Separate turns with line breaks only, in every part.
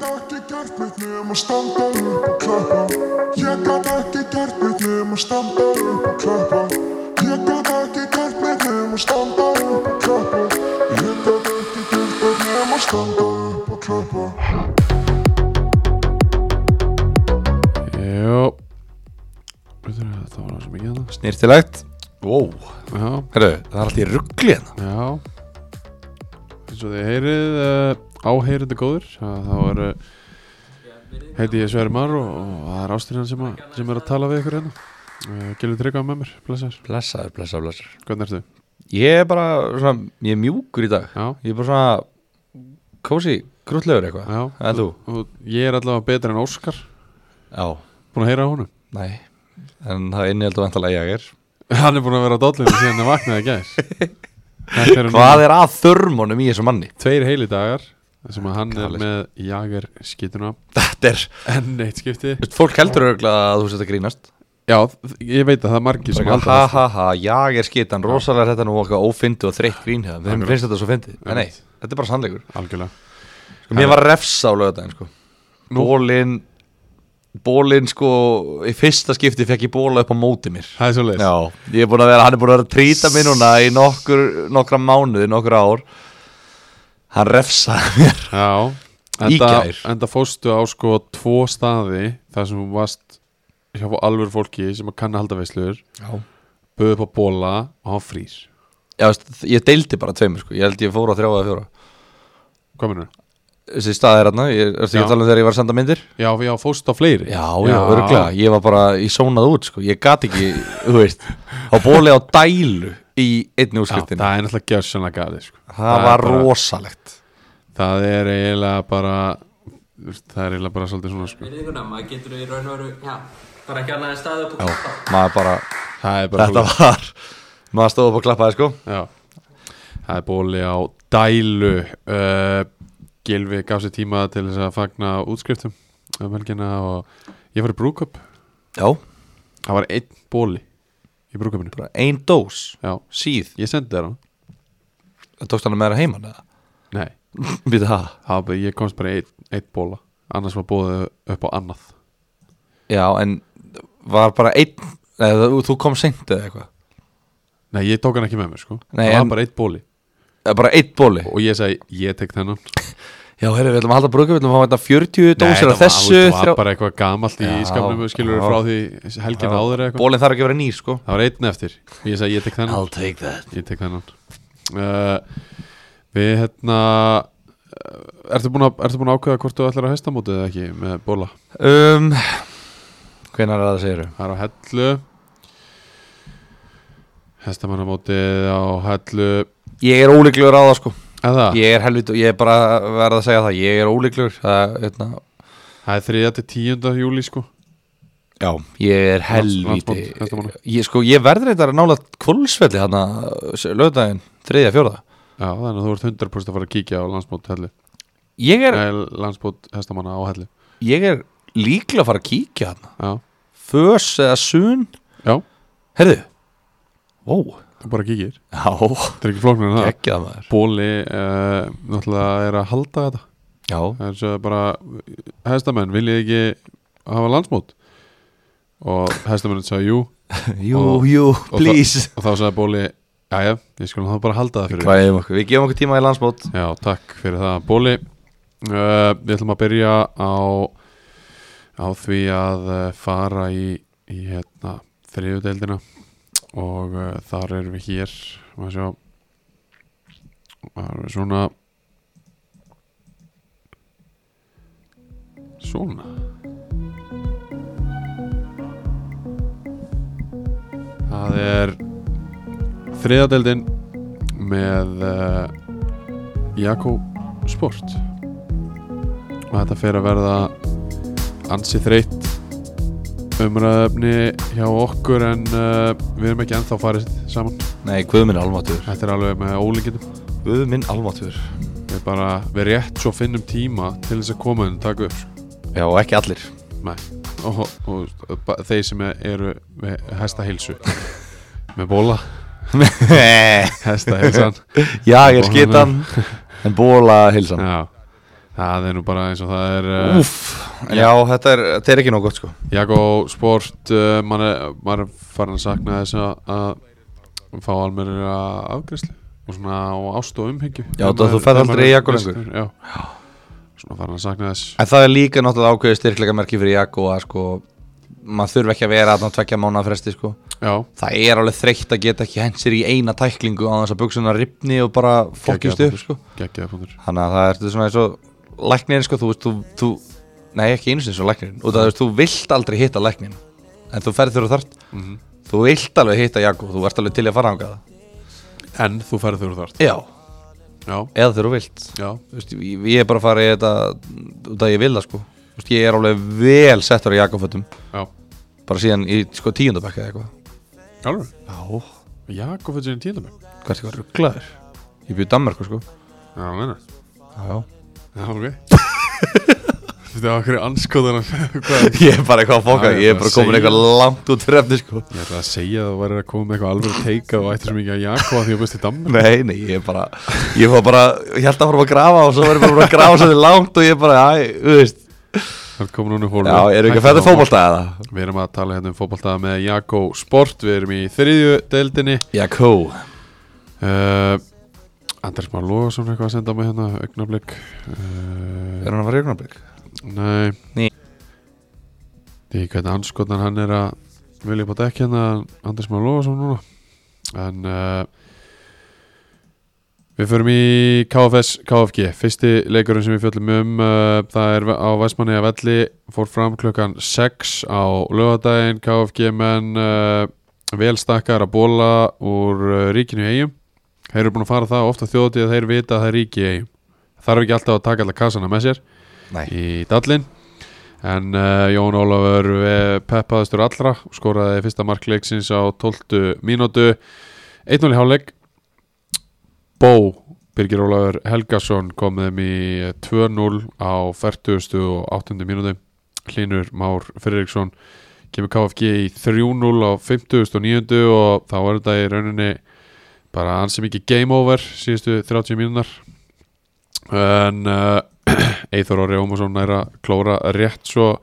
gert mitt nema standa upp og klappa Ég gat ekki gert mitt nema standa upp og klappa Ég gat ekki gert mitt nema standa upp og klappa Ég gat ekki gert mitt nema standa upp og klappa
Jó Þetta var náttúrulega mikið hana
Snýrtilegt wow.
Já,
Herru, það er alltaf í ruggli hérna
já Eins og þið heyrið uh, áheyrandi góður að þá er uh, heiti ég Sverri Mar og, og það er ástirinn sem, að, sem er að tala við ykkur hérna uh, Gilvi Tryggva með mér, blessar
Blessaður, blessaður, blessaður
Hvernig ertu?
Ég er bara svona, ég er mjúkur í dag
Já,
Ég er bara svona Kósi, grútlegur eitthvað
já
En þú?
og Ég er allavega betur en Óskar
Já,
Búin að heyra á honum
nei En það er innihjaldur vantalega ég er
Hann er búin að vera á dollinu síðan að vaknaði gæs Þetta eru núna
Hvað er að þörmónum í þessu manni?
tveir heili dagar þar sem að hann
Kalli.
er með jager skýtuna
Þetta er,
enn eitt skipti
veist, fólk heldur örgulega að þú sett að grínast
Já, þ- ég veit að það er margir sem
Bara
halda
Ha
það, sko.
ha ha, ég er skitan, rosalega er þetta nú okkar ófindi og þreytt grín hérna Við
Akkurat.
finnst þetta svo fyndið, en nei,
Einmitt.
þetta er bara sannleikur
Algjörlega
sko, Mér var refsa á lögðardaginn sko
Nú?
Bólin, bólin sko, í fyrsta skipti fekk ég bóla upp á móti mér
Það er svo leiðis
Já, ég er búin að vera, hann er búin að vera að trýta mig núna í nokkur, nokkra mánuði, nokkra ár Hann refsaði mér
Já,
Í
enda,
gær.
enda fóstu á sko tvo staði þar sem þú varst hjá alvöru fólki sem að kanna haldaveislur
Já
böðu upp á bóla og hann frýr
Já, veist, ég deildi bara tveimur sko, ég held ég fór á þrjá eða fjóra
Hvað minnur?
Þessi staðir hérna, ég er ekki
Já.
að tala um þegar ég var að senda myndir
Já, já, fóstu á fleiri
Já, já, örgulega, ég var bara, ég sónaði út sko, ég gat ekki, þú veist, á bóli á dælu í
Já,
einni
það er
úrskiptinu
náttúrulega gjössanlega gaði sko.
Það
er
var
bara-
rosalegt
Það er eiginlega bara Það er eiginlega bara svolítið svona sko.
Virðinguna, maður getur í raun og veru, já, bara ekki annað en staðið upp og klappa.
Maður bara,
Það er bara
þetta var, maður stóð upp og klappaði sko
Já, það er bóli á dælu uh, Gilvi gaf sér tíma til þess að fagna útskriftum um helgina og ég var í brúköp
Já,
það var einn bóli í brúköpinu
bara ein dós,
Já,
síð,
ég sendi þér hann
það tókst hann að meðra heimann eða?
Nei,
Býta það
það var bara, ég komst bara í einn, einn bóla annars var bóðið upp á annað
Já, en var bara einn, eða, þú- þú kom seint eða eitthvað
Nei, ég tók hann ekki með mér sko
Nei,
Það
en-
var bara einn bóli
Eða Bara einn bóli
og ég segi, ég tek þennan
Já, herri, við ætlum að halda brúka, við ætlum að hafa þetta 40 dósir
það
af þessu
var,
þrjá-
var bara eitthvað gamalt í
Já,
skapnum skilur
já.
frá því helgina áður eða eitthvað
Bólinn þarf ekki að vera nýr, sko
Það var einn eftir Ég segi, ég tek þennan
take that
Ég tek þennan uh, Við hérna uh, Ertu búin að, ertu búin að ákveða hvort þú ætlar að hestamótið eða ekki með bóla?
um, Hvenær er það segir þau?
Það er á hellu Hestamannamótið á hellu
Ég er ólíklegur á það, sko
Eða,
Ég er helvit, ég er bara verð að segja það Ég er ólíklegur það, hérna,
það er þriðja til tíunda júli sko
Já, ég er helviti
Landsmót hestamanna.
ég, sko, ég verður eitthvað að nála kvölsvelli hana, lögdæðin, þriðja, fjórða
Já, þannig að þú ert 100% að fara að kíkja á landsmót hellu
Ég er,
Nei, landsmót hestamanna á hellu
ég er líklega að fara að kíkja hana
Já,
Fös eða sun
já,
Herðu Ó,
þú bara kíkir
já,
Það er ekki flóknar en það
ekki það maður
Bóli uh, náttúrulega er að halda þetta
Já,
Það er svo bara Hestamenn, viljið þið ekki hafa landsmót? Og hestamenn sagði jú
jú,
Og-
jú,
það-
please
Og þá sagði Bóli Jæja, ég skulum þá bara halda það fyrir
Hvað hefum okkur? Við gefum okkur tíma í landsmót
Já, takk fyrir það Bóli uh, Við ætlum að byrja á á því að uh, fara í, í hérna, þriðudeldina og uh, þar erum við hér maður sjá það erum við svona svona það er þriðadeldin með uh, Jakko Sport og þetta fer að verða ansi þreytt umræðefni hjá okkur en uh, við erum ekki ennþá farið saman
Nei, Guðminn Almatur
þetta er alveg með ólíkindum
Guðminn Almatur
við bara, við rétt svo finnum tíma til þess að koma inn og taka upp sko.
Já, og ekki allir
Nei. og, og, og ba- þeir sem eru með hesta hilsu með bóla, hesta hilsan
Já, ég er skitan En bóla hilsan
Já, Það er nú bara eins og það er uh,
Úff, já, þetta er, þetta er ekki nóg gott sko
Jakko Sport uh, maður er, maður er farin að sakna þess að- að fá almennir afgriðslu og svona á ást og umhyggju
Já,
Ef
þú-
maður-
þú ferð
ef maður
aldrei í
er
Jakko
leystur, Já, svona farin að sakna þess
En það er líka náttúrulega ákveðið styrkleika merki fyrir Jakko að sko, maður þurfi ekki að vera að tvekja mánuða fresti sko
Já,
Það er alveg þreytt að geta ekki hent sér í eina tæklingu á þess að buksuna ripni og bara fokkjast upp sko
geggjaða punktur
Þannig að það ertu svona eins og læknirinn sko, þú veist, þú, þú nei ekki einu sinni svo læknirinn, út af þú veist, þú vilt aldrei hitta læknirinn, en þú ferð þurra þart þú vilt alveg hitta Jakko, þú ert alveg til í að fara ángað
En þú ferð þurr þart
Já,
Já,
eða þegar þú vilt
já,
Þú veist, ég, ég er bara að fara í þetta út af að ég vil það sko, þú veist, ég er alveg vel settur í Jakkofötum,
já
bara síðan í sko tíundabæk eða eitthvað
Alveg,
Já,
Jakko fyrir sinni tíðlega mig
hvað er þetta rugglaður? Ég byrði Danmarku sko
Já, meina
Já, já
Já, ok Þetta var okkur anskoðan Hvað er
Ég er bara eitthvað að foka,
Já, já,
ég er bara
bara
komin
segja.
eitthvað langt út fyrir efni sko
Ég ætla að segja að þú væri að koma með eitthvað alveg teika og ættir svo mikið að Jakko að því að búist í Danmark
Nei, nei, ég er bara Ég var bara, ég held að fara að grafa og svo var ég bara búinn að grafa svolítið langt og ég bara, æ, þú veist
Það er komin hún í hólum
Já, eru ekki að fæta fótbolta eða?
Við erum að tala hérna um fótbolta með Jakko Sport Við erum í þriðju deildinni
Já, kó
uh, Anders Már Lóðarsson eitthvað að senda á mig hérna augnablík uh,
Er hann að fara í augnablik?
Nei
Ný.
Því hvernig anskotnan hann er að vilja bátt ekki hérna Anders Már Lóðarsson núna En uh, Við förum í KFS KFG, fyrsti leikurinn sem við fjöllum um uh, það er á Væsmanni að velli fór fram klukkan 6 á lögadaginn, KFG menn uh, velstakkar að bóla úr uh, ríkinu í eigum þeir eru búin að fara það ofta þjóðið að þeir vita að það er ríki í eigum þarf ekki alltaf að taka alla kassana með sér
Nei
í dallin en uh, Jón Ólafur eh, peppaðistur allra skoraði fyrsta markleiksins á 12 mínútu 1-0 í hálfleik Bó Birgir Ólafur Helgason kom þeim í 2-0 á 40. og 8. mínútu Hlinur Már Fredriksson kemur KFG í 3-0 á 50. og 9. og þá er þetta í rauninni bara ansi mikið game over síðustu 30 mínúnar en uh, Eithor Orri Ómarsson er að klóra rétt svo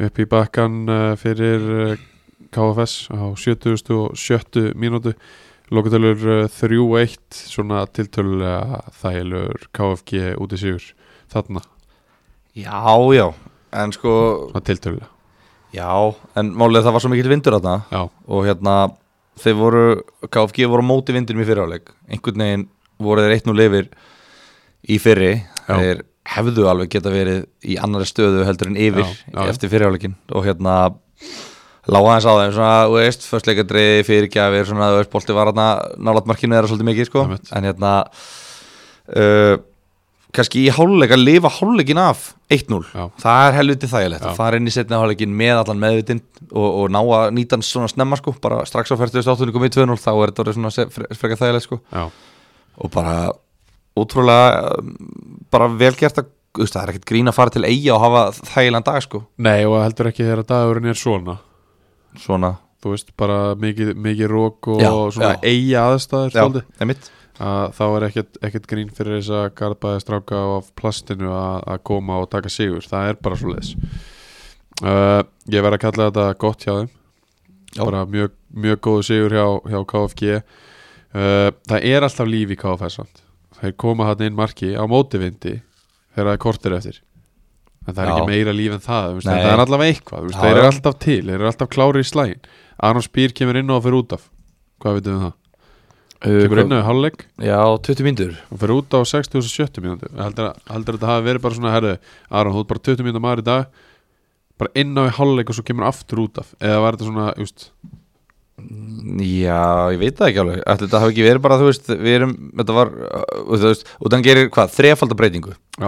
upp í bakkan uh, fyrir uh, KFS á 70. og 70 mínútu Lokatölur uh, 3-1 svona tiltölulega þægilegur KFG út í sigur þarna,
Já, já, en sko
svona tiltölulega
Já, en málið það var svo mikill vindur þarna
Já,
og hérna þeir voru, KFG voru á móti vindinum í fyriráleik einhvern veginn voru þeir 1-0 yfir í fyrri
Já.
þeir hefðu alveg geta verið í annari stöðu heldur en yfir
Já, já, já.
eftir fyriráleikin og hérna lága hans á þeim svona, þú veist, förstleikadri fyrirgjafir, svona, þú veist, bolti var hérna nálat markinu þeirra svolítið mikið, sko
Einmitt.
en hérna uh, kannski í háluleik að lifa háluleikin af 1-0
Já.
það er helviti þægilegt
Já.
að fara inn í setna hálfleikin með allan meðvitinn og, og ná að nýta hann svona snemma sko, bara strax á 48. komið 2-0 þá er þetta orðið svona se- fre- frekar þægilegt sko
já,
og bara ótrúlega um, bara velgjert að þú veist, það er ekkert grín að fara til eiga og hafa þægilegan dag sko,
nei og heldur ekki þegar dagurinn er svona
svona
þú veist, bara mikið, mikið rók og
Já,
svona
já.
eiga aðstæður svolítið.
einmitt
að þá er ekkert, ekkert grín fyrir þess að garbaði stráka á plastinu að að koma og taka sigur, það er bara svo leiðis uh, ég verð að kalla þetta gott hjá þeim
Já.
bara mjög, mjög góðu sigur hjá, hjá KFG uh, það er alltaf líf í KFG samt. þeir koma hann inn marki á mótivindi þegar það er kortir eftir en það er
Já.
ekki meira líf en það þú veist,
Nei.
það er allavega eitthvað, þú veist,
Já,
þeir eru
já.
alltaf til þeir eru alltaf klári í slægin Aron Spýr kemur inn og fyrir út af hvað veitum við um það? Kemur inn og hálfleik
já, 20 mínútur
og fyrir út á 60 og 70 mínúti heldur, heldur að þetta hafi verið bara svona herðu, Aron, þú ert bara 20 mínúti maður í dag bara inn á í hálfleik og svo kemur aftur út af eða var þetta svona, just,
Já, ég veit það ekki alveg Ætli, Þetta hafi ekki verið bara, þú veist, við erum Þetta var, uh, þú veist, og þannig gerir hvað Þrefaldabreitingu
já,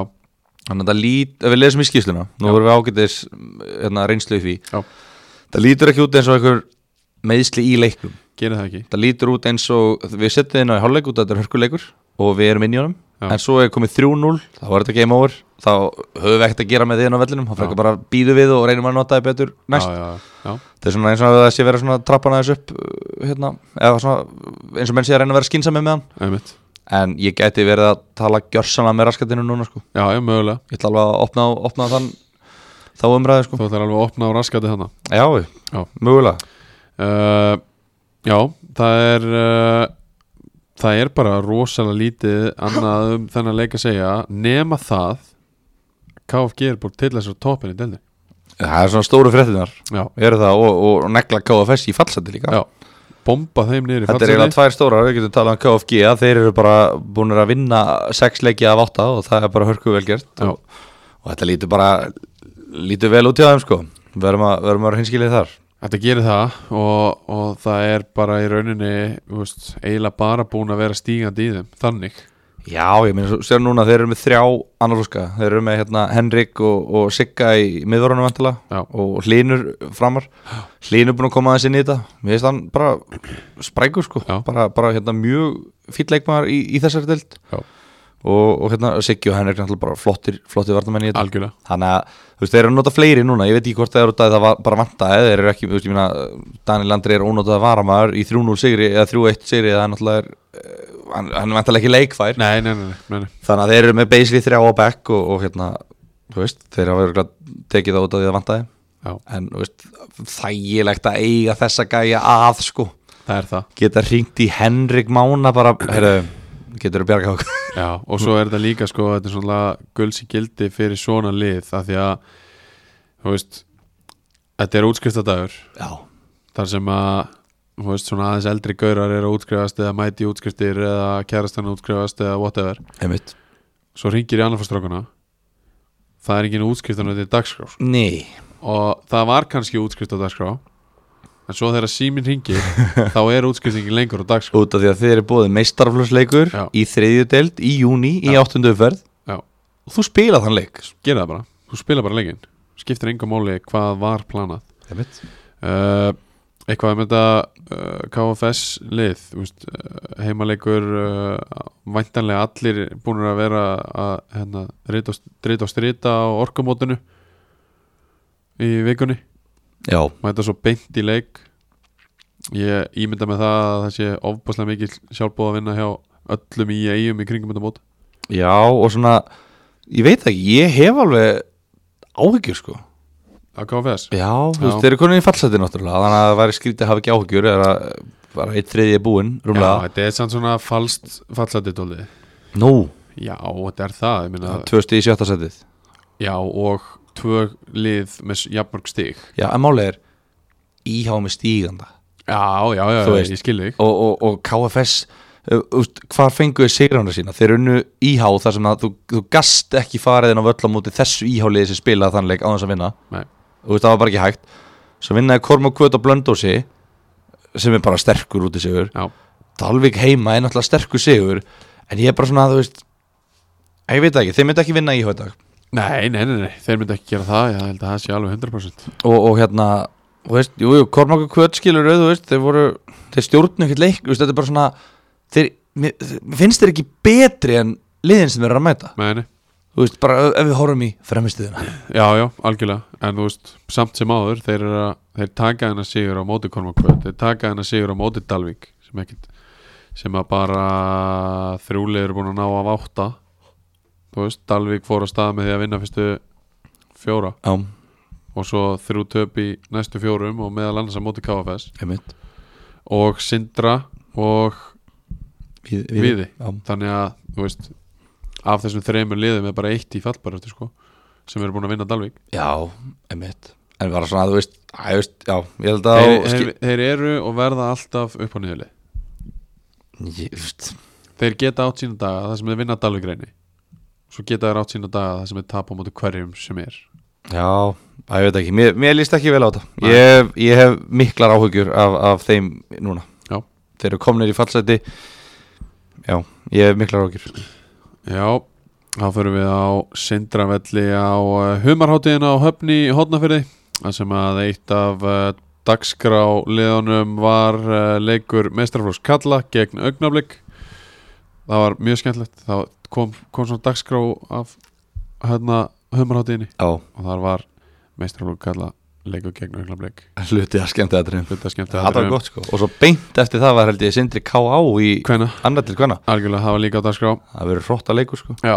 Þannig að það lít, ef við lesum í skýsluna Nú
Já.
vorum við ágætis mm, hérna, reynslu í því
Já.
Það lítur ekki út eins og einhver meðsli í leiknum
gerir það ekki
Það lítur út eins og, við setjum inn á í hálfleik út að Þetta er hörkuleikur og við erum inn í honum
Já.
En svo er komið 3-0, þá var þetta game over Þá höfum við ekkert að gera með því inn á vellinum Þá frekar bara býðu við og reynum að nota það betur næst
já, já, já,
Það er svona eins og að það sé vera svona trappan aðeins upp uh, hérna, eða svona eins og menn sé að reyna að vera skynsami með hann
einmitt
en ég gæti verið að tala gjörsanlega með raskatinu núna sko
já, já, mögulega
ég ætla alveg að opna, opna þann þá umræðu sko
Þú ætlar alveg að opna á raskati hana
já,
Já.
mögulega
uh, Já, það er uh, það er bara rosalega lítið annað um þennan leik að segja nema það KFG er búin til þessar toppin í delni
það er svona stóru fréttinar
Já,
eru það og, og negla KFS í fallseti líka
já Bomba þeim niður í
Þetta er eiginlega
fallseti
tvær stórar, við getum talað um KFG að þeir eru bara búinir að vinna sex leiki af átta og það er bara hörku vel gert
Já.
og, og þetta lítur bara lítur vel út hjá þeim sko við erum að, við erum að hinskilið þar
Þetta gerir það og, og það er bara í rauninni þú veist, eiginlega bara búin að vera stígandi í þeim þannig
Já, ég minn, sér núna þeir eru með þrjá annarlúska, þeir eru með hérna Henrik og, og Sigga í miðvörunum
Já.
vantilega og Hlynur framar Hlynur búin að koma aðeins inn í þetta mér finnst hann bara sprækur sko
Já.
bara, bara hérna mjög fýll leikmaður í, í þessari deild
Já.
og, og hérna Siggi og Henrik náttúrulega bara flottir, flottir vartamenn í þetta
Algjörlega
þannig að þú veist, þeir eru að nota fleiri núna ég veit ekki hvort það eru út af því það var bara vanta eða þeir eru ekki, þú veist, ég meina Daniel Andri er ónotað varamaður í 3-0 sigri eða 3-1 sigri það er náttúrulega er, eh, hann, hann er vantalega ekki leikfær
Nei, nei, nei, nei, nei, nei.
þannig að þeir eru með basically þrjá á back og, og hérna, þú veist, þeir hafa örugglega tekið það út af því það vantaði
Já,
en þú veist, þægilegt að eiga þessa gæja að sko
það er það
geta hringt í Henrik Mána bara, heyrðu, getur þú bjarga okkur
Já, og svo er þetta líka sko þetta er svona gulsi gildi fyrir svona lið af því að þú veist, þetta er útskriftadagur
já,
þar sem að þú veist, svona aðeins eldri gaurar eru að útskrifast eða mæti í útskriftir eða kærastan útskrifast eða whatever,
einmitt
svo ringir í annarfastrákuna það er engin útskriftan þetta er dagskrá sko.
Nei,
og það var kannski útskriftadagskrá en svo þegar síminn ringir þá er útskriftingin lengur á dagskrá
út af því að þeir eru bóðið meistarflösleikur
Já.
í þriðju deild í júni í áttundu umferð
Já,
og þú spila þann leik
gera það bara, þú spila bara leikinn skiptir engum máli hvað var planað uh, eitthvað með þetta uh, KFS lið úst, uh, heimaleikur uh, væntanlega allir búin að vera að hérna, rita og- drita og strita á orkumótinu í vikunni
Já,
mæta svo beint í leik ég ímynda með það að það sé ofbáslega mikil sjálfbóð að vinna hjá öllum í eigum í kringum þetta mót
já og svona ég veit ekki, ég hef alveg áhyggjur sko
að KFS
Já, þú veist, þeir eru konin í fallseti náttúrulega þannig að það væri skrítið að hafa ekki áhyggjur eða bara eitt þriðið er búinn
Já,
rúmlega
þetta er samt svona falskt fallatitólið
Nú,
Já, þetta er það, ég meina
tvö stið í sjötta setið
Já, og tvö lið með jafnmörg stig
Já, en málega er íhá með stíganda
Já, já, já,
Þú veist.
ég skil þig
og, og, og KFS uh, úst, hvar fenguðu sigrana sína þeir unnu íhá þar sem að þú, þú gast ekki farið inn á völl á móti þessu íháliði sem spilaði þann leik á þess að vinna
Nei,
þú veist það var bara ekki hægt svo vinnaði Kormák Kvöt á Blöndósi sem er bara sterkur út í sigur
já,
Dalvik heima er náttúrulega sterkur sigur en ég er bara svona að þú veist ég veit það ekki, þeir myndi ekki vinna íhá í dag
nei, nei, nei, nei, þeir myndi ekki gera það Ég held að það sé alveg 100%
og, og hérna þú veist, jú, jú, Kormáku Kvöt skilur auð, þú veist, þeir voru þeir stjórnu ekkert leik, þú veist, þetta er bara svona þeir, mér, mér finnst þeir ekki betri en liðin sem þeir eru að mæta
Nei, nei,
þú veist, bara ef, ef við horfum í fremistuðina
já, já, algjörlega En þú veist, samt sem áður Þeir, er að, þeir taka hennar sigur á móti Kormakvöld Þeir taka hennar sigur á móti Dalvík Sem ekkit, sem að bara Þrjúlið eru búin að ná af átta Þú veist, Dalvík fór á stað með því að vinna fyrstu fjóra
Já,
og svo þrjú töp í næstu fjórum og meðal annars að móti KFS
einmitt
og Sindra og
Við,
Viði
Já,
þannig að, þú veist af þessum þremur liðum er bara eitt í fallbaröftu sko, sem eru búin að vinna Dalvík
já einmitt En bara svona, þú veist, að, þú veist já, ég held að
þeir,
á-
þeir,
skil-
þeir eru og verða alltaf upp á niðurli
Ég- þú veist,
þeir geta átt sína daga það sem þeir vinna Dalvík reyni svo geta þeir átt sína daga það sem þeir tapa á móti hverjum sem er
Já, að, ég veit ekki, mér, mér líst ekki vel á þetta ég, ég hef miklar áhugjur af, af þeim núna
Já.
Þeir eru komnir í fallseti Já, ég hef miklar áhugjur
Já, þá förum við á Sindravelli á eh, Humarháttíðina á Höfni í Hótnafyrði þar sem að eitt af eh, dagskráliðunum var eh, leikur mestraflóks Kalla gegn augnablik það var mjög skemmtilegt þá kom, kom svona dagskrá af hérna Humarháttíðinni
Já,
og þar var mestraflóks Kalla leikur gegn augnablik
hluti að skemmta þetta
þetta er skemmt
það var gott sko og svo beint eftir það var held ég sindri K.A. í
hvenna,
annar til hvenna
algjörlega hafa líka á dagskrá
það verður hrótt að leiku sko
já,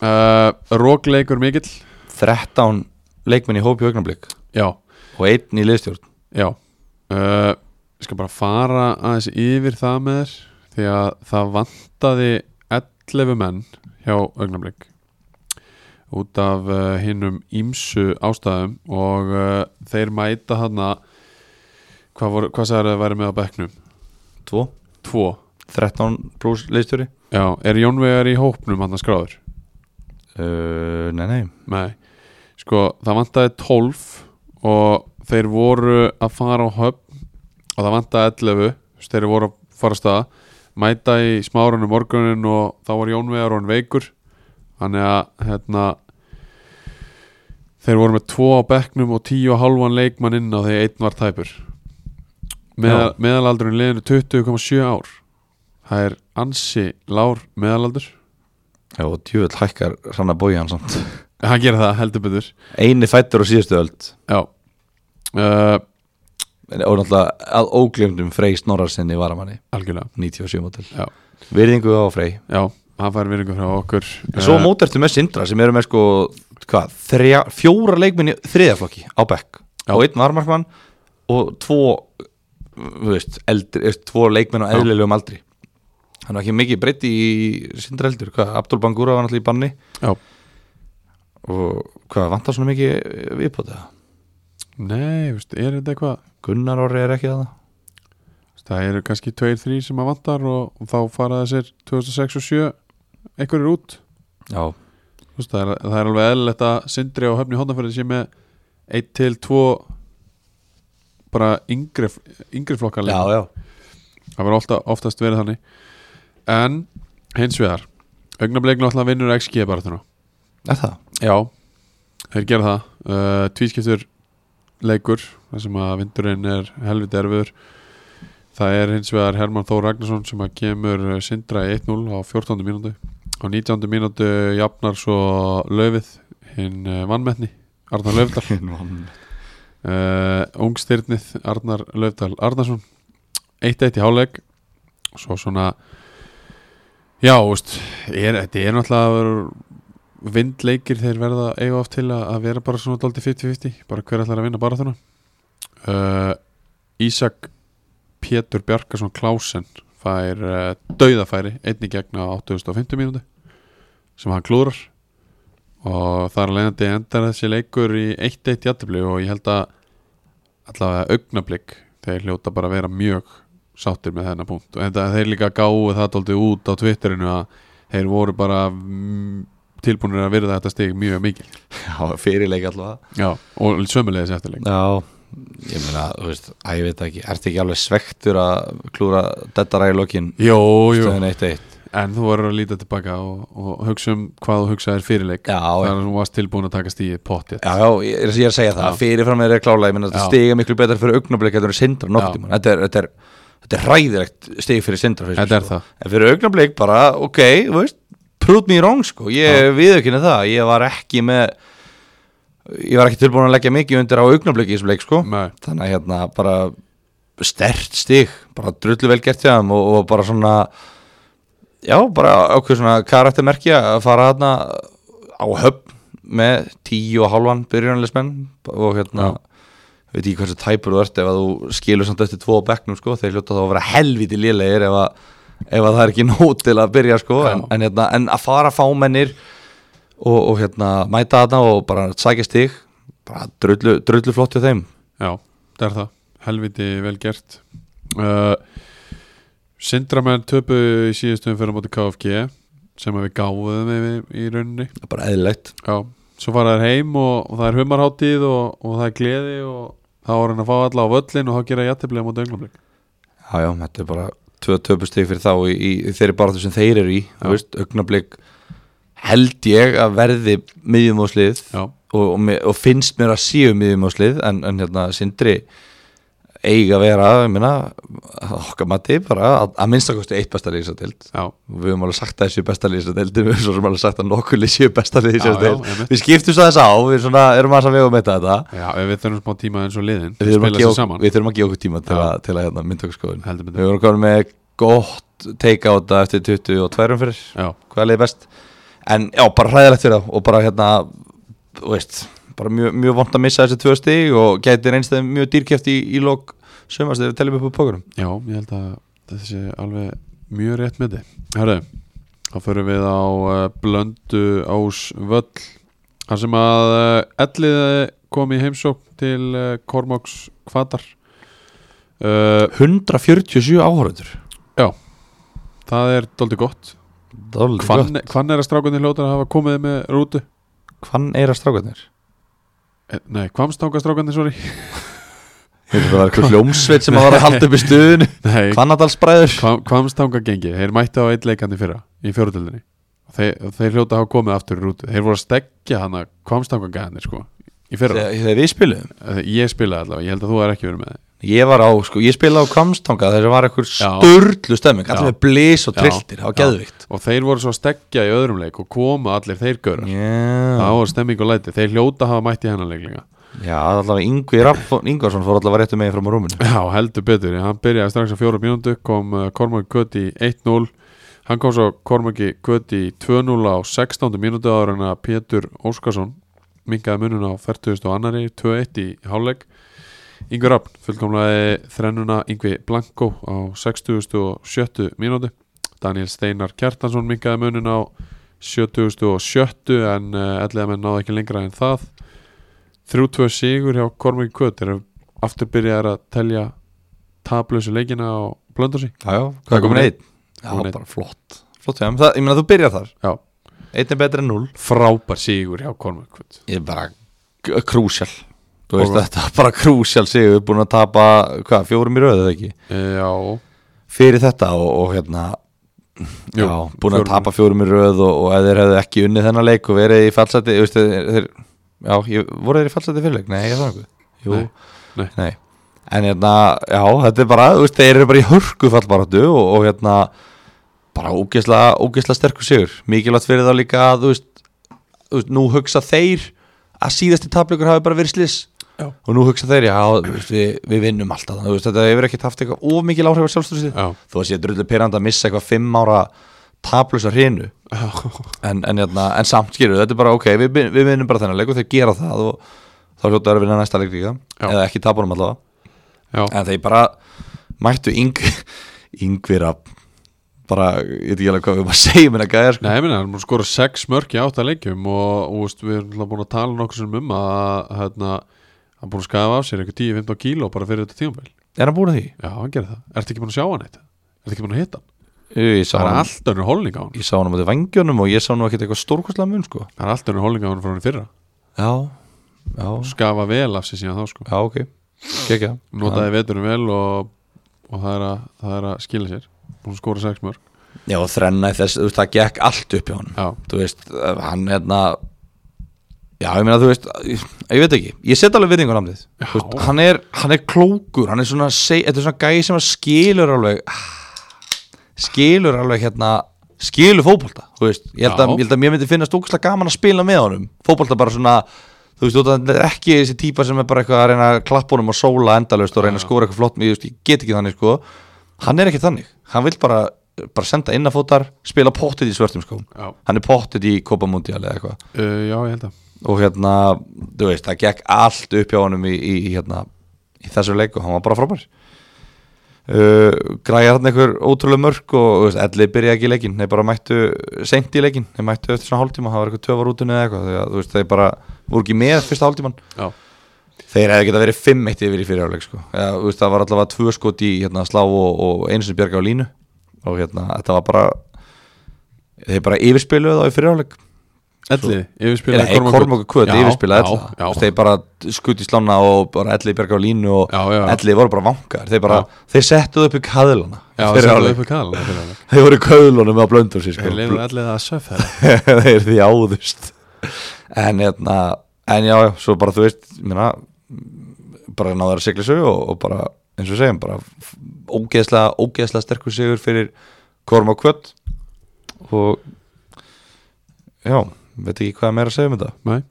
uh, rókleikur mikill
13 leikmenn í hópi augnablík
já,
og einn í liðstjórn
já uh, ég skal bara fara aðeins yfir það með þér því að það vantaði 11 menn hjá augnablik út af uh, hinnum ímsu ástæðum og uh, þeir mæta hana hvað, voru- hvað sagði það væri með á bekknum?
2
Tvo
13 pluss liðstjóri
Já, er Jónvegar í hópnum hann að skráður?
uh, nei nei
Nei, sko það vantaði 12 og þeir voru að fara á höfn og það vantaði 11 þú veist, þeir voru að fara að staða mæta í smárunum morgunin og þá var Jónvegar og hann veikur þannig að hérna þeir voru með 2 á bekknum og 10 og halvan leikmann inn á því einn var tæpur Meðal, meðalaldurinn í liðinu 20,7 ár það er ansi lár meðalaldur
já og djúvel hækkar sann að bója hann samt
hann gerir það heldur betur
eini fættur á síðustu öld
Já uh,
og náttúrulega að óglemdum Frey Snorrarsinni varamanni
Algjörlega
97 mótil
Já.
virðingu á Frey
Já, hann fær virðingu frá okkur
en svo
Eh,
mót ertu með Sindra sem eru með sko hvað, þrjá, fjóra leikminni þriðaflokki á Beck
Já.
og einn varmarkmann og tvo þú veist, eldri, þú veist, tvo leikminn á
Já.
eðlilegum aldri hann var ekki mikið breytti í Sindra eldur hvað, Abdul Bangura var náttúrulega í banni
Já.
og hvað, vantar svona mikið viðbóta
Nei, veist, er þetta eitthvað
Gunnar Orri er ekki það
Veist, Það eru kannski tveir, þrý sem að vantar og, og þá fara þessir 2006 og 7 einhverjir út
já,
Vist, það, er, það er alveg eðlilegt að Sindri og Höfni Hóndafjörði sé með 1 til 2 bara yngri, yngri flokkar
já, já.
Það verður ofta, oftast verið þannig En hins vegar Augnablikna alltaf vinnur XG bara þarna
Er það?
Já, þeir gera það uh, Tvískiptur leikur þar sem að vindurinn er helviti erfiður Það er hins vegar Herman Þór Ragnarsson sem að kemur eh, Sindra í 1-0 á 14. mínútu á 19. mínútu jafnar svo löfið hinn eh, vannmetni Arnar Löfdal uh, Ungstyrnið Arnar Löfdal Arnarsson 1-1 í háleik svo svona já, veist, er, þetta er náttúrulega vindleikir þeir verða eiga oft til að, að vera bara svona dóldi 50-50, bara hver ætlar að vinna bara þarna uh, Ísak Pétur Bjarkason Klásen fær uh, dauðafæri einni gegn á 850 mínúti sem hann klúrar og þar að leiðandi endar þessi leikur í 1-1 jættibli og ég held að allavega augnablík þeir hljóta bara að vera mjög sáttir með þennan punkt og þetta þeir líka gáðu það tóldi út á Twitterinu að þeir voru bara mm, tilbúinir að virða þetta stig mjög mikil
Já, fyrirleik allavega
Já, og sömulegis eftirleik
Já, ég meina, þú veist, að ég veit ekki, ertu ekki alveg svektur að klúra þetta ræði lokin
Jó, jú,
stöðin 1-1?
en þú voru að líta tilbaka og, og hugsa um hvað þú hugsaðir fyrirleik
Já,
þar
já,
að þú varst tilbúin að taka stíði pottið
já, ég er ég er að segja það,
Já.
fyrirfram er klála, ég meina, þetta
Já.
stiga miklu betra fyrir augnablik heldur en sindra
Já.
nokkuð, þetta er, þetta er, þetta er hræðilegt stig fyrir sindra fyrir
Þetta er það
sko. En fyrir augnablik bara, ok, þú veist, prúð mér rong, sko, ég viðurkynna það, ég var ekki með, ég var ekki tilbúin að leggja mikið undir á augnablik í þessum leik, sko.
Nei,
þannig að hérna bara stert stig, bara drullu vel gert hjá þeim og, og bara svona já, bara ákveð svona karaktermerki að fara hérna á höfn með tíu og halvan byrjunarleismenn og hérna ég veit ekki hversu tæpur þú ert ef að þú skilur samt eftir tvo á bekknum sko, þeir hljóta þá að vera helviti lélegir ef að, ef að það er ekki nót til að byrja sko, en,
Já.
en, hérna, en að fara fámennir og, og hérna mæta þarna og bara sækja stig bara drullu, drullu flott hjá þeim
já, það er það Helviti vel gert uh, Sindramenn töpu í síðustum fyrir móti KFG sem að við gáðum yfir í rauninni
Það er bara eðlilegt
Já, svo fara þær heim og, og það er humarháttíð og, og það er gleði og þá er hann að fá alla á völlin og þá gera jættiblið móti augnablik
já, já, þetta er bara tvö töpustig fyrir þá í, í, í þeirri baráttu sem þeir eru í þú veist, augnablik held ég að verði miðjumóslið og,
Já,
og, me- og finnst mér að séu miðjumóslið en, en hérna Sindri eiga að vera, ég minna okkar mati bara, að, að minnstakosti eitt besta lýsatild
já,
við höfum alveg sagt að þessi besta lýsatild við höfum svo sem alveg sagt að nokkur lýsi besta
Já, já,
lýsatild
einmitt.
við skiptum svo þess á, við svona, erum aðeins að vega með þetta
já, ef við þurfum smá tíma eins og liðin
við þurfum að,
spila sér
gefa-
saman
við þurfum að gefa okkur tíma til
Já.
að, til að hérna, mynda okkur skoðun
Heldur betur.
við vorum komin með gott take out eftir 22 fyrir
Já,
hvað leiði best en já, bara hræðilegt fyrir þá og bara hérna, þú veist bara mjög, mjög vont að missa þessi tvö stig og gæti reynst þeim mjög dýrkjæft í, í lók sömast þegar við teljum upp úr pókurum
já, ég held að þetta sé alveg mjög rétt með þið Herðu, þá förum við á uh, Blöndu Ás Völl þar sem að uh, elliði kom í heimsókn til uh, Kormáks Kvatar uh,
147 áhörundur
Það er doldið gott Hvann, hvann er að strákunni hljótar að hafa komið með rútu?
hvann er að strákarnir?
Eh, Nei, hvamstanga strákunni, sorry
það var eitthvað hljómsveit sem að var að halda upp í stuðinu
Nei,
hvannadalsbræður
Kvamstanga gengi, þeir mættu á eitt leikandi fyrra í fjóruðöldinni og þeir, og þeir hljóta að hafa komið aftur í rútu þeir voru að stekja hana Kvamstanga gæðinni sko, í fyrra,
þegar þegar við spilum
Þegar ég spilaði allavega ég held að þú er ekki verið með það
ég var á, sko, ég spilaði á Kvamstanga þegar það var eitthvað
Já.
störlu stemming
Já.
allir með blís og
Já.
trilltir, það var
Já.
geðvikt
og þeir voru svo að stekja í öðrum leik og koma allir þeir görar
yeah.
það var stemming og læti, þeir hljóta að hafa mætt í hennan leiklinga
já, allavega Ingvi Raffon Ingvarsson fór allavega réttu megin fram á rúminu
Já, heldur betur, hann byrjaði strax á fjóra mínútu kom uh, Kormaki Köti í 1-0 hann kom svo Kormaki Köti í 2-0 á 16. mínútu áður en að Pétur Óskarsson mingaði munun á 40. annari 2-1 í hálfleik Yngvi Raffn fullkomlaði þrennuna Yngvi Blanko á 67. mínútu Daniel Steinar Kjartansson mingaði munun á 77. en uh, ellega menn náði ekki lengra en það 3-2 sigur hjá Kormaki Köti eru aftur byrjaðar að telja tablösu leikina á blöndarsi
já, já, hvað er komin
Komin
eitt? já,
Komin einn.
bara flott, flott hjá þeim. það, ég meina þú byrjar þar,
Já,
einn er betri en null
frábær sigur hjá Kormak
ég er bara k- krúsjál þú veist,
Og-
þetta er bara krúsjál sigur, við erum búin að tapa hvað, fjórum í röðu eða ekki
Já,
fyrir þetta og, og hérna
Jú,
já, búin að
fjórum.
tapa fjórum í röð og, og ef þeir hefðu ekki unnið þennan leik og verið í fallseti veist, þeir, þeir, já, ég, voru þeir í fallseti fyrir leik? Nei, ég það nokkuð Jú,
Nei, nei.
En hérna, já, þetta er bara, þú veist, þeir eru bara í hörku fallbaratu og, og hérna bara ógeðslega, ógeðslega sterkur sigur mikilvægt fyrir þá líka að, þú veist, þú veist nú hugsa þeir að síðasti tapleikur hafi bara verið slis
Já.
og nú hugsa þeir, já, þú veist, við, við vinnum alltaf, þú veist, þetta hefur ekki haft eitthvað of mikil áhrif á sjálfstúrsið
já,
þó að sé drullu perandi að missa eitthvað fimm ára taplösa hrinu
já,
en, en, hérna, en samt skilur þetta er bara ok, við, vin- við vinnum bara þennan leik og þeir gera það og þá hljóta að vinna næsta leik líka
Já.
eða ekki tapunum allavega
já,
en þeir bara mættu yng, yngvira bara, ég veit ekki alveg hvað við maður segjum en að gæja sko.
Nei, ég minna, hann er búinn að skora sex mörk í átta leikjum og, og veist, við erum náttúrulega búin að tala nokkur sem um að hérna, hann búin að skafa af sér einhver 10-15 kíló bara fyrir þetta tímafél
er hann búin að því?
Já, hann gerir það, ertu ekki búin að sjá hann eitt? Ertu ekki búin að hitta hann?
Jú, ég sá
Það er
hann,
allt önnur holning á hann
ég sá hann á móti vangjónum og ég sá hann ekkert eitthvað stórkostlega mun sko.
Það er allt önnur holning á hann frá hann í fyrra
já, já,
Skafa vel af sér síðan þá sko
já ok kekja,
Notaði veturum vel og, og það, er að, það er að skila sér Búin að skora sex mörk
já og þrenna í þess, þú veist, það gekk allt upp hjá honum
Já,
þú veist, eh, hann hérna já, ég meina, þú veist ég, ég veit ekki, ég set alveg virðingu á namnið Þú veist, hann, er, hann er klókur hann er svona, seg, þetta er svona gæi sem að skilur alveg ah, skilur alveg hérna skilur fótbolta, þú veist ég held, að,
Já.
ég held að mér myndi finnast ógæslega gaman að spila með honum fótbolta bara svona þú veist, þú veist, það er ekki þessi típa sem er bara eitthvað að reyna að klappa honum og sóla endalaust og reyna að skora eitthvað flott, ég, veist, ég get ekki þannig sko hann er ekki þannig, hann vil bara bara senda innafótar, spila pottið í svörtum skóm
já,
hann er pottet í Copa Mundial eða eitthvað
uh, já, ég held að
og hérna, þú veist, það gekk allt upp hjá honum í, í, í, hérna, í þessu leik og hann var bara frábær uh, græjar hann einhver ótrúlega mörg og þú veist, ellið byrja ekki í leikin þeir bara mættu seint í leikin þeir mættu eftir svona hálftíma, það var eitthvað töfar útunni eða eitthvað þegar, þú veist, þeir bara voru ekki með fyrsta hálftíman
Já,
þeir hefði geta verið fimm eitt yfir í fyrirjáleik sko. eða, þú veist, það var allavega tvö skot í hérna, slá og, og einu sem bjarga á línu og hérna, þetta var bara þeir bara yfirspiluðu þá í fyrirjáleik
Elliði, yfirspilaði
Nei, Kormáka Kvöt yfirspilaði
já,
alla
já,
Þeir bara skutt í slána og bara elli í berga á línu og
Já, já, já.
elli voru bara vankaðir Þeir, bara, þeir settuð upp í kaðlana
já,
þeir,
þeir
eru
eru
alveg-
upp í kall
þeir voru í kaðlunum á blöndur sér sko
Þeir lefur ellið að söf þeirra
Þeir því áðust En, hérna, en já, já, svo bara þú veist ég meina, bara náður að sigla sig og, og bara eins og við segjum bara f- ógeðslega, ógeðslega sterkur sigur fyrir Korma Kvöt og já, veit ekki hvað er meira að segja um þetta
Nei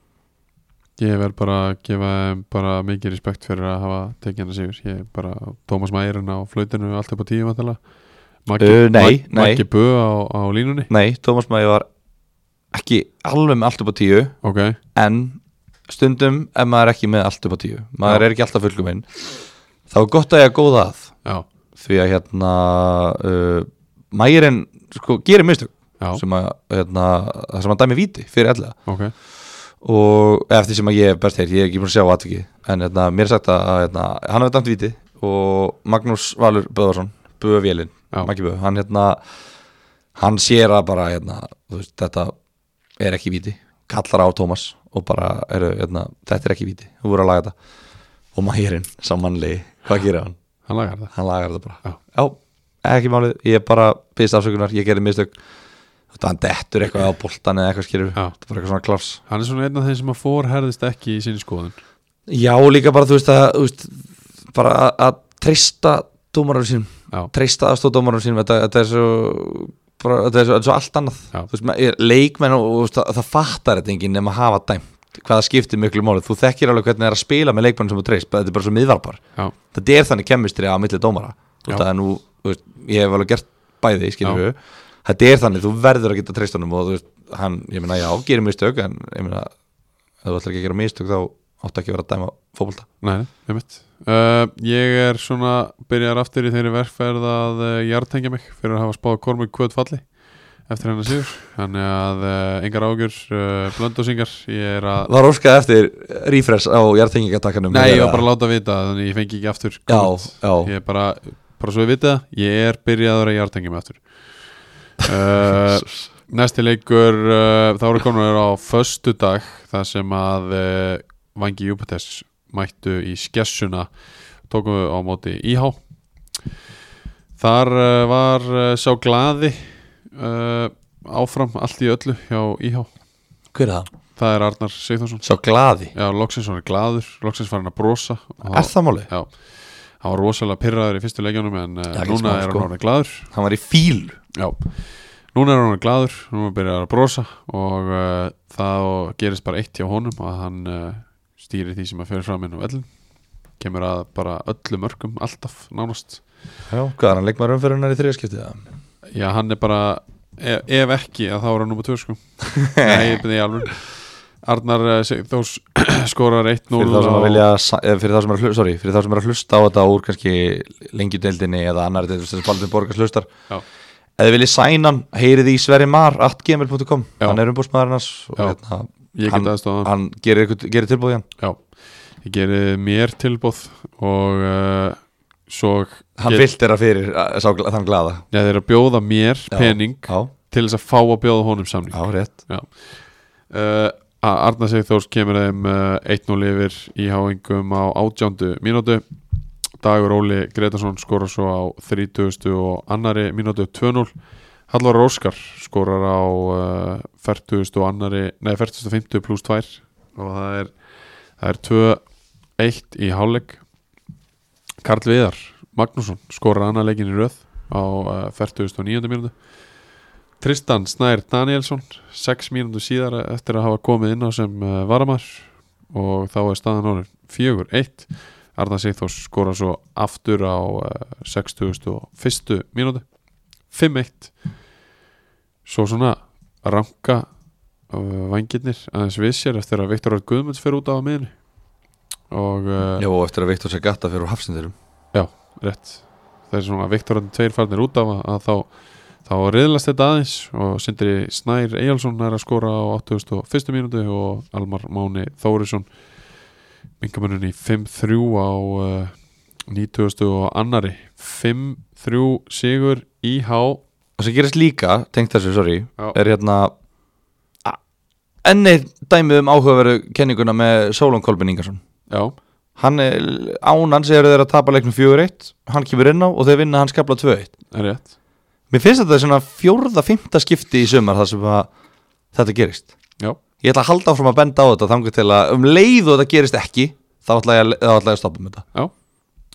Ég verð bara að gefa þeim bara mikið respekt fyrir að hafa tekið hana sigur Ég er bara Tómas Mærin á flautinu allt upp á tíu vantilega Maggi,
Uh, nei,
Mag-
nei.
Maggi Bö á, á línunni
Nei, Tómas Mæði var ekki alveg með allt upp á tíu
Ok,
en stundum ef maður er ekki með allt upp á tíu
Já.
maður er ekki alltaf fullkominn þá er gott að ég að góða að
já,
því að hérna uh, Mærin sko gerir mistök
já,
sem að hérna, það sem að dæmi víti fyrir alla
ok
og eftir sem að ég er best heyr, ég er ekki búin að sjá atviki en hérna, mér er sagt að hérna, hann hefur dæmt víti og Magnús Valur Böðvarsson Böð Vélin,
Já.
Maggi Böð hann, hérna, hann sér að bara hérna, þú veist, þetta er ekki víti kallar á Tómas og bara heru, hérna, þetta er ekki víti, þú voru að laga þetta og mægirinn, samanlegi, hvað gerir hann?
Hann lagar það
hann lagar þetta bara
Já.
já, ekki málið, ég er bara byrðist afsökunar, ég gerði mistök þetta hann dettur eitthvað á boltan eða eitthvað skilur
Já.
þetta var eitthvað svona klafs
Hann er svona einn af þeim sem að forherðist ekki í sinni skoðun
já, líka bara þú veist að þú veist, bara að, að treysta dómarum
Já.
sínum treysta aðstóð dómarum sínum þetta, þetta er svo bara, þetta er svo, þetta er svo allt annað
Já.
Þú veist, maður- leikmenn og, og þú veist, það, það fattar þetta enginn nema að hafa dæmt hvað það skiptir miklu máli, þú þekkir alveg hvernig það er að spila með leikmenn sem þú treyst, bara- þetta er bara svo miðvarpar
Já,
þetta er þannig kemistri á milli dómara
Já.
þetta er nú, þú veist, ég hef alveg gert bæði, skilur
Já.
við þetta er þannig, þú verður að geta treyst honum og þú veist, hann, ég meina, já, gerir mistök en ég meina, ef þú ætlar ekki að gera mistök þá áttu ekki að vera að dæma fótbolta
nei, nei, mitt uh, Ég er svona, byrjar aftur í þeirri verkferð að uh, jartengja mig fyrir að hafa spáð Kormur kvöt falli eftir hennar sigur Þannig að uh, engar ágjur, uh, blöndósingar Ég er að
Var óskað eftir refresh á jartengingatakkanum
Nei, ég var bara að láta vita það, þannig ég fengi ekki aftur komment.
já.
Ég er bara, bara svo ég vita það, ég er byrjaður að jartengja mig aftur uh, Næsti leikur uh, þá eru komin á föstu dag þar sem að uh, Vangi Júpiters mættu í skessuna tókum við á móti íhá Þar uh, var uh, sá glaði uh, áfram allt í öllu hjá íhá
Hver er það?
Það er Arnar Sigþórsson
Svo glaði
Já, loksins var hann glaður, loksins var hann að brosa og
Er það máli?
Já, hann var rosalega pyrraður í fyrstu leikjunum en
Já,
uh,
ekki
núna
smá,
er
sko.
hann orðin glaður
Hann var í fíl
Já, núna er hann glaður, núna byrjar hann að brosa og uh, það gerist bara eitt hjá honum að hann uh, stýrir því sem að fyrir fram inn á vellin kemur að bara öllum örgum alltaf nánast
Já, hvað er hann leikmaður umferðunar í þriðaskiptið?
Já, hann er bara, ef, ef ekki að þá er hann nummer tvö sko Nei, ég byrði í alveg Arnar uh, Sigþórs skorar 1-0
Fyrir þá
á-
sem að vilja, sa- eh, fyrir þá sem er að hlusta, sorry, fyrir þá sem er að hlusta á þetta úr kannski lengjudeildinni eða annar deildinni sem Baldur Borgars hlustar
Já.
Ef þið viljið sæna hann, heyrið í Sverimar atgmail.com,
Já.
hann er umbúrsmaðurinn hans og
Já.
hérna,
Ég
hann,
get aðstofa
hann gerir, ykkur- gerir tilbúið hann
Já, ég geri mér tilbúð og uh, svo
Hann
ég-
vilt þeirra fyrir að, sá, gla- þann glaða
Já, þeir eru að bjóða mér pening
Já,
til þess að fá að bjóða honum samning
já, rétt
uh, Arna Sigþórs kemur þeim uh, 1-0 yfir í háingum um á átjándu mínútu Dagur Óli Gretarsson skorar svo á 30. og annari mínútu 2-0 Hallvar Róskar skorar á uh, 40. og annari nei, 40.50 pluss 2 og það er, það er 2-1 í hálfleik Karl Viðar Magnússon skorar annar leikin í röð á uh, 49. mínútu Tristan Snær Danielsson sex mínútu síðar eftir að hafa komið inn á sem uh, varamar og þá er staðan orðin 4-1 Arna Sigþórs skora svo aftur á uh, 61. mínútu 5-1 svo svona ranka uh, vangirnir aðeins við sér eftir að Viktor Örn Guðmunds fyrir út á miðinu og uh,
Já, og eftir að Viktor sér gatta fyrir úr hafsindurum
Já, rétt Þegar svona Viktorandi tveir farnir út af að, að þá þá reyðlast þetta aðeins og Sindri Snær Eyjálsson er að skora á 81. mínútu og Almar Máni Þórisson mingamönnun í 5-3 á uh, 90. og annari 5-3 sigur IH
Og sem gerist líka, tengt þessu, sorry
Já.
er hérna a- enn eitt dæmið um áhugaveru kenninguna með Sólon Kolbin Ingarsson
Já,
hann er, án hans eru þeir að tapa leiknum 4-1, hann kemur inn á og þeir vinna hann skabla 2-1
er rétt
mér finnst þetta svona fjórða, fymta skipti í sumar þar sem að þetta gerist
Já,
ég ætla að halda áfram að benda á þetta þangar til að um leið og þetta gerist ekki þá ætla ég, að- þá ætla ég að stoppa með þetta
já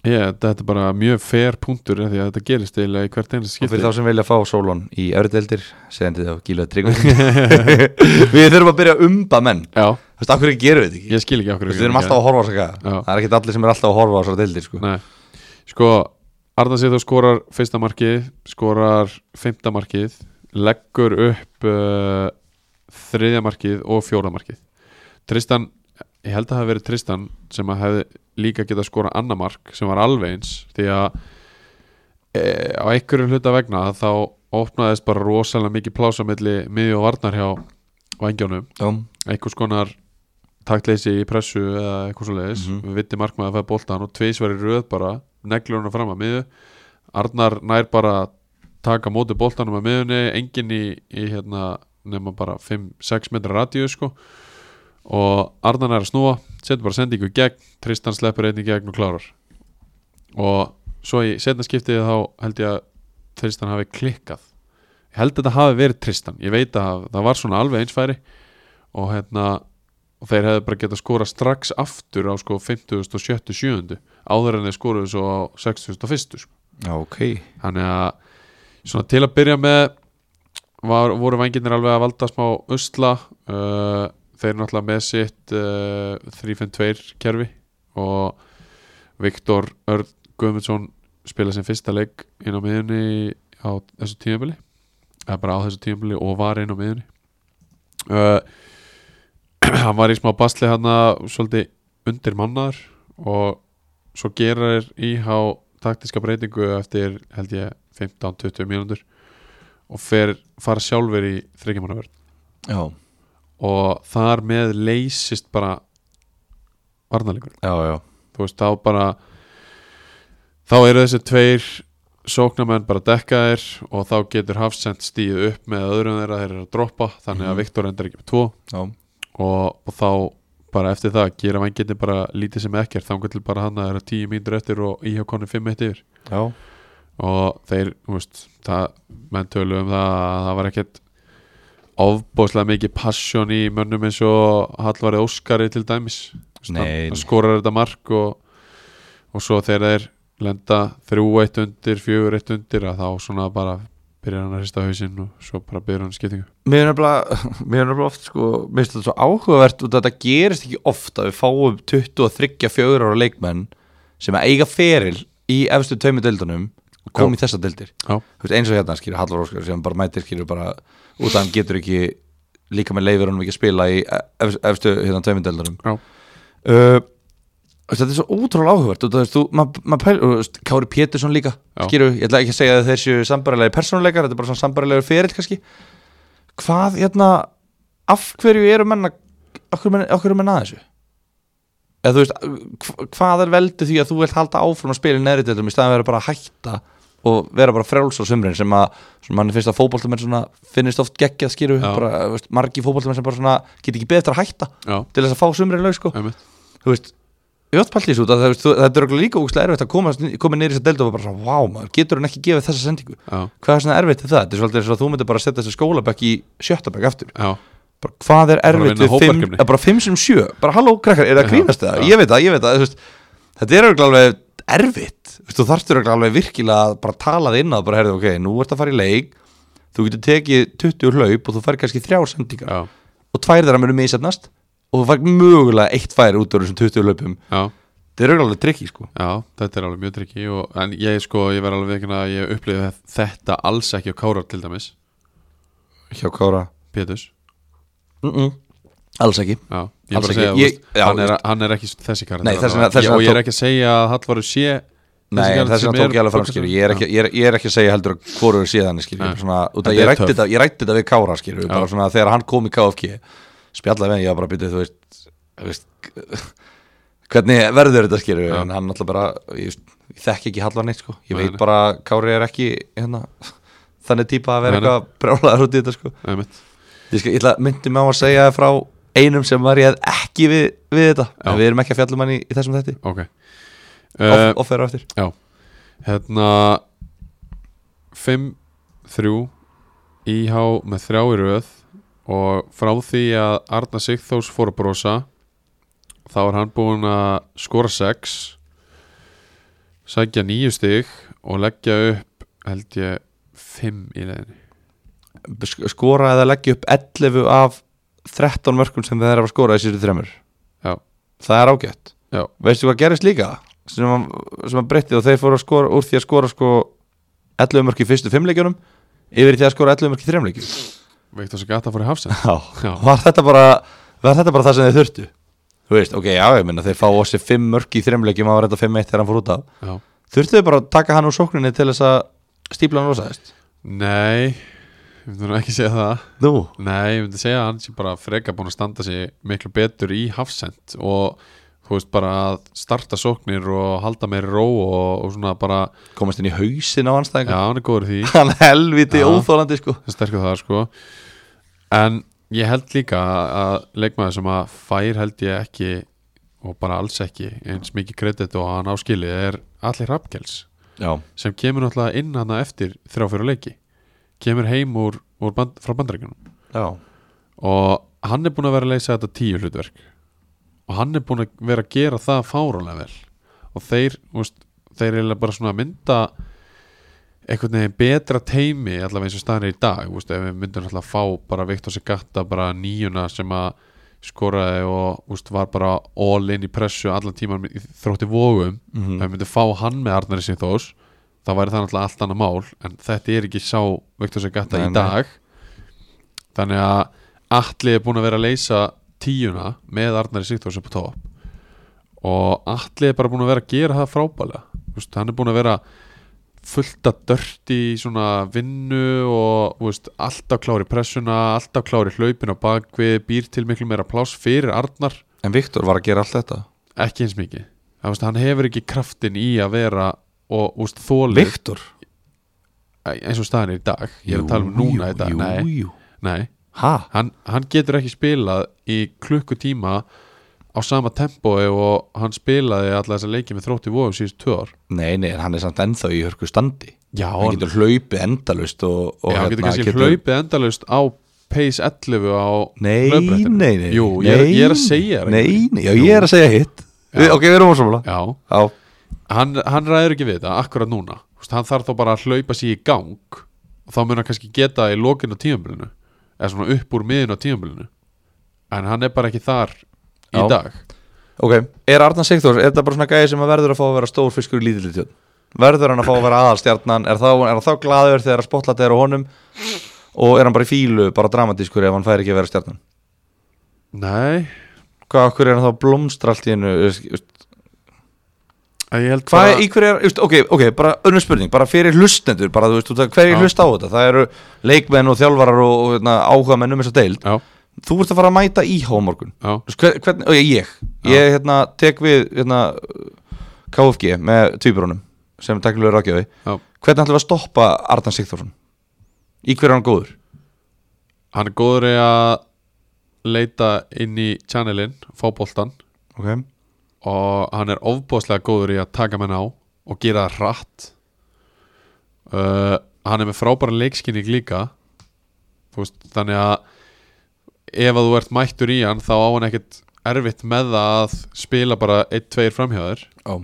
yeah, þetta er bara mjög fair punktur af því að þetta gerist eiginlega í hvert einnig
og
skipti
fyrir þá sem vilja fá sólón í örudeldir segðan þið á Gíla Tryggvason við þurfum að byrja að umba menn
Já,
þú veist, af hverju gerum við þetta ekki
ég skil ekki okkur
við erum alltaf að horfa á þessa
Já.
gæja það er ekkert allir sem er alltaf að horfa á þessar deildir sko.
Nei. Sko, Arna Sýþór skorar fyrsta markið, skorar fymta markið, leggur upp uh, þriðja markið og fjóra markið. Tristan, ég held að það hafi verið Tristan sem að hefði líka getað skorað annað mark sem var alveg eins því að e, á einhverjum hluta vegna þá opnaðist bara rosalega mikið plásamilli miðju og varnar hjá vangjónum
Já.
einhvers konar taktleysi í pressu eða eitthvað svo leiðis
Mhm.
við vittum markmaði að fæða boltan og tveisvar í röð bara neglur hún að fram að miðu Arnar nær bara að taka á móti boltanum að miðunni engin í, í hérna nema bara 5-6 metra radíu sko og Arnar nær að snúa setur bara sendingu í gegn, Tristan sleppur einni gegn og klárar og svo í setna skiptið þá held ég að Tristan hafi klikkað ég held að þetta hafi verið Tristan ég veit að það var svona alveg einsfæri og hérna og þeir hefðu bara getað skora strax aftur á sko 50. og 70. áður en þeir skoruðu svo á 60. og 1. Sko.
Já, ok
þannig að svona til að byrja með var, voru vangirnir alveg að valda smá usla uh, þeir náttúrulega með sitt uh, 3-5-2 kerfi og Viktor Örn Guðmundsson spila sem fyrsta leik inn á miðunni á þessu tímabili eða bara á þessu tímabili og var inn á miðunni uh, hann var í smá basli hann svolítið undir mannar og svo gera þér íhá taktiska breytingu eftir held ég 15-20 mínútur og fer, fara sjálfur í þryggjumannaverð
já,
og þar með leysist bara varnarleikur
já, já,
þú veist, þá bara þá eru þessi tveir sóknarmenn bara dekkaðir og þá getur Hafsend stíð upp með öðrum þeirra þeir eru að droppa, þannig að
Mhm.
Viktor endur ekki með tvo
já.
og, og þá bara eftir það gera vangirni bara lítið sem ekkert þá til bara hann að það eru tíu mínútur eftir og íhjá konni fimm eitt yfir
já.
og þeir, þú veist, það menn tölu um það að það var ekkert ofbóðslega mikið passion í mönnum eins og Hallvarði Óskari til dæmis Þú veist,
Nei,
hann-
nei.
hann skorar þetta mark og, og svo þegar þeir lenda þrjú eitt undir, fjögur eitt undir að þá svona bara byrjar hann að hrista hausinn og svo bara byrjar hann skiptingu
Mér er nefnilega, mér er nefnilega oft sko, mér finnst þetta svo áhugavert út að þetta gerist ekki oft að við fáum 23-4 ára leikmenn sem að eiga feril í efstu tveimur deildunum og kom í þessar deildir
Já.
Þú veist, eins og hérna skilur Hallar Óskar sem bara mætir skilur bara út að hann getur ekki líka með leifur honum ekki að spila í ef- efstu hérna tveimur deildunum
Já.
uh, þú veist, Þetta er svo ótrúlega áhugavert út að þú, maður ma pæl, þú veist, Kári Pétursson líka
Já.
skilur, ég ætla ekki að segja að þeir séu sambarilegi persónuleikar, þetta er bara svona sambarilegi ferill kannski hvað hérna af hverju eru menna af hverju menn, af hverju menn að þessu eða þú veist, hv- hvað er veldi því að þú vilt halda áfram að spila í neðri deildum í staðan að vera bara að hætta og vera bara frjáls á sumrin sem að sem mann finnst að fótboltamenn svona finnist oft geggjað skýru,
Já.
bara, þú veist, margi fótboltamenn sem bara svona get ekki betra að hætta
Já,
til þess að fá sumrin laug sko
einmitt
þú veist, ég átt pælt í þessu út að það, þú- þetta er örugglega líka úkslega erfitt að koma, koma niður í þess að delta og bara svona, vá maður, getur hann ekki gefið þessa sendingu
Já,
hvað er svona erfitt við það, þetta er svolítið eins og að þú myndir bara setja þessi skólabekk í sjöttabekk aftur
já,
bara, hvað er
að
erfitt
vinna
við fimm,
hópverkefni.
eh, bara fimm sem sjö bara halló krakkar, er það
Já,
að grínast það
já.
ég veit það, ég veit það, þú veist, þetta er örugglega alveg erfitt, Þú veist, þú þarftur alveg virkilega að bara tala það inn að bara herðu ok, nú ert að fara í leik þú getur tekið 20 hlaup og þú fær kannski þrjá sendingar
já,
og tvær þeirra munu misefnast og þú fær mögulega eitt færi út úr þessum 20 hlaupum
já
þetta er alveg trikki sko
Já, þetta er alveg mjög tryggi og, en ég sko, ég verð alveg ekki að ég upplifi þetta alls ekki á Kárar til dæmis
hjá Kára
Péturs,
mm -mm. alls ekki
já, ég er
Alls
bara að
ekki.
segja
Ég-
ég,
já,
hann, er,
veist.
hann er ekki þessi karakter
Nei, þess vegna- þess vegna
og ég er
tók-
ekki að segja að Hallvarur sé
Nei,
karakter
þess
sem
vegna tók ég
er-
alveg fram skilur ég er, ekki, ég, er, ég er ekki að segja heldur að hvorur síðan skilur ég, er
Nei.
svona, út að
Þetta
ég
er
rætti
töff.
þetta, ég rætti þetta við Kára skilur
Já.
bara svona þegar hann kom í KFG spjallaði með, ég var bara að byrja þú veist, þú veist hvernig verður þetta skilur
Já.
en hann alltaf bara, ég, veist, ég þekk ekki hallar neitt sko,
Nei,
ég
nei.
veit bara að Kári er ekki hérna, þannig típa að vera
Nei, nei.
eitthvað brjálaður út í þetta sko
Einmitt.
ég, skal, ég ætla, myndi mig á að segja frá einum sem var ég ekki við, við þetta
Já.
en við erum ekki að fjallum hann í, í þessum þetti
ok
uh,
uh,
off, offer á eftir
hérna 5-3 íhá með þrjá í röð og frá því að Arna Sigþós fór að brosa þá er hann búinn að skora 6 sækja nýju stig og leggja upp held ég fimm í leiðinni
Sk- skora eða leggja upp 11 af 13 mörgum sem þeir eru að skora í síðustu þremur
Já.
það er ágætt
Já.
veistu hvað gerist líka sem að, sem að breytti og þeir fóru að skora úr því að skora sko 11 mörg í fyrstu fimmleikjunum yfir í því að skora 11 mörg í þremleikjum
Viktor Sagata fór í hafsend Já.
var þetta bara var þetta bara það sem þeir þurftu þú veist, ok, já, ég minna, þeir fá á sig 5 mörg í þremleikjum að var þetta 5-1 þegar hann fór út af
Já.
þurftu þeir bara að taka hann úr sókninni til þess að stípla hann rosaðist
Nei, ég myndi nú ekki segja það
nú,
Nei, ég myndi segja að hann sé bara freka búin að standa sig miklu betur í hafsend og þú veist bara að starta sóknir og halda meiri ró og, og svona bara
komast inn í hausin á
Já,
anstæðingar
hann er góður í því
hann helviti
Já.
óþólandi sko
Það sterkur það sko En ég held líka að leikmaður sem að fær held ég ekki og bara alls ekki eins mikið kredit og hann áskili er allir Rappkels
Já,
sem kemur náttúrulega inn hana eftir þrjá fyrir leiki kemur heim úr, úr band, frá bandaríkunum
já,
og hann er búin að vera að leysa þetta tíu hlutverk og hann er búin að vera að gera það fárónlega vel og þeir, þú veist, þeir er eiginlega bara svona að mynda einhvern veginn betra teimi allavega eins og staðan er í dag þú veist, ef við myndum alltaf að fá bara Viktor Segata bara nýjuna sem að skoraði og þú veist, var bara all in í pressu allan tíman í þrótti vógum
Mhm.
ef við myndum fá hann með Arnari sín þós þá væri það náttúrulega allt annað mál en þetta er ekki sá Viktor Segata
Nei,
í
nei.
dag þannig að Atli er búin að vera að leysa tíuna með Arnari Sigþórs upp á top og Atli er bara búin að vera að gera það frábælega Þú veist, hann er búin að vera fullt að dörti í svona vinnu og þú veist, alltaf klári pressuna alltaf klári hlaupin á bakvið býr til miklu meira pláss fyrir Arnar
en Viktor var að gera allt þetta
ekki eins mikið Það, þú veist, hann hefur ekki kraftin í að vera og þú veist, þólið
Viktor?
eins og staðan er í dag ég er að tala um núna í dag nei,
jú.
nei
Ha?
hann, hann getur ekki spilað í klukkutíma á sama tempói og hann spilaði alla þessa leiki með þrótti vóðum síðust tvö ár
Nei, nei, en hann er samt ennþá í hörku standi
Já,
Hann
hann,
getur hlaupið endalust og, og hérna
já, hann getur kannski hlaupið endalaust á pace 11 á
Nei, nei,
hlaupbrettinu.
nei, nei
Jú, ég, er-
nei,
ég er að segja þér
Nei,
ekki.
nei, já, ég er að segja hitt Við, Ok, við erum ósámála
Já,
Já,
hann, hann ræður ekki við þetta akkurat núna Þú veist, Hann þarf þá bara að hlaupa sér í gang og þá mun hann kannski geta í lokinu á tímabilinu eða svona upp úr miðinu á tímabilinu en hann er bara ekki þar í
Já.
dag
ok Er Arnar Sigþórs, er þetta bara svona gæði sem að verður að fá að vera stór fiskur í lítilli tjón? Verður hann að fá að vera aðalstjarnan? Er, þá, er hann þá glaður þegar að spotlaði er á honum? Og er hann bara í fílu, bara dramatískur ef hann fær ekki að vera stjarnan?
Nei,
Hvað, okkur er hann þá að blómstra allt í hennu?
ég held
Hvað er, í hverju er, just, ok, ok, bara önnur spurning, bara fyrir hlustendur, bara þú veist, þú- hverju
Já.
hlust á þetta? Það eru leikmenn og þjálfarar og, og hérna, áhuga menn um þess að deild.
Já,
Þú ert að fara að mæta í hámorgun.
já,
Hvernig, og ég, ég hérna, tek við hérna, KFG með tvíbrunum sem teknilegur ágjöfi.
já
Hvernig ætlum við að stoppa Arnar Sigþórsson? Í hverju er hann góður?
Hann er góður í að leita inn í channelin, fótboltan
Ok.
og hann er ofbóðslega góður í að taka menn á og gera það hratt uh, Hann er með frábæra leikskinning líka Þú veist, þannig að ef að þú ert mættur í hann þá á hann ekkert erfitt með það að spila bara 1-2 framhjáður
Já.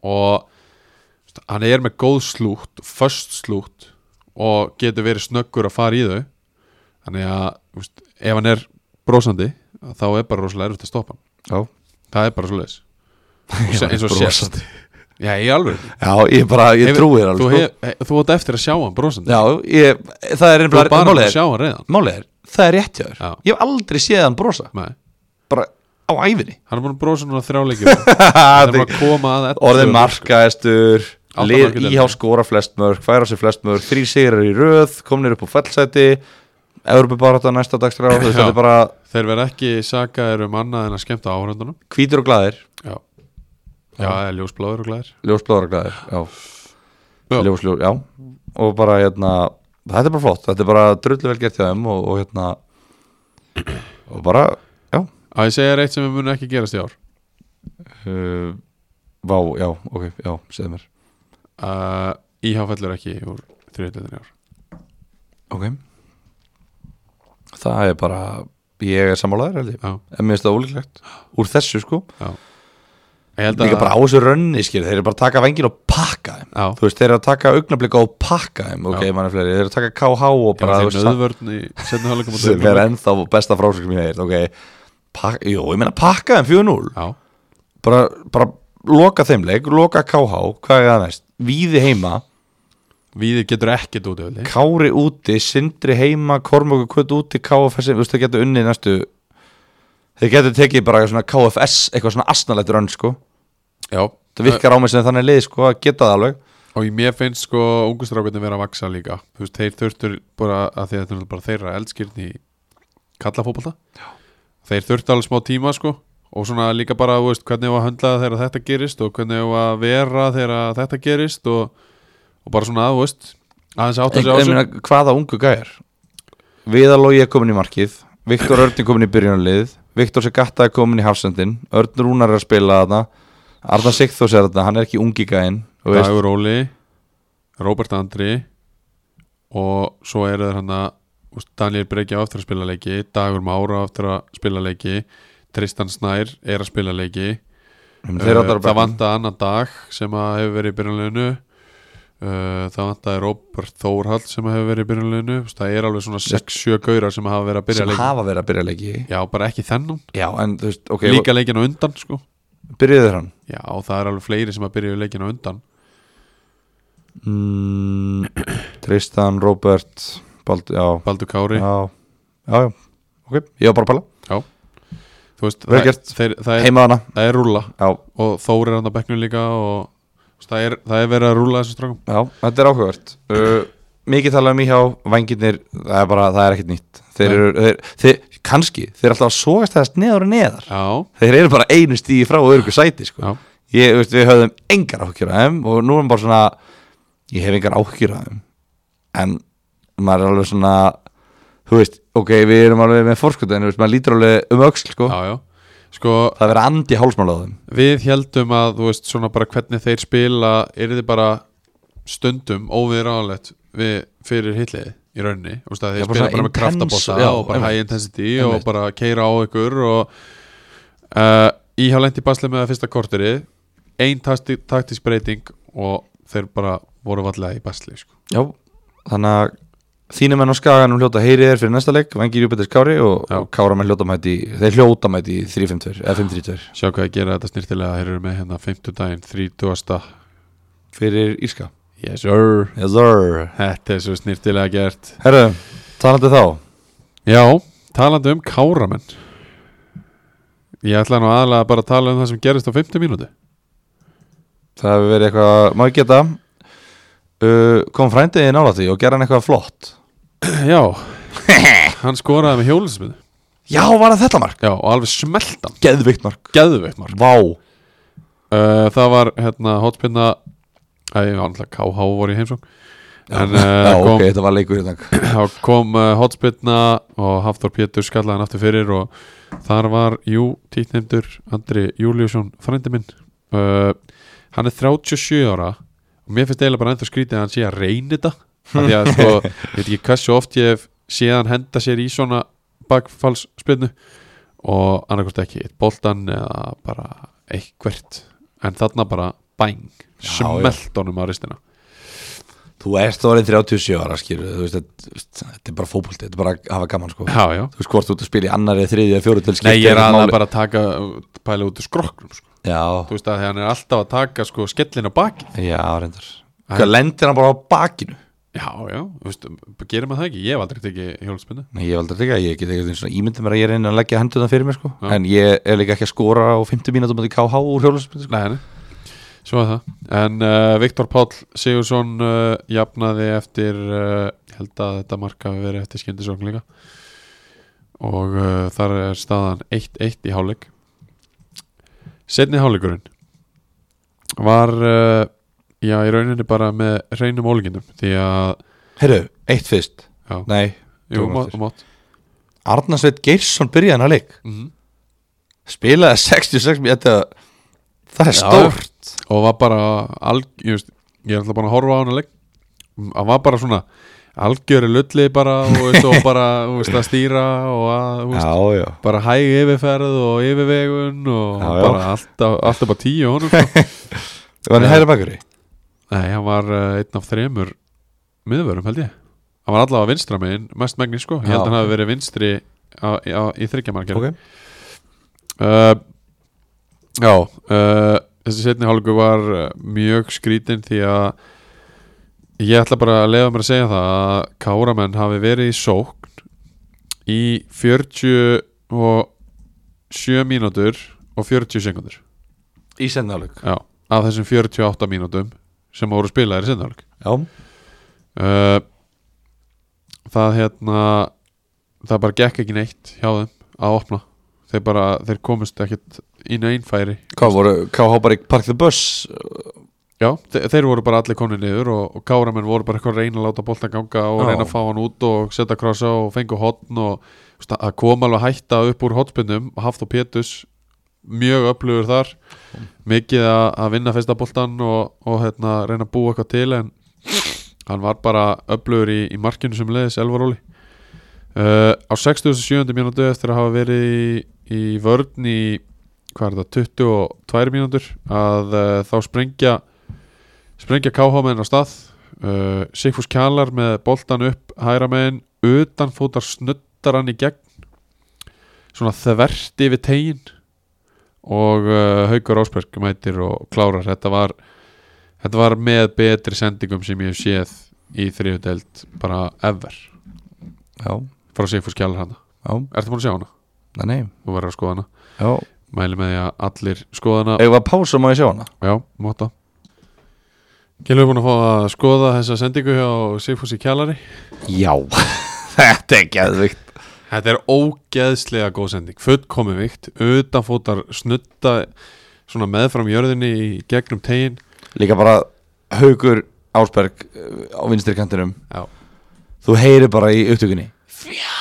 og þú veist, hann er með góð slútt, föst slútt og getur verið snöggur að fara í þau þannig að þú veist, ef hann er brosandi þá er bara rosalega erfitt að stoppa hann
Já.
það er bara svo leiðis eins og sést
Brosandi.
Já, ég alveg
Já, ég bara, ég
Hefur-
trúi þér alveg.
Þú,
sko.
hef, hef, þú átt eftir að sjá hann brosandi
Já, ég, það er
Þú
einhverjum
er bara búin að sjá hann reyðan
Málið er, það er rétt hjá þér
Já.
Ég hef aldrei séð hann brosa
Nei,
Bara á æfinni
hann er búin að brosa núna þrjáleikjum Það er bara að koma að ellefu.
Orðið markaðistur
Átta
Lið
markið
íhá
deildinni.
skora flest mörg Færa sér flest mörg Þrý sigrar í röð Komnir upp á fellsæti Európa næsta dagskrá þú veist,
Já.
Þetta er bara
Þeir verða ekki sakaðir um annað en að skemmta áhörundunum
hvítur og glaðir
Já Já, eða ljósbláður og glæðir
Ljósblóður og glaðir Já,
Já.
Ljós, ljó, já. Og bara hérna Þetta er bara flott Þetta er bara drullu vel gert hjá þeim og, og hérna Og bara Já
Að ég segja reitt sem við munum ekki gerast í ár
uh, Vá, já, ok, já, segðu mér
uh, Íhá fellur ekki úr þriðutöldinni ár
Ok Það er bara Ég er sammálaður held ég
Já,
En mér finnst það ólíklegt Úr þessu sko
já Ég held
líka
að-
bara á þessu rönni skil þeir eru bara að taka vengin og pakka þeim
Já.
þú veist, þeir eru að taka augnablika og pakka þeim ok,
Já.
mann er fleiri, þeir eru að taka KH
Ég var
og bara
að
þú
þeim
veist,
nöðvörn í setna hálfleikum á
sem er
dögunum.
ennþá besta frásögn sem ég heirt ok, pak, jú, ég meina pakka þeim 4-0
Já,
bara, bara loka þeim leik, loka KH hvað er það næst, Víði heima
Víðir getur ekkert út af því
Kári úti, Sindri heima Kormokur kvöld úti, KFS þú veist, þeir getur unnið næstu þeir getur tekið bara svona KFS eitthvað svona asnalættur önn sko
Já,
það virkar á mig sem þannig lið sko að geta það alveg
Og ég- mér finnst sko ungustrákarnir vera að vaksa líka Þú veist, þeir þurftur bara að því að þetta er bara þeirra eldskirn í kallafótbolta Þeir þurftu alveg smá tíma sko og svona líka bara, þú veist, hvernig var að höndla það þegar þetta gerist og hvernig var að vera þegar þetta gerist og, og bara svona, þú veist, aðeins átt að
Ein,
sjá
ein, meina, hvaða ungu gæjar Viðalógi er komin í markið Viktor Örn er komin í byrjunarlið Viktor Segatta er komin í hafsendin Örn Rúnar er að spila þarna Arna Sigþós er þarna, hann er ekki ungi gæin þú veist.
Dagur Óli Robert Andri og svo eru þeir hann að Daniel Breki á aftur að spila leiki Dagur Mára á aftur að spila leiki Tristan Snær er að spila leiki
Ég meina,
Uh,
Mm, þeir eru allar
Það
að bæta.
vantaði annan dag sem að hefur verið í byrjunleginu Það vantaði Robert Þórhall sem að hefur verið í byrjunleginu Það er alveg svona 6-7 gaurar sem hafa verið að byrja
sem
leikin
hafa verið að byrja leiki
Já, bara ekki þennan
Já, en þú veist, ok,
Líka leikin á undan sko
byrjuðu þeir hann
Já, það er alveg fleiri sem að byrja leikin á undan
Mm, Tristan, Robert Bald, já,
Baldur Kári
já, já, já Ok, ég var bara að pæla
Þú veist,
Vel
það,
gert.
þeir, það, er,
Heima hana,
það er rúla
já,
og Þór er hann á bekknum líka og þú veist, það er, það er verið að rúla þessum strákum
já, þetta er áhugavert uh, Mikið talað um í hjá Vængirnir, það er bara, það er ekkert nýtt Þeir
Nei.
eru, þeir, þeir, kannski Þeir eru alltaf að sogast þess neðar og neðar
Já,
Þeir eru bara einu stíði frá og örgu sæti sko.
já,
ég, þú veist, Við höfðum engar áhyggjur af þeim Og nú erum bara svona Ég hef engar áhyggjur af þeim En maður er alveg svona Þú veist, ok, við erum alveg með fórskut En þú veist, maður lítur alveg um öxl sko.
já, já. Sko,
það verið andi hálsmála á þeim
við heldum að þú veist svona bara hvernig þeir spila er þið bara stundum óviðránlegt við fyrir hitliði í rauninni, þú veist að þeir
Já, bara
spila
svona
bara með
intense-
kraftabóta
já,
og bara
einmitt.
high intensity
Einmitt.
og bara keira á ykkur og uh, íhjá lendi basli með það fyrsta korteri ein takti, taktisk breyting og þeir bara voru vallega í basli sko.
Já, þannig að þínum enn á skaganum hljóta heyrið er fyrir næsta leik Vengi Júpiters Kári og,
Já.
og Kára menn hljóta mæti þeir hljóta mæti í 3-5-2 eða 5-3-2
Sjá hvað að gera þetta snirtilega Þeir eru með hérna 50 daginn 30.
fyrir Írska
Yes sir
Yes sir
Þetta er svo snirtilega gert
Herru, talandi þá
Já, talandi um káramenn Ég ætla nú aðalega bara að tala um það sem gerist á 50 mínúti
það hefur verið eitthvað, má ég geta uh, kom frændiði nála því og gera hann eitthvað flott
Já Hann skoraði með hjólinsmið
Já, var það þetta mark?
Já, og alveg smeltan
Geðvikt mark
Geðveikt mark
Vá
uh, Það var hérna hotpinna Það var alltaf KH voru í heimsókn En
Já,
uh,
ok,
kom,
þetta var leikur hérna
þá kom uh, hotspilna og Hafþór Pétur skallaði hann aftur fyrir og þar var, jú, títnefndur Andri Júliusson, frændi minn uh, hann er 37 ára og mér finnst eiginlega bara ennþá skrítið að hann sé að reyna þetta af því að sko, ég veit ekki hversu oft ég hef séð hann henda sér í svona bakfallspilnu og annarkvæmst ekki, eitt boltan eða bara eitthvert en þarna bara bæng
Já, já.
smelt honum á ristina
Þú ert orðin 37 ára skýrðu þú veist, þetta, þetta er bara fótbolti, þetta er bara að hafa gaman sko
Já, já
þú veist hvort þú ert að spila í annari, þriði eða fjóru til skiptir
Nei, ég er
ekkert
aðlega
máli.
bara að taka pæla út úr skroknum sko. Þú
já,
veist að hann er alltaf að taka sko, skellin á baki
já, reyndar hvað lendir hann bara á bakinu
Já, já, þú veist, gerir maður það ekki Ég hef aldrei tekið hjólspinnu
Nei, ég valdur líka, ég get ekki svona ímyndið mér að ég er einn að leggja hendur það fyrir mér sko
Já.
en ég er líka ekki að skora á 50 mínútum að KH úr hjólusmyndu sko.
Nei, nei, svo er það En uh, Viktor Páll Sigursson uh, jafnaði eftir uh, held að þetta marka hafi verið eftir skyndisókn líka og uh, þar er staðan 1-1 í hálfleik Setni hálfleikurinn var uh, já, í rauninni bara með hreinum ólíkindum því að
Herru, eitt fyrst
Já.
Nei,
Jú,
Tókum
má-
eftir.
mátt
Arnarsveit Geirsson byrjaði hann að leik
Mhm.
spilaði 66 mínútur þetta, það er
Já.
stórt
og var bara alg, ég, veist, ég er alltaf bara að horfa á hann að leik hann var bara svona algjöru lulli bara og, veist, og bara þú veist, að stýra og að, þú veist,
já, já
bara hæg yfirferð og yfirvegun og
Já, já.
bara alltaf, alltaf bara tíu honum sko.
Var hann í hæra bakari?
Nei, hann var uh, einn af þremur miðvörum held ég Hann var allavega vinstra megin, mest megnin sko Ég
Já.
held að hann hafi verið vinstri á, á, í þryggjamarkjörn
Ok
uh, Já uh, Þessi setni hálfgu var uh, mjög skrítin því að ég ætla bara að lefa mér að segja það að Káramenn hafi verið í sókn í 47 mínútur og 40 sekundur
Í sendaleg
Já, af þessum 48 mínútum sem voru spilaðir í sinnaðalög
Já
uh, það hérna það bara gekk ekki neitt hjá þeim að opna þeir bara, þeir komust ekkert í neinn færi
Hvað voru, KH bara í Park the Bus
já, þe þeir voru bara allir komni niður og, og káramenn voru bara eitthvað að reyna að láta boltan ganga og
Já.
reyna að fá hann út og setja krossa og fengu hotn og þú veist, að koma alveg að hætta upp úr hotspinnum og haft og pétus mjög öflugur þar mikið að, að vinna fyrsta boltan og, og hérna, reyna að búa eitthvað til en hann var bara öflugur í, í markinu sem leiðis Elvaróli uh, á 67. mínútu eftir að hafa verið í, í vörn í hvað er það, 22 mínútur að uh, þá sprengja sprengja KH-menn á stað uh, Sigfús Kjalar með boltan upp hæra megin, utan fótar snuttar hann í gegn svona þvert yfir tegin og uh, Haukur Ásberg mætir og klárar þetta var, þetta var með betri sendingum sem ég hef séð í þriðudeld bara ever
Já,
frá Sigfús Kjalar hana
já,
Ertu búin að sjá hana?
nei, nei
Þú verður að skoða hana
Já
Mæli með því að allir skoða hana
Eða var pása má ég sjá hana?
Já, móta Kjellur er búin að fá að skoða þessa sendingu hjá Sigfúsi Kjallari
Já Þetta er geðvikt
Þetta er ógeðslega góð sending fullkomi vikt, utanfótar snutta svona meðfram jörðinni í gegnum tegin
Líka bara haugur Ásberg eh, á vinstri kantinum
Já,
Þú heyrir bara í upptökunni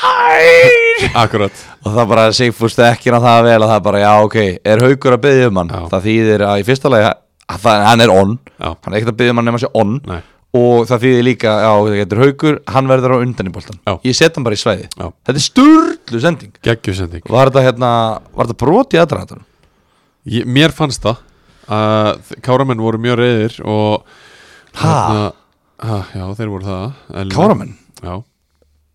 Fjær
akkurat
Og það bara Sigfús ekki að það vel að það bara já ok Er haugur að byggja um hann
Já.
Það þýðir að í fyrsta lagi að það, hann er on
Já,
Hann er ekkert að byggja um hann nema sé on
nei,
Og það þýðir líka já það getur haugur Hann verður á undan í boltan
Já.
Ég set hann bara í svæði
Já.
Þetta er sturlu sending
geggju sending
Var þetta hérna Var þetta brot í aðdraðanum?
ég, Mér fannst það að Káramenn voru mjög reyðir og hérna,
Ha?
ha, Já, þeir voru það eðlilega.
Káramenn?
Já,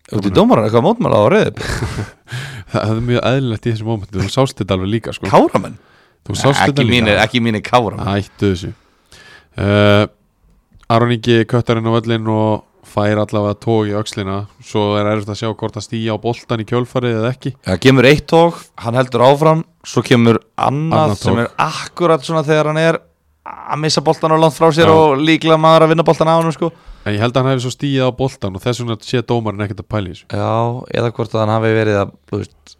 Þú ert í dómaran eitthvað mótmála á reyðið
Það það er mjög eðlilegt í þessu mómentu Þú sást þetta alveg líka sko
Káramenn?
Þú sást
Ekki
þetta líka
mínir, ekki mínir káramenn
Hættu þessu uh, Aron Ingi köttarinn á völlin og fær allavega tók í öxlina Svo er erfitt að sjá hvort að stíja á boltan í kjölfarið eða ekki
Það kemur eitt tók, hann heldur áfram Svo kemur annað
Annað tóg.
sem er akkurat svona þegar hann er að missa boltan og langt frá sér
Já.
og líklega maður að vinna boltan á hann sko.
En ég held að hann hefði svo stíjað á boltan og þess vegna sé dómarinn ekkert að pæla í þessu
Já, eða hvort að hann hafi verið að þú veist,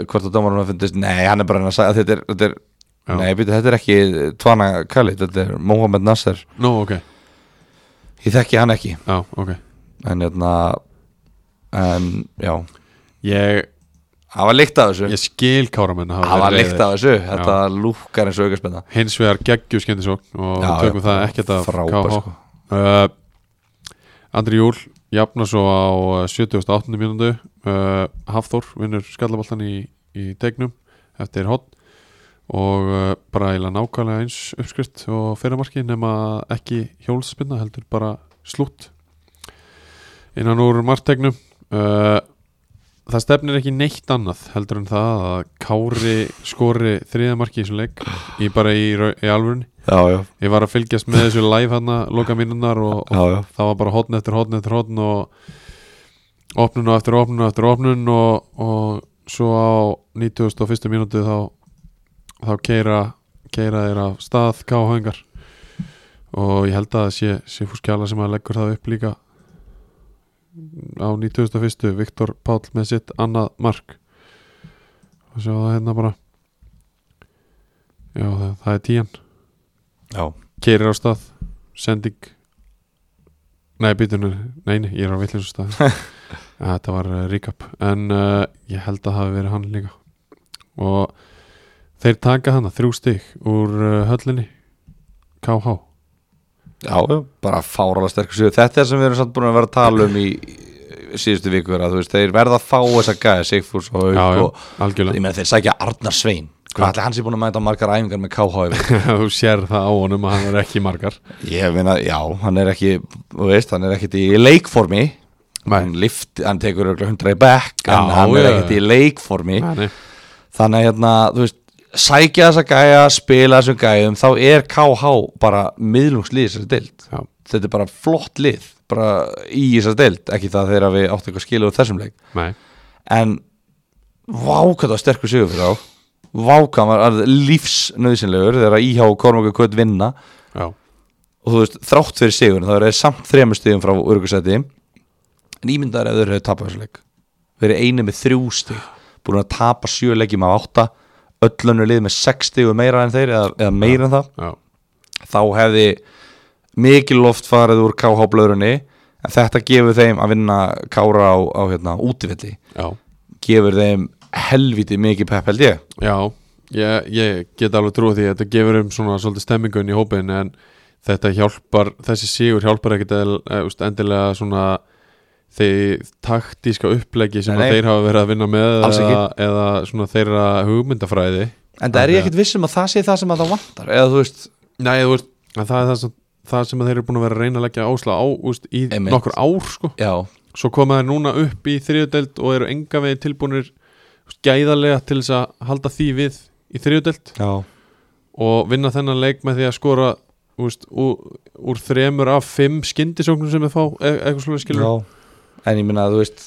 hvort að dómaran hafi fundist nei, hann er bara að sagði að þetta er, þetta er
Já.
nei, byrju, þetta er ekki Tvana Khalid, þetta er Mohamed Nasser
Nú, ok,
Ég þekki hann ekki
já, ok
en, jörna, en já,
Ég,
hann var líkt af þessu
ég skil káramenn að
hann
hafa
var
verið
líkt af
reiðir.
þessu, þetta lúkkar eins og aukaspenna
Hins vegar geggju skemmtisókn og
Já,
við tökum
já,
það ekkert af
frábær,
KH
sko.
uh, Andri Júl jafna svo á uh, 78. mínúndu uh, Hafþór vinnur skallaboltan í, í tegnum eftir hot og uh, bara eiginlega nákvæmlega eins uppskrift og fyrramarki nema ekki hjólspinna heldur bara slútt innan úr marktegnum uh, það stefnir ekki neitt annað heldur en það að Kári skori þriðamarki í þessum leik í bara í, rau- í alvörun
Já, já,
ég var að fylgjast með þessu live hann loka mínunar og, og
já, já.
það var bara hotn eftir hotn eftir hotn og opnun og eftir opnun og eftir opnun og, og svo á 91. mínútu þá þá keira, keira þeir af stað káhöngar og ég held að það sé Sifus Kjala sem að leggur það upp líka á 91. Viktor Páll með sitt annað mark og svo það hérna bara já það, það er tían
já.
keirir á stað sending nei, býtunum, nei, nei, ég er á villins stað Ja, þetta var uh, recap en uh, ég held að það hafi verið hann líka og eh, þeir taka hana þrjú stig úr uh, höllinni KH
Já, já, bara fárálega sterkur sigur Þetta er sem við erum samt búin að vera að tala um í í síðustu vikur að þú veist, þeir verða að fá þess að gæða Sigfús og
Já,
Hauk
já,
og
algjörlega.
ég meina þeir sækja Arnar Svein hvað ætli hans er búin að mæta á margar æfingar með KH yfir?
þú sér það á honum að hann er ekki í margar
ég meina, já, hann er ekki þú veist, hann er ekkit í leikformi hann, lift, hann tekur örugglega 100 í back
Já,
en hann er
já.
ekkit í leikformi
Nei, nei.
þannig að hérna, þú veist sækja þess að gæja, spila þessum gæjum þá er KH bara miðlungslið þessar deild
Já.
þetta er bara flott lið bara í þessar deild, ekki það þegar við áttum eitthvað skilu úr þessum leik
Nei.
en vákvæða sterkur sigur fyrir þá vákvæða lífsnauðsynlegur þegar IH og Kormáka kvöld vinna
Já.
og þú veist, þrátt fyrir sigur þá eru þeir samt þremur stigum frá örgursæti en ímyndaður ef þeir hefur tapað þessu leik þeir eru einu með þrjú stig búin að tapa sjö leikjum af átta öllunur lið með sex stigum meira en þeir eða, eða meira en það
Já.
þá hefði mikil loft farið úr KH blöðrunni en þetta gefur þeim að vinna kára á, á hérna, útivilli
Já.
gefur þeim helviti mikið pepp held ég
Já. Ég, ég get alveg trúið því að þetta gefur um svona svolítið stemmingun í hópin en þetta hjálpar, þessi sigur hjálpar ekkit eðl- eh, úst, endilega svona þeir taktíska upplegi sem að
Nei, nei.
þeir hafa verið að vinna með
Alls
eða, eða svona þeirra hugmyndafræði
en það er
Þannig
ég ekkit vissum að það sé það sem að það vantar eða þú veist,
Nei, þú veist, en það er það sem, það sem að þeir eru búin að vera að reyna að leggja ásla á úst, í
Einmitt.
nokkur ár sko.
já,
svo koma þeir núna upp í þriðudeld og eru enga vegi tilbúinir úst, gæðarlega til þess að halda því við í þriðudeld
já.
og vinna þennan leik með því að skora úst, úr, úr þremur af fimm skyndisóknum sem þeir fá e eitthvað slúið skilur
en ég minna að þú veist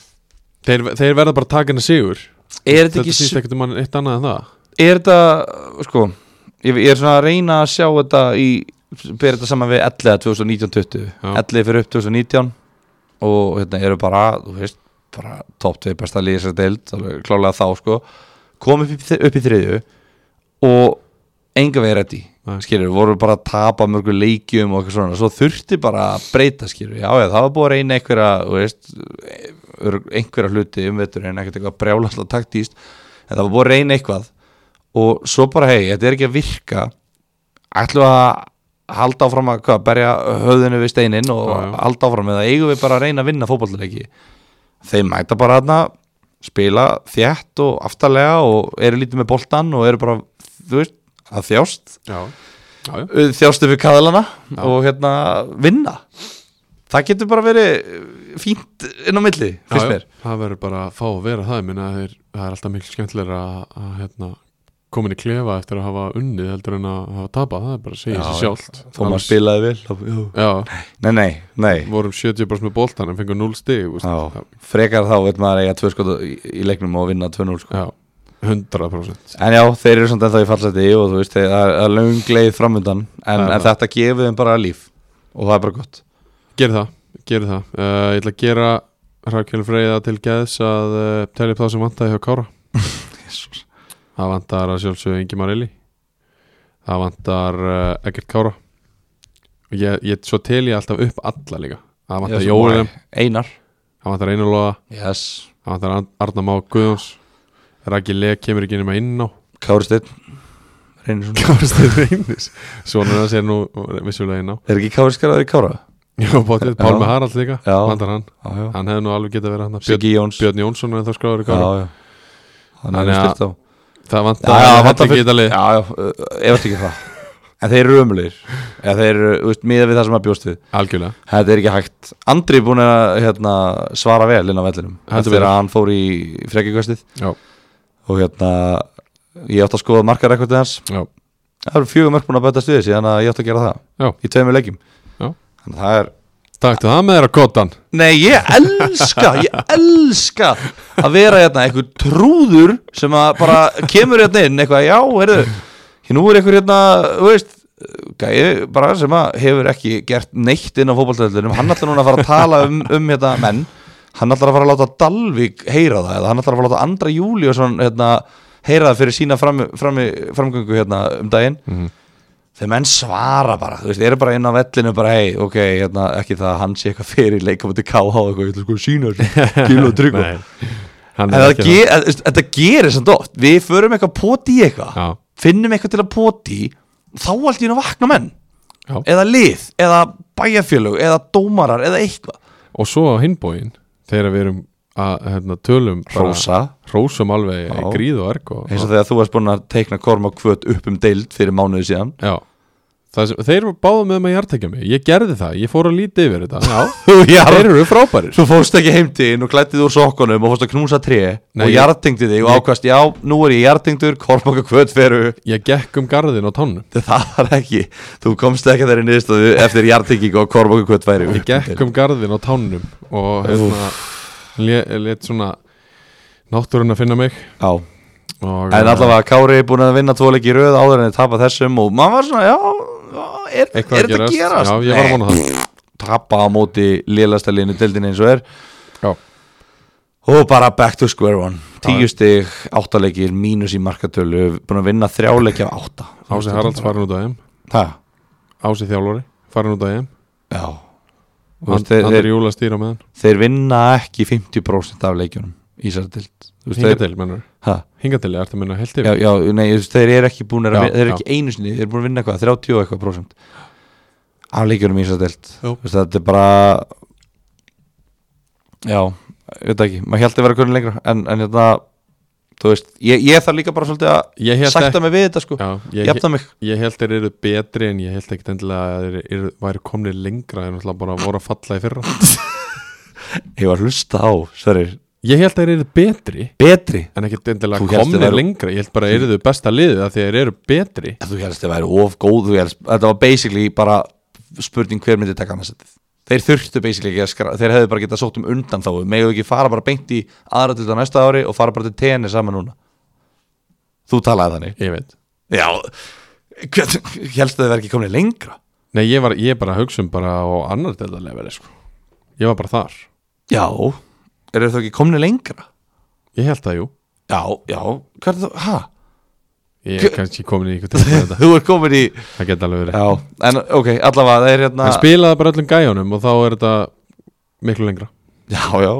þeir, þeir verða bara takin að sigur
er þetta
þetta
ekki
sýst ekkert um hann eitt annað en það
er þetta sko ég, ég er svona að reyna að sjá þetta í bera þetta saman við 11 2019-20
Já.
11 fyrir upp 2019 og hérna eru bara þú veist bara top 2 besta liðið sér deild alveg klálega þá sko kom upp í, þri- upp í þriðju og enga veginn reddi
Nei.
skilur, voru bara að tapa mörgum leikjum og eitthvað svona, svo þurfti bara að breyta skilur, já, já, það var búið að reyna einhverja þú veist, örugg- einhverja hluti um vetur en ekkert eitthvað brjálaslega taktíst en það var búið að reyna eitthvað og svo bara, hei, þetta er ekki að virka ætlum við að halda áfram að hvað, berja höfðinu við steinin og
Já, já.
halda áfram eða eigum við bara að reyna að vinna fótballleiki þeir mæta bara hana spila þjætt og aftarlega og eru lítið með boltan og eru bara þú veist, að þjást uh,
Já, já, já.
þjást upp við kaðlana og hérna vinna það getur bara verið eh, fínt inn á milli,
Já,
finnst
já.
mér
Það verður bara að fá að vera það ég minna að þeir, það er alltaf miklu skemmtilega að, að hérna, komin í klefa eftir að hafa unnið heldur en að hafa tapað það er bara að segja sér sjálft
þó maður spilaði vel þá- jú.
Já,
nei, nei, nei
vorum 70 bara með boltan en fengum 0 stig þú veist.
já. frekar þá veit maður að eiga tvö skot í, í leiknum og vinna 2-0 sko.
já, 100%
En já, þeir eru samt ennþá í fallseti og þú veist, þeir- það er- það er löng leið framundan en,
Já,
en
já.
þetta gefur þeim bara líf og það er bara gott
Gerðu það, gerðu það uh, Ég ætla að gera Rakel Freyða til geðs að uh, telja upp það sem vantaði hjá Kára
Jesus.
Það vantar að sjálfsögðu Ingi Marelli Það vantar uh, ekkert Kára Og ég, ég, svo tel ég alltaf upp alla líka Það vantar Jólum,
Einar
það vantar Einarlóa
yes.
Það vantar Arn- Arnar Má Guðjóns Raki Leg kemur ekki nema inn á
Kári Steinn Reynisson
Kárastir Reynis Svona það sé nú vissulega inn á
Er ekki Kári skaraður í Kára?
Já, bóttið, Pálmi Harald líka
Já.
Vantar hann,
Já, já
hann hefði nú alveg getað verið hann Björn,
Siggi Jóns
Björn Jónsson er það skráður í
Já,
kára
já Hann er
Þannig að-
styrt á
Það
Já,
vantar að
já, vantar
hætti
fullt-
ekki þetta lið
Já, já, ef þetta ekki það En þeir eru ömulegir Eða þeir eru, þú veist, miða við það sem að bjóst við
Algjörlega,
Þetta er ekki hægt Andri er búin að hérna, svara vel inn á vellinum
Heldur
Eftir
betur.
að hann fór í frekikvestið
já,
og hérna ég átti að skoða markarekortið hans
já,
það eru fjögur mörg búin að bæta stuði síðan að ég átti að gera það
já
í tveimur leikjum
Já.
þannig að það er
Taktu það með þér að kottan
Nei, ég elska, ég elska að vera hérna einhver trúður sem að bara kemur hérna inn eitthvað, já, heyrðu, hér nú er einhver hérna, þú veist, gæi, bara sem að hefur ekki gert neitt inn á fótballtöldunum, hann ætlar núna að fara að tala um, um hérna menn, hann ætlar að fara að láta Dalvík heyra það, eða hann ætlar að fara að láta Andra Júliusson hérna heyra það fyrir sína fram, fram, framgöngu hérna um daginn þegar menn svara bara, þú veist, eru bara inn á vellinu bara, hei, ok, hérna, ekki það að hann sé eitthvað fyrir leikamöndi KH og eitthvað, ég ætla sko að sína þessu, gílu og tryggu en
það
það ge- en, þú veist, þetta gerir samt oft, við förum eitthvað poti í eitthvað,
Já,
finnum eitthvað til að poti þá allt í hún að vakna menn
Já.
eða lið, eða bæjarfélög eða dómarar eða eitthvað
og svo á hinbóin þegar við erum að hérna, tölum bara-
Rósa,
hrósum alveg í
Já.
gríð og erg og,
eins og þegar þú varst búin að teikna korma kvöt upp um deild fyrir mánuði síðan
já Það Sem, þeir eru báða með mig að hjartækja mig Ég gerði það, ég fór að líti yfir þetta Já,
Já,
Þeir eru frábærir
Svo fórst ekki heimtíðin og klættið úr sokkunum og fórst að knúsa tré
Nei,
og
ég-
jartengdi þig og
ég-
ákvæmst já, nú er ég jartengdur, kormaka kvöt feru
Ég gekk um garðin á tánum
það var ekki, þú komst ekki að þeirri niðurstöðu eftir jartenging og kormaka kvöt feru
Ég gekk um garðin á tánum Og hérna lét, lét svona Náttúrun að finna mig
Já,
og,
en allavega Kári er búin að vinna tvo leiki í röð áður en þið tapa þessum og maður var svona, já, já er, er
Eitthvað
þetta að gerast?
Já, ég var að vona það
Tapa á móti lélastaliðinu deildin eins og er
Já,
Og bara back to square one Tíu stig, áttaleikir, mínus í markatölu Búin að vinna þrjáleiki af átta
Ási Haralds farin út á EM
Hæ?
Ási Þjálfari farin út á EM
Já Þú
And,
veist, þeir,
Andri
þeir,
Júla stýra með hann
þeir vinna ekki 50% af leikjunum Í þessari dild Þú veist, þeir,
Hingatil, mennur
ha,
Hingatil, ertu að minna heilt
já,
yfir
já, nei, þú veist, þeir eru ekki búin að
Já,
vinna, Þeir eru
já.
ekki einu sinni, þeir eru búin að vinna eitthvað 30 og eitthvað prosent Af leikjunum í þessari dild
Já.
Þú veist, Þetta er bara Já, ég veit það ekki Maður held að vera hvernig lengra En, en hérna, þú veist Ég, ég þarf líka bara svolítið að
Ég held
Sætta mig við þetta sko
Já, ég,
Jafna mig
Ég held þeir eru betri en ég held ekkert endilega að þeir eru, væri komni lengra en alltaf bara voru að falla í fyrra
Ég var að hlusta á, sverir
Ég held þeir eru betri
Betri
en ekkert endilega
Þú hélst
komni
þeir væru-
lengra Ég held bara að eru þau besta liðið að þeir eru betri
Þú helst að væri of góð þú helst, Þetta var basically bara spurning hver myndi taka annars Þeir þurftu basically ekki að skra Þeir hefðu bara getað sótt um undan þá Megðu ekki fara bara beint í aðra til þetta næsta ári Og fara bara til TN saman núna Þú talaði þannig
Ég veit
Já, hvernig helst að þið verið ekki komin lengra
Nei, ég var ég bara að hugsa um bara á annar deildarlefari sko. Ég var bara þar
Já Eru þau ekki komin lengra?
Ég held það, jú
Já, já, hvernig þú, hæ?
Ég er
Hva-
kannski komin í ykkur til þetta
Þú er komin í
Það geta alveg verið
Já, en ok, allavega það er hérna
En spilaði bara öllum gæjunum og þá er þetta miklu lengra
Já, já,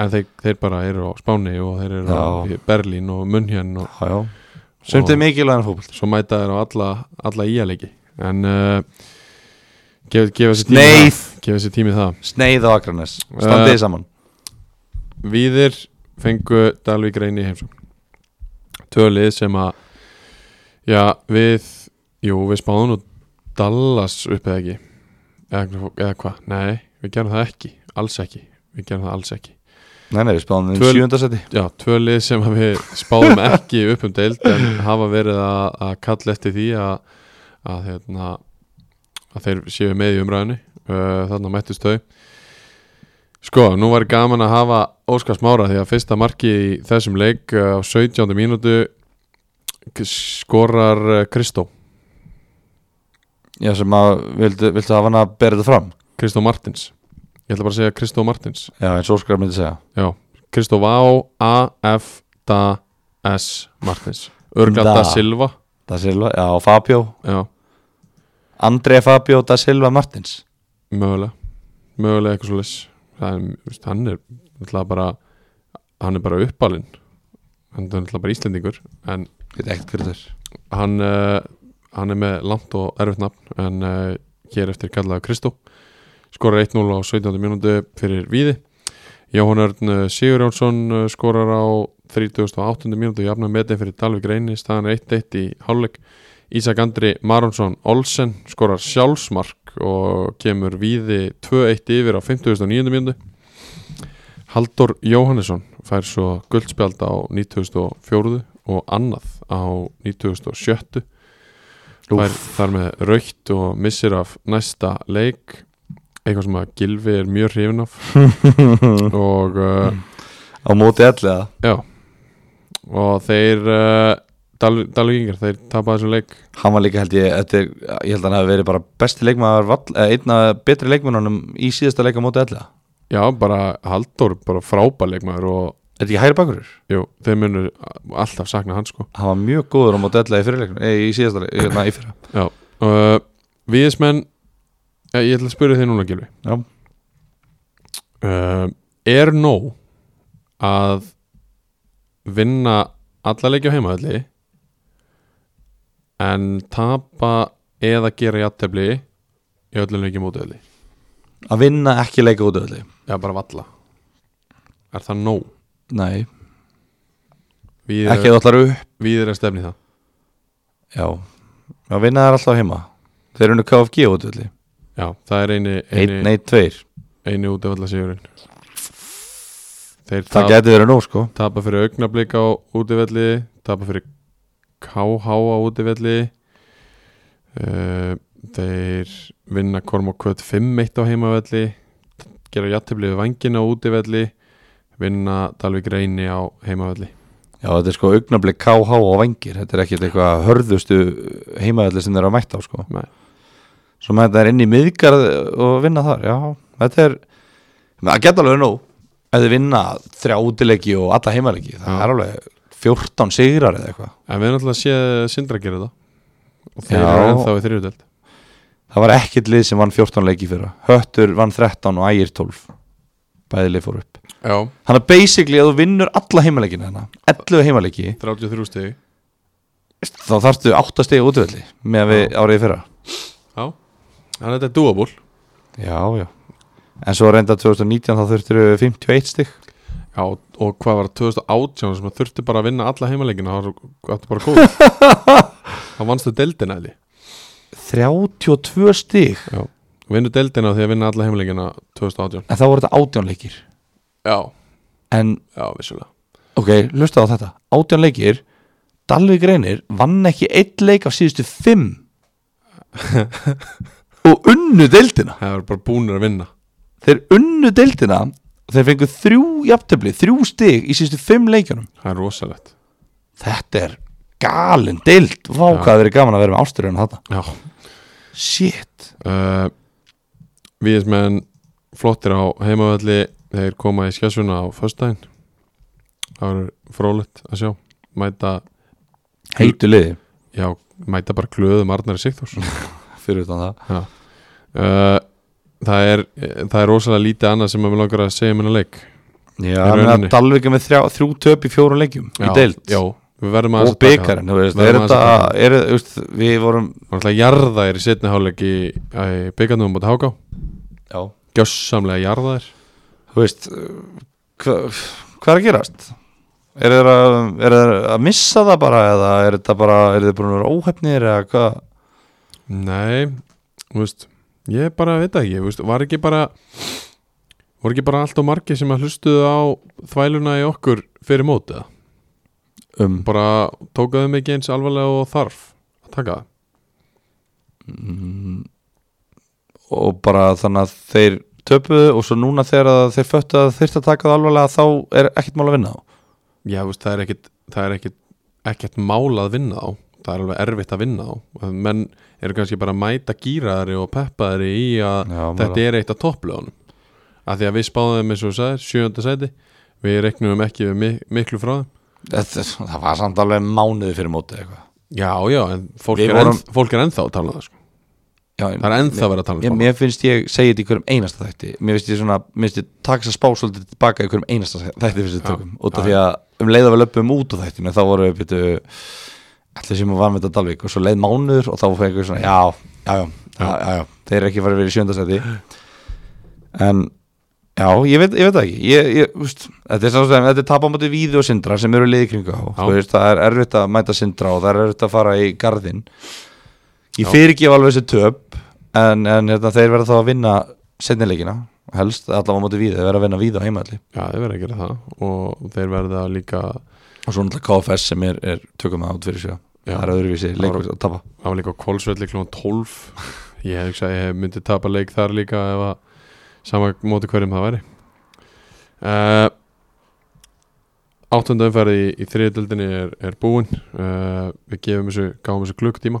En þeir, þeir bara eru á Spáni og þeir eru á
Já.
Berlín og München og
já, já Sumt er
Og-
mikilvæðan fókbalt
svo mæta þér á alla, alla íaleiki en uh, gefa, gefa sér tími
Sneið.
það gefa sér tími það
Sneið á Akranes, standið
Eh,
saman
Víðir fengu Dalvík reyni í heimsókn tölið sem að já við jú við spáðum nú Dallas upp eða ekki eða, eða hvað, nei við gerum það ekki alls ekki, við gerum það alls ekki
Nei, nei, við spáðum um
Töl-
sjöndasæti
já, tvölið sem að við spáðum ekki upp um deild en hafa verið að, að kalla eftir því að, að, hérna, að þeir séu með í umræðinu uh, þannig að mættust þau sko, nú var gaman að hafa Óskar Smára því að fyrsta marki í þessum leik uh, á 17. mínútu k- skorar uh, Kristó,
Já, sem að, viltu, viltu hafa hann að bera þetta fram?
Kristó Martins ég ætla bara að segja Kristó Martins
Já, eins og Óskar myndi segja
já, Kristó Vá A.F. Da S. Martins Örgla
Da.
Da Silva
Da Silva, já, Fabio
já
André Fabio Da Silva Martins
mögulega mögulega eitthvað svolítið það er, þú veist, hann er náttúrulega bara hann er bara uppalinn hann er náttúrulega bara Íslendingur en
Þetta er ekkert hverður
hann, uh, hann er með langt og erfitt nafn en uh, hér eftir kallaði Kristó skorar 1-0 á 17. mínútu fyrir Víði Jóhann Örn eh, Sigurjónsson eh, skorar á 38. mínútu jafna metin fyrir Dalvik Reyni staðan er 1-1 í hálfleik Ísak Andri Maronsson Olsen skorar sjálfsmark og kemur Víði 2-1 yfir á 59. mínútu Haldur Jóhannesson fær svo guldspjald á 94. og annað á 97. Fær þar með raukt og missir af næsta leik eitthvað sem að Gilvi er mjög hrifin af og uh,
Á móti ellega
já og þeir uh, Dal- Dalvíkingar, þeir tapa þessum leik
Hann var líka held ég, þetta er, ég held að hann hafi verið bara besti leikmaður vall- eh, Einn af betri leikmennunum í síðasta leika móti ellega
já, bara Haldur, bara frábæleikmaður og
Þetta ekki hægri bakurur?
jú, þeir munur alltaf sakna hans sko
Hann var mjög góður á móti ellega í fyrirleiknum eh, Í síðasta leika, hérna í fyrra
já, uh, viðismenn já, ég ætla að spyrja þig núna Gilvi
Já
uh, er nóg að vinna alla leiki á heimaðalli en tapa eða gera játtabli í öllum leiki mótaðalli
að vinna ekki leika út öllu
Já, bara valla Er það nóg?
nei,
Við
ekki ef þú allar upp
Við erum að stefni í það
já, að vinna það er alltaf heima þeir eru nú KFG út öllu
Já, það er eini
einn,
Eini,
nei, tveir,
eini út af alla sigurinn Þeir
það
tap,
gæti verið nú sko
tapa fyrir augnablík á útivelli Tapa fyrir KH á útivelli uh, Þeir vinna Korm og Kvöt 5-1 á heimavelli Gera jættibli við vangina á útivelli Vinna Dalvik Reyni á heimavelli
já, þetta er sko augnablik KH og vengir þetta er ekkert eitthvað hörðustu heimaðalli sem þeir eru að mæta á sko
Nei.
svo með þetta er inn í miðgarð og vinna þar, já, þetta er það geta alveg nóg ef þið vinna þrjá útileiki og alla heimaleiki það
Já.
er alveg 14 sigrar eða eitthvað
En við erum alltaf að sé Sindra gera það Og þeir
Já.
eru ennþá í þriðudeld
það var ekkert lið sem vann 14 leiki fyrir Höttur vann 13 og Ægir 12 bæði lið fór upp
Já,
þannig að basically að þú vinnur alla heimaleikina hérna, 11 heimaleiki
33 stegi
þá þarftu 8 stegi útvelli með að við árið fyrra
Já, þannig að þetta er doable
já, já en svo reynda 2019 þá þurftur 51 stig
Já, og hvað var það, 2018 sem að þurfti bara að vinna alla heimaleikina það var áttu bara góð Það vannstu deildina eða
32 stig
Já, vinnu deildina því að vinna alla heimaleikina 2018
en þá voru þetta 18 leikir
Já,
en
já, vissulega
ok, hlusta á þetta 18 leikir, Dalvik reynir vann ekki eitt leik af síðustu 5 og unnu deildina
Það var bara búnir að vinna
þeir unnu deildina og þeir fengu þrjú jafntöfli, þrjú stig í síðustu 5 leikjunum
Það er rosalegt
þetta er galin deild vá
Já.
hvað það verið gaman að vera með ásturinn þetta
Já
shit,
uh, Víðismenn flottir á heimavalli þeir koma í skjásuna á föstudaginn það verður frólitt að sjá mæta,
heitu liði
já, mæta bara glöðum Arnari Sigþórs
fyrir utan það
Já. uh, það er það er rosalega lítið annað sem að við langar að segja um hennar leik
Já,
Í
menn að
rauninni.
Dalvik er með þrjá, þrjú töp í fjórum leikjum í deild
já, við verðum að
og byggarinn þú veist,
Verðum
er
aðeins
þetta,
að
er, þú veist, við vorum
alltaf jarðaðir í setni hálfleik í, í byggarnum á Háká
já,
gjössamlega jarðaðir
þú veist uh, hva, hvað er að gerast? Er þeir að, er þeir að missa það bara eða er þetta bara, er þeir búin að vera óhefnir eða hvað?
Nei, þú veist Ég bara veit það ekki, þú veist, var ekki bara voru ekki bara allt og margir sem að hlustuðu á þvæluna í okkur fyrir mótið,
Um,
bara tókaðu mig ekki eins alvarlega og þarf að taka það
mm, og bara þannig að þeir töpuðu og svo núna þegar að þeir föttu að þeir að taka það alvarlega þá er ekkert mál að vinna á
Já, þú veist, það er ekkit það er ekkit, ekkit mál að vinna á það er alveg erfitt að vinna á menn eru kannski bara að mæta gýraðari og peppaðari í að
Já,
þetta er eitt af topplöðunum að því að við spáðum eins og þú sagðir, sjönda sæti við reknum ekki við mi- miklu frá þeim
þetta, það var samt alveg mánuði fyrir móti eitthvað
Já, já, en fólk,
Við
er,
vorum-
enn, fólk er ennþá að tala um það sko.
Já,
Það er ennþá að vera að tala um
Ég,
spána
mér finnst ég segja þetta í hverjum einasta þætti Mér finnst ég svona, mér finnst ég takast að spá svolítið tilbaka í hverjum einasta þætti fyrst við
Já,
tökum Út af
já,
því að um leiða við löpum út á þættinu þá voru við byrju allir sem var með þetta Dalvík og svo leið mánuður og þá fengið við svona, já, já, já, já, já, já Þeir eru ekki farið verið í sjöndasætti En, já, ég veit, ég veit það ekki ég, ég, úst, Þetta er sástæðan, þetta er tapamóti Víði og Sindra sem eru liði kringu á
Já.
Þú veist, Það er erfitt að mæta Sindra og það er erfitt að fara í garðinn Ég
Já.
fyrirgef alveg þessi töp en, en hérna, þeir verða þá að vinna setnileikina, helst allavega á móti víði, þeir verða að vinna víði á heimalli
Já, þeir verða að gera það og þeir verða líka
og svo náttúrulega KFS sem er, er tökum að út fyrir sjö
Já.
það er öðruvísi leikur að tapa
það var líka á Kolsvelli kl. 12 Ég hef hugsað, ég hef myndi tapa leik þar líka ef að sama móti hverjum það væri uh, Áttunda umferði í, í þriðdeldinni er, er búin uh, Við gefum þessu, gáum þessu klukktíma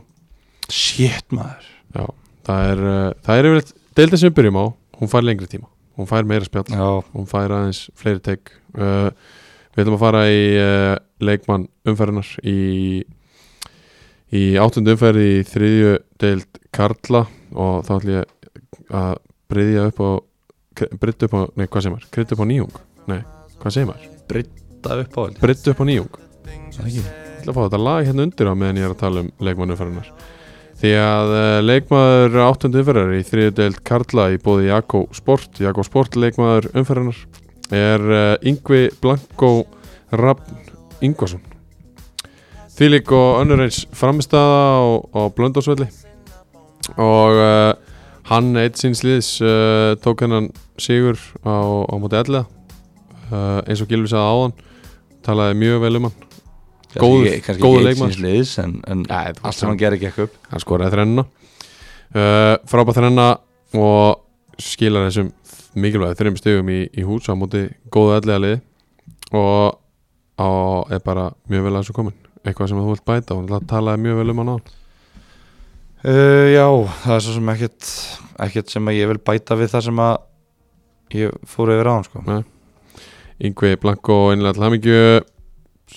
Shit maður
Já, það er, uh, það er yfirleitt Deildin sem við byrjum á, hún fær lengri tíma Hún fær meira spjall
Já,
hún fær aðeins fleiri teik uh, við ætlum að fara í uh, leikmann umferðinar í, í áttundu umferði í þriðju deild Karla og þá ætlum ég að breyðja upp á breytta upp á, nei hvað segir maður, krytta upp á nýjung nei, hvað segir maður,
brydda upp á þetta
breytta upp á nýjung
Það er ekki.
ætla að fá þetta lag hérna undir á meðan ég er að tala um leikmann umferðinar Því að eh, leikmaður áttundu umferðar í þriðudeld Karla í bóði Jakko Sport, Jakko Sport leikmaður umferðarnar er eh, Yngvi Blanko Rafn Yngvason. Því lík og önnur eins framistæða á, á blöndásvelli og uh, hann eitt síns liðs uh, tók hennan sigur á, á móti ellega uh, eins og Gilvi sagði áðan talaði mjög vel um hann Góður-
Kannski- kannski
góður
ekki
leikmaður.
eitt síns liðs, en, en
Nei, þú veist
allt sem
hann-
hann gerir gekk upp
hann skoraði þrenna uh, frábæð þrenna og skilar þessum mikilvæg þreim stigum í, í hús á móti góðu ellega liði og, og er bara mjög vel að þessu komin eitthvað sem þú vilt bæta og hann talaði mjög vel um hann á
Uh, já, það er svo sem ekkert, ekkert sem að ég vil bæta við það sem að ég fór yfir á hann sko.
Yngvi Blanko einlega til hamingju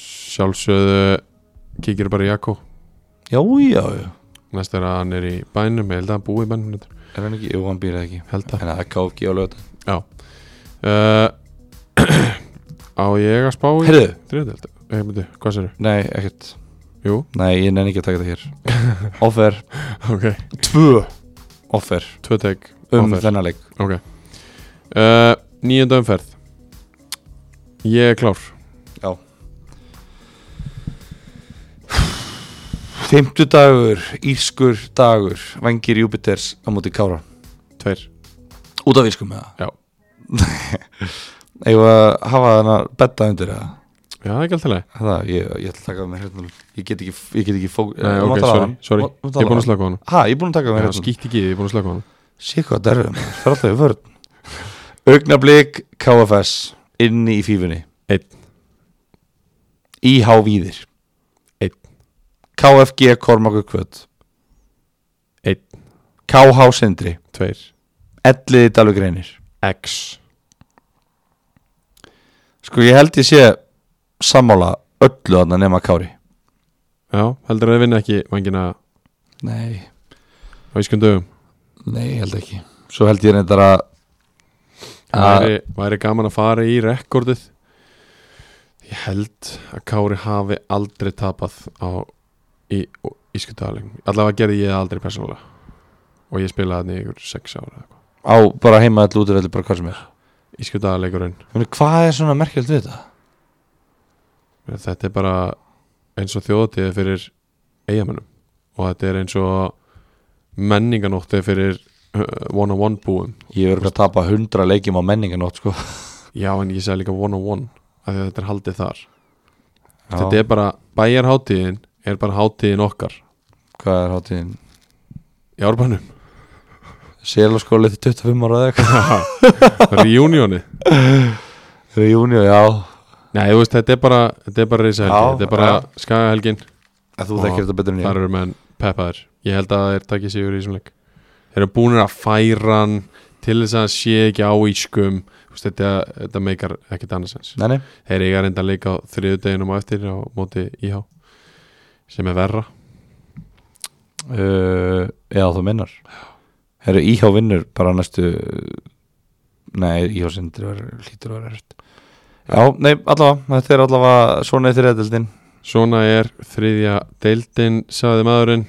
sjálfsögðu kíkir bara í Jakko
Já, já, já.
næst er að hann er í bænum ég held að hann búi í bænum reyndar.
Er hann ekki? Jú, hann býr það ekki.
held að
En það er KFG á lögata.
uh, á ég að spá í
Herðu,
þriðdelt hvað sér
nei, ekkert.
Jú,
Nei, ég nenni ekki að taka þetta hér. Offer,
ok,
tvö offer
tvö tek
um
Offer.
þennan leik.
ok uh, nýjönda umferð ég er klár
Fimmtudagur, írskur dagur, vengir Júpiters á móti Kára.
tveir,
Út af írskum með það.
já,
Ég var að hafa þennan betta undir það.
já ekki alltaf leið
Það, ég, ég ætla að taka það með hérna. Ég get ekki, ég get ekki eh, fók...
Nei, ok, sorry, sorry, ég er búin að slaka á hann
Hæ, ég er búin að taka það með
Já,
hérna.
skýtt ekki, í þig, ég er búin að slaka á hann
Sér hvað það er maður, það er alltaf í vörð Augnablík KFS Inni í fífunni
Einn.
IH Víðir
Einn.
KFG Kormakur Kvöt
Einn.
KH Sindri
tveir,
Elliði Dalvik Reynir
x
Sko ég held ég sé sammála öllu þarna nema Kári
já, heldur að þið vinna ekki vangina
Nei,
á ískum dögum
nei ég held ekki Svo held ég reyndar að að-
væri, væri gaman að fara í rekordið ég held að Kári hafi aldrei tapað á í ískutaling allavega gerði ég það aldrei persónulega og ég spilaði hann í ykkur 6 ára
á bara heima allu út bara hvað sem er
ískutaleikurinn,
Ég meina, Hvað er svona merkjöld við þetta?
þetta er bara eins og þjóðatíði fyrir eigamennum og þetta er eins og menninganóttið fyrir uh, one on one búum
Ég verður að tapa hundra leikjum á menninganótt sko
já en ég segi líka one on one af því að þetta er haldið þar þetta
Já.
er bara bæjarháttíðin er bara háttíðin okkar
Hvað er hátíðin?
í árbænum
Selaskóli til 25 ára eða eitthvað
Reunioni
Reunion, já
Nei, þú veist, þetta er bara Þetta er bara reysahelgi,
Já,
þetta er bara
já.
skagahelgin
að Þú
Ó,
þekkir þetta betur en
Þar
ég
eru menn peppaðir Ég held að þeir takki sigur í þessum leik Þeir eru búinir að færa hann Til þess að hann sé ekki á ískum Þú veist, Þetta, þetta meikar ekkert annars sens
Nei, nei,
Þeir eiga reynda að leika á þriðudeginum á eftir Á móti IH Sem er verra
uh, já þú minnar Herru, íhjá vinnur bara næstu Nei, íhjá sindri var hlýtur að vera erfitt Já, nei, allavega, þetta er allavega svona í þriðadeldin
Svona er þriðja deildin Sæði maðurinn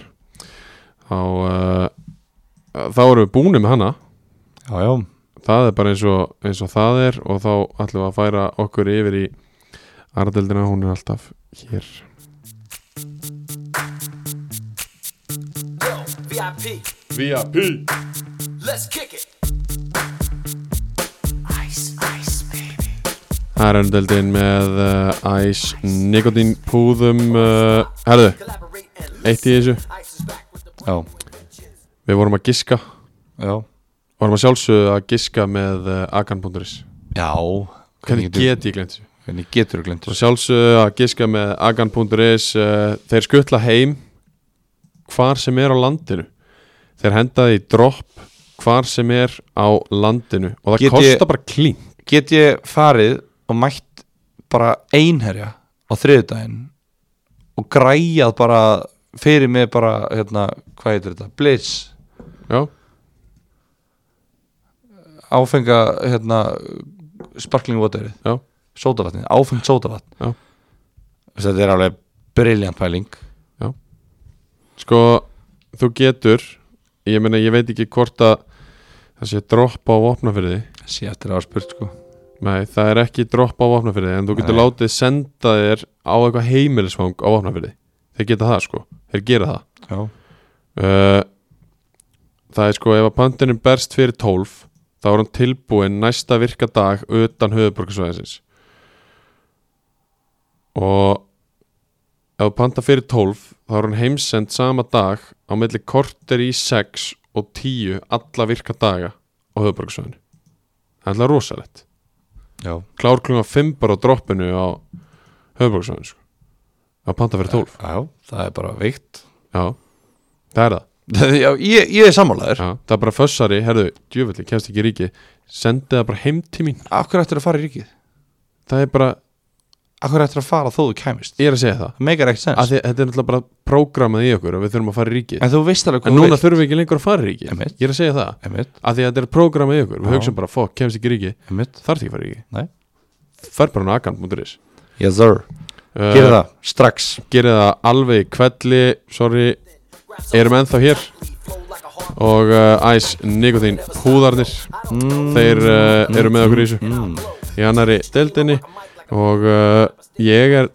Á uh, Þá erum við búinir með hana
Já, já,
það er bara eins og, eins og það er og þá ætlum við að færa okkur yfir í Ardeldina, hún er alltaf hér
VIP.
VIP
Let's kick it. Ice, ice, baby.
Það er Ardeldin með uh, æs nikotín púðum uh, Herðu,
Collaborate and
eitt í þessu
Ice is back with the
já,
Við vorum að giska,
já
vorum að sjálfsögðu að giska með uh, agan.is
Já,
Hvernig get ég glemt þessu?
Hvernig getur þú glemt
Og
þessu?
sjálfsögðu að giska með agan.is uh, Þeir skutla heim hvar sem er á landinu Þeir henda því dropp hvar sem er á landinu Og það
Get ég-
kostar bara klín
Get ég farið og mætt bara einherja á þriðdægin og græjað bara fyrir mig bara, hérna, hvað heitir þetta? Blitz
Já,
áfenga hérna sparkling waterið,
já,
sódavatnið áfengt sódavatn
Já.
Þessi, þetta er alveg briljant pæling
já Sko þú getur ég meina ég veit ekki hvort að það sé dropp á vopnafyrði
Sýttir á spurt sko
Nei, það er ekki dropp á vopnafyrði en þú getur
Nei.
látið senda þér á eitthvað heimilisfang á vopnafyrði þeir geta það sko, þeir gera það
Já,
uh, Það er sko ef að pöntunin berst fyrir 12 þá er hann tilbúin næsta virka dag utan höfuborgarsvæðisins og ef að panta fyrir 12 þá er hann heimsend sama dag á milli korter í 6 og 10 alla virka daga á höfuborgarsvæðinu Það er alltaf rosalegt
já,
klár klunga 5 bara á droppinu á höfuborgarsvæðinu sko. ef að panta fyrir 12
já það er bara veikt
Já, það er það
Já, ég, ég er sammálaður
Já, það er bara fössari, herðu, djöfulli, kemst ekki í ríki Sendi það bara heim til mín
Af hverju ættir að fara í ríkið?
Það er bara,
Af hverju ættir að fara þó þú kæmist?
ég er að segja það
Það meikar ekkert
Af
sens
því, að Þetta er náttúrulega bara prógramað í okkur að Við þurfum að fara í ríki En,
En þú veist alveg
núna þurfum við ekki lengur að fara í ríki
Einmitt.
Ég er að segja það
Einmitt,
Af því að þetta er prógramað í okkur Við
Já.
hugsaum bara, fokk, kemst ekki í ríki
einmitt
Þarf ekki að fara í ríki
Nei.
Fer bara á nakan.is
Yes sir
uh,
Gerðu það, strax
Gerið það alveg í kvelli Sorry, erum ennþá hér Og uh, Æs, Nikotín, húðarnir Þeir uh, eru með okkur í þessu í annari deildinni og uh, ég er,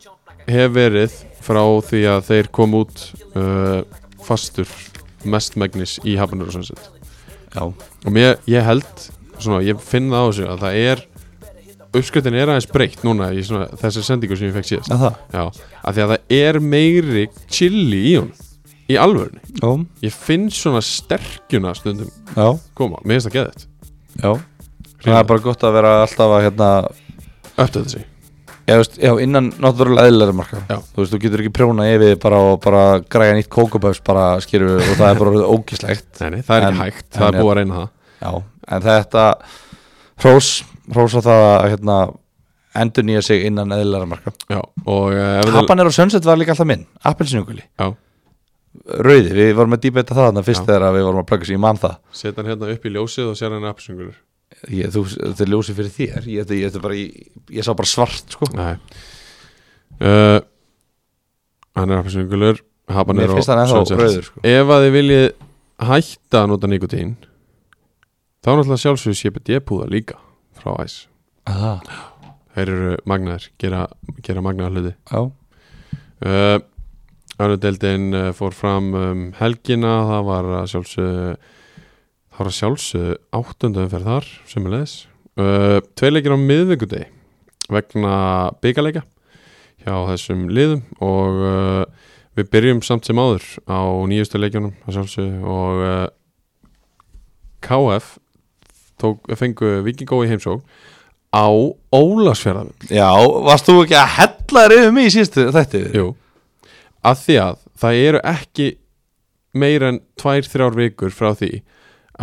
hef verið frá því að þeir kom út uh, fastur mestmægnis í Habanur og Sunset
Já,
og mér, ég held, svona, ég finn það á þessu að það er uppskriftin er aðeins breytt núna í svona, þessi sendingu sem ég fekk síðast
er það
Já, af því að það er meiri chili í hún í alvörunni
Já,
ég finn svona sterkjuna stundum
já,
koma, mér finnst það geðið
já Það er bara gott að vera alltaf að hérna
upp til þessi
Já, veist, já innan náttúrulega eðlæri marka
Já.
Þú veist, þú getur ekki prjóna yfir bara og bara græja nýtt kókuböfs bara skýrðu og það er bara orðið ógislegt
Nei, nei, það er
En-
ekki hægt,
en
það er
ég-
búið að reyna það
Já, en þetta hrós, hrós á það að hérna endur nýja sig innan eðlæra marka
Já, og uh, ef þið-
Habanero Sunset var líka alltaf minn, appelsinuguli
Já,
Rauði, við vorum að dýbeta það þarna fyrst
Já.
þegar að við vorum að plugga sig í mann það
setja hann hérna upp í ljósið og sér hann appisungulur
ég, þú, Þetta er ljósið fyrir þér, ég, þetta, ég, þetta bara, ég, ég sá bara svart sko
Nei uh, Hann er appisungulur Haban
Mér
er
finnst hann ennþá rauður, sko.
Ef að þið viljið hætta að nota nikotín þá er náttúrulega sjálfsögur CBD púða líka frá æs
Það,
Þeir eru magnaðir, gera, gera magnaðar hluti
já,
uh, Örudeldin uh, fór fram um helgina það var að sjálfsögðu það var að sjálfsögðu áttundu umferð þar sömulegis uh, Tveileikir á miðvikudegi vegna byggarleika hjá þessum liðum og uh, við byrjum samt sem áður á nýjustu leikjunum að sjálfsögðu og uh, KF tók, fengu vikingó í heimsók á Ólasfjörðan
já, varst þú ekki að hella þér yfir mig í síðustu þetta
Jú, að því að það eru ekki meira en tvær, þrjár vikur frá því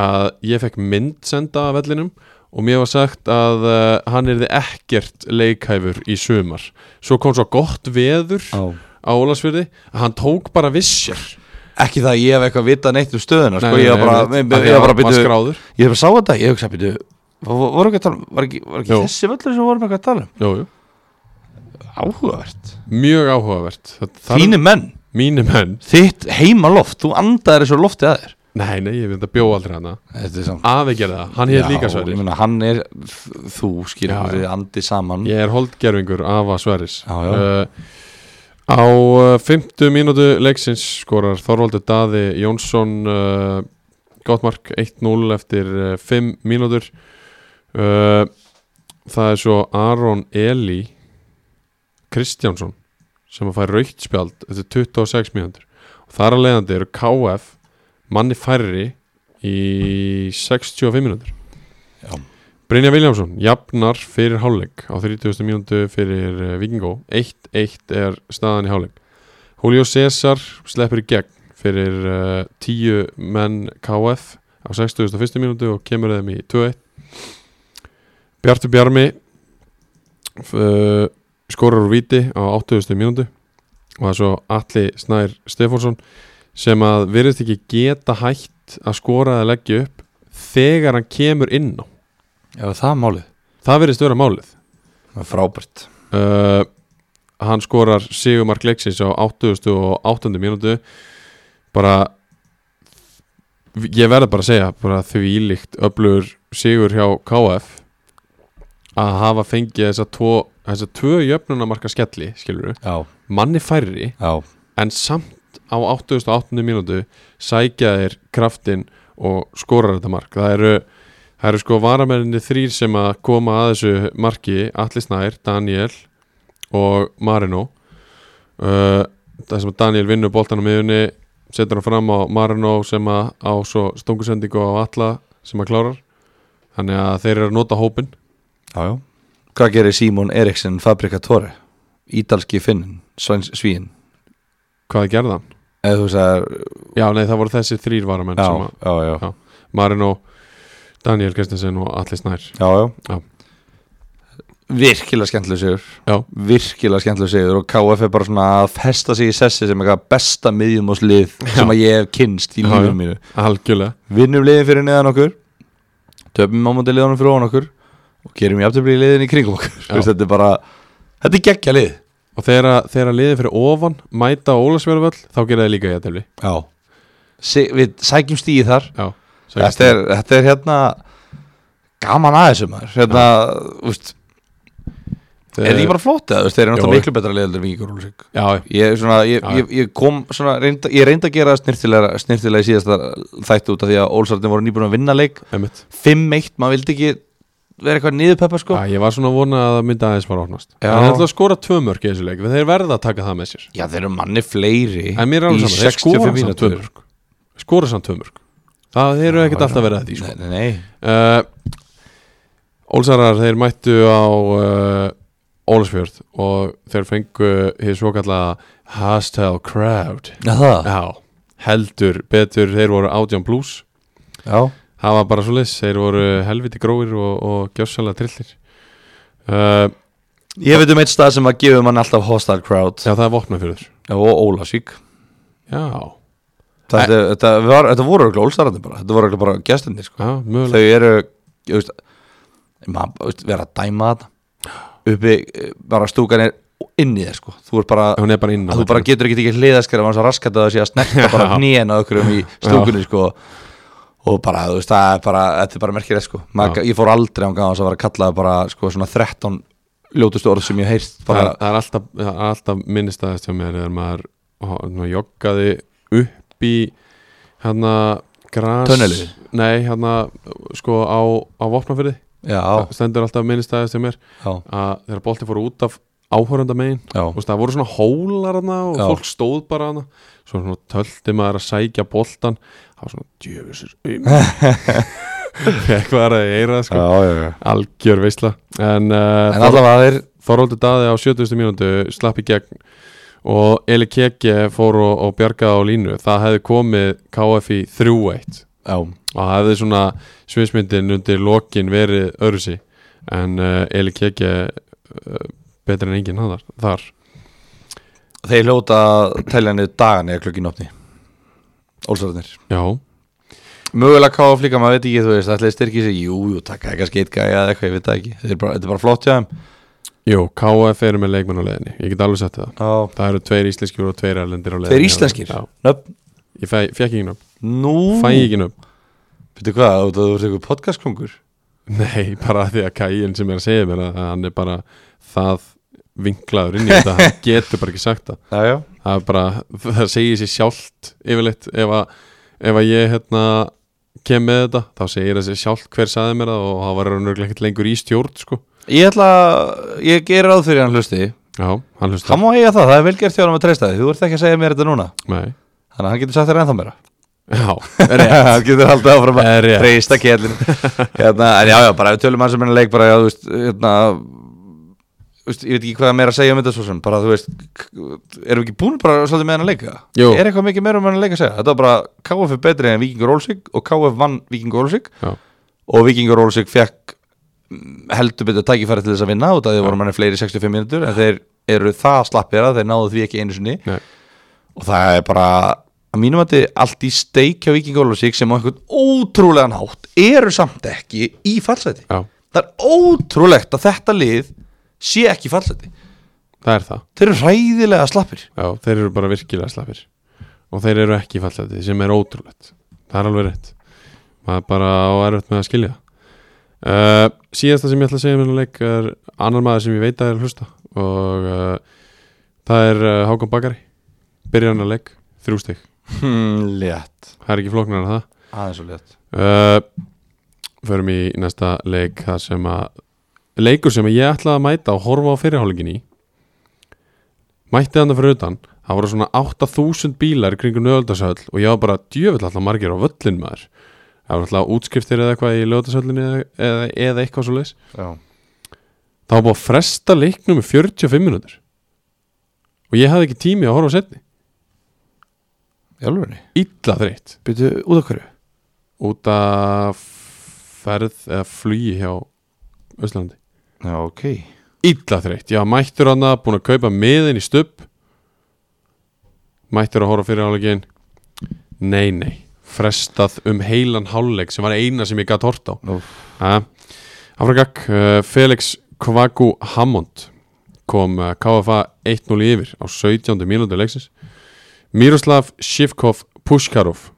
að ég fekk mynd senda af vellinum og mér var sagt að uh, hann erði ekkert leikhæfur í sumar svo kom svo gott veður
Já.
á Ólasfyrði að hann tók bara vissjar
Ekki það að ég hef eitthvað vitað neitt um stöðuna sko,
Nei,
Ég var
nei,
bara,
nei,
ég,
af því
ég var bara
að maður
byrju-
skráður.
Ég hef bara sá þetta, ég hef ekki að byrju Var, var ekki, að tala, um- var ekki, var ekki
Jú.
þessi völlur sem við vorum eitthvað að tala um?
jú, jú.
Áhugavert
mjög áhugavert Það- það-
Þínu menn,
Mínir menn
þitt heimaloft, þú andaðir þessu lofti að þér
Nei, nei, ég veit að bjó aldrei hana
Þetta er samt
Afi gerði það, hann hér líka
ég
sverðir
meina, Hann er, þú skýrðu
Já,
hvað þið andi saman
Ég er holdgerfingur afa Sverris
Já, já.
Uh, Á uh, 50 mínútu leiksins skorar Þorvaldur Daði Jónsson uh, Gottmark 1-0 eftir uh, 5 mínútur uh, Það er svo Aron Eli Kristjánsson sem að fær raukt spjald eftir 26 mínútur og þar að leiðandi eru KF manni færri í 65 mínútur
Já.
Brynja Viljámsson jafnar fyrir hálfleik á 30. mínútu fyrir eh, Víkingó 1-1 er staðan í hálfleik Julio César sleppur í gegn fyrir uh, 10 menn KF á 61. mínútu og kemur þeim í 2-1 Bjartur Bjarmi uh, skorar úr viti á 80. mínútu og það er svo Atli Snær Stefánsson sem að virðist ekki geta hætt að skora eða leggja upp þegar hann kemur inn á
Já, það er málið
það virðist vera málið
Það er frábært
uh, hann skorar Sigurmark leiksins á 88. mínútu bara ég verði bara að segja bara því líkt öflugur sigur hjá KF að hafa fengið þessa tvo þessa tvö jöfnunamarka skelli skilur
já,
manni færri
já,
en samt á 88. mínútu sækja þeir kraftin og skorar þetta mark það eru, það eru sko varamenninni þrýr sem að koma að þessu marki Atli Snær, Daniel og Marino uh, það sem að Daniel vinnur boltan á miðunni setur hann fram á Marino sem að á svo stungusendingu á Atla sem að klárar þannig að þeir eru að nota hópin
já, já. Hvað gerir Simon Eriksson Fabrikatore? Ídalski finnin, svæns svíin
hvað gerði hann?
eða þú sagðar,
Já, nei, það voru þessi þrýr varamenn
já,
sem að
já, já,
Já. Marino, Daniel Kristensen og Atli Snær
já, já.
Já.
Virkilega skemmtileg sigur
Já.
Virkilega skemmtileg sigur og KF er bara svona að festa sig í sessi sem eitthvað besta miðjumóslið sem að ég hef kynst í
Já, já.
lífum mínu
Algjörlega
vinnum liðin fyrir neðan okkur töpum á móti liðanum fyrir ofan okkur og gerum jafntöfli í liðin í kringum okkur
Já.
Þú veist, þetta er bara, þetta er geggja lið
Og þegar, þegar liðið fyrir ofan mæta á Ólasverðvöll þá gera þið líka jættefli
já. við sækjum stíði þar
Já,
þetta er, þetta er hérna gaman aðeins um þar hérna, úst, er
Eh,
ekki bara flott eða, þú veist, þeir eru
Jó.
náttúrulega miklu betra liðandur vingur og lík
Já,
Ég, svona, ég,
Já.
ég, ég kom svona reynda, ég reyndi að gera snirtilega, snirtilega í síðasta þættu út af því að Ólsartin voru nýbúin að vinna leik
einmitt
5-1, maður vildi ekki vera eitthvað niðurpeppa sko
Já, ég var svona að vona að það myndi aðeins fara að opnast
Já.
Já Það er alltaf að skora tvö mörk í þessu leik Þeir verða að taka það með sér
Já, þeir eru manni fleiri
En mér er
í
alveg saman, þeir skora samt
65
sko. tvö
mínútur.
mörk Skora samt tvö mörk Það þeir eru ekkert
já.
alltaf verið að því sko.
Nei, nei, nei
uh, Ólsarar þeir mættu á uh, Ólasfjörð og þeir fengu hér svo kallaða Hostile Crowd
Já, það
Já, heldur betur þeir voru átján pluss
Já,
Það var bara svo leys, þeir voru helviti gróir og, og gjössalega trillir uh,
ég veit um eitt stað sem að gefa mann alltaf hostile crowd
Já, það er vopnafjörður
og Ólasvík
Já,
Þetta, þetta, var, þetta voru örugglega ólstarandi bara Þetta voru örugglega bara gestinni sko.
já,
Þau
mögulega
eru, ég veist, maður, þú veist, vera að dæma þetta Uppi, eh, bara stúkan er inn í þér sko Þú er bara,
Hún er bara inn á
að þú bara
vellinum.
getur ekki ekki hliðaskar Þannig að raskat að það sé að snerta bara
Já.
hnén á okkur um í stúkunni sko Og bara, þú veist, það er bara, þetta er bara merkilegt sko
Já.
Maður, Ég fór aldrei án gáðans að vera að kalla bara sko svona 13 ljótustu orð sem ég hef heyrt
það,
bara,
er- það er alltaf, það er alltaf minnistæðist hjá mér þegar maður, hó- maður joggaði upp í hérna gras
Tunnelið?
Nei, hérna sko á, á vopnafjörði
Já,
Það stendur alltaf minnistæðist hjá mér
já,
að þegar bolti fór út af áhörunda megin
já,
Þú veist, það voru svona hólar hana og
Já.
fólk stóð bara hana svo svona töldi maður að sækja boltan það var svona djöfusir fekk var að eira sko.
já, já.
algjör veisla en, uh,
En allavega þeir
Þoróldi Daði á 70. mínútu slapp í gegn og Eli Kekje fór og, og bjargaði á línu það hefði komið KF í 3-1
Já,
og það hefði svona sviðsmyndin undir lokin verið öðruðsi en uh, Eli Kekje uh, betur en enginn hann þar
þeir hljóta teljanir dagan eða klukkin opni Ólsararnir
Já,
Mögulega káða flíka, maður veit ekki, þú veist, ætlaði styrkið sig Jú, jú, takk, eitthvað skeitgæja eða eitthvað, ég veit það ekki Þetta er bara, þetta er bara flott hjá þeim
Jú, KF eru með leikmenn á leiðinni Ég get alveg sett það
Já,
Það eru tveir íslenskir og tveir erlendir á leiðinni
Tveir íslenskir?
Já,
nöfn,
ég fæ, fekk ekki nöfn
nú
Fæ ég ekki nöfn
Veitu hvað, þú- þú ert eitthvað podcastkóngur
Nei, bara því að Kæin sem er að segja mér að að hann er bara það vinklaður inn í þetta hann getur bara ekki sagt það
Já, já
það er bara, það segir sér sjálft yfirleitt ef að, ef að ég hérna kem með þetta þá segir það sér sjálft hver saði mér það og það var raunverulega ekkert lengur í stjórn sko.
Ég ætla, að- ég gerir ráð fyrir hann hlusti
Já, hann hlusta
Hann má eiga það, það er vel gert hjá hann að treysta því Þú ert ekki að segja mér þetta núna
Nei,
Þannig að hann getur sagt þér ennþá meira
já,
hann getur haldið áfram
Er
að
rétt.
treysta kjellin hérna, en já, já, bara við tölum hans að minna leik bara, já, þú veist, hérna þú veist, ég veit ekki hvað meira að segja um þetta svo sem bara, þú veist, k- erum við ekki búin bara svolítið með hann að leika?
Jú.
Er eitthvað mikið meira um hann að leika að segja? Þetta var bara, KF er betri en Víkingur Ólsík og KF vann Víkingur Ólsík
já,
og Víkingur Ólsík fekk mm, heldur betur tækifæri til þess að vinna út af því voru manni fleiri 65 mínútur en þeir eru það slappir að þeir náðu því ekki einu sinni
nei,
og það er bara að mínum að þetta allt í steik hjá Viking Ólafsvík sem á einhvern ótrúlegan hátt eru samt ekki í fallseti
já,
það er ótrúlegt að þetta lið sé ekki í fallseti
það er það
þeir eru hræðilega slappir
Já, þeir eru bara virkilega slappir og þeir eru ekki í fallseti sem er ótrúlegt það er alveg rétt maður bara á erfitt með að skilja uh, síðasta sem ég ætla að segja um þennan leik er annar maður sem ég veit að er að hlusta og uh, það er uh, Hákon Bakari byrjar hann að leik, þrjú stig
hmm, létt
það er ekki flóknar en það
aðeins og létt
uh, förum í næsta leik það sem að leikur sem ég ætlaði að mæta og horfa á fyrirhálingin í mætti hann fyrir utan það voru svona 8000 bílar í kringum nöðaldasöll og ég var bara djöfull alltaf margir á völlin maður það var alltaf útskriftir eða eitthvað í löðaldasöllinni eða, eða, eða eitthvað svo leis
já.
það var búið að fresta leiknum með 45 minútur og ég hafði ekki tími að horfa á setni
Jálfurni,
illa þreytt
byrju út okkur
út af ferð eða flugi hjá Öslandi
Já, ok
illa þreytt, já mættur hann að búin að kaupa miðin í stupp mættur að horfa fyrir álegin nei nei frestað um heilan hálfleik sem var eina sem ég gætt hort á
Úff.
Ha, Afragak, uh, Felix Kvaku Hammond kom uh, KFA 1-0 yfir á 17. mínútu leiksins Miroslav Shivkov Pushkarov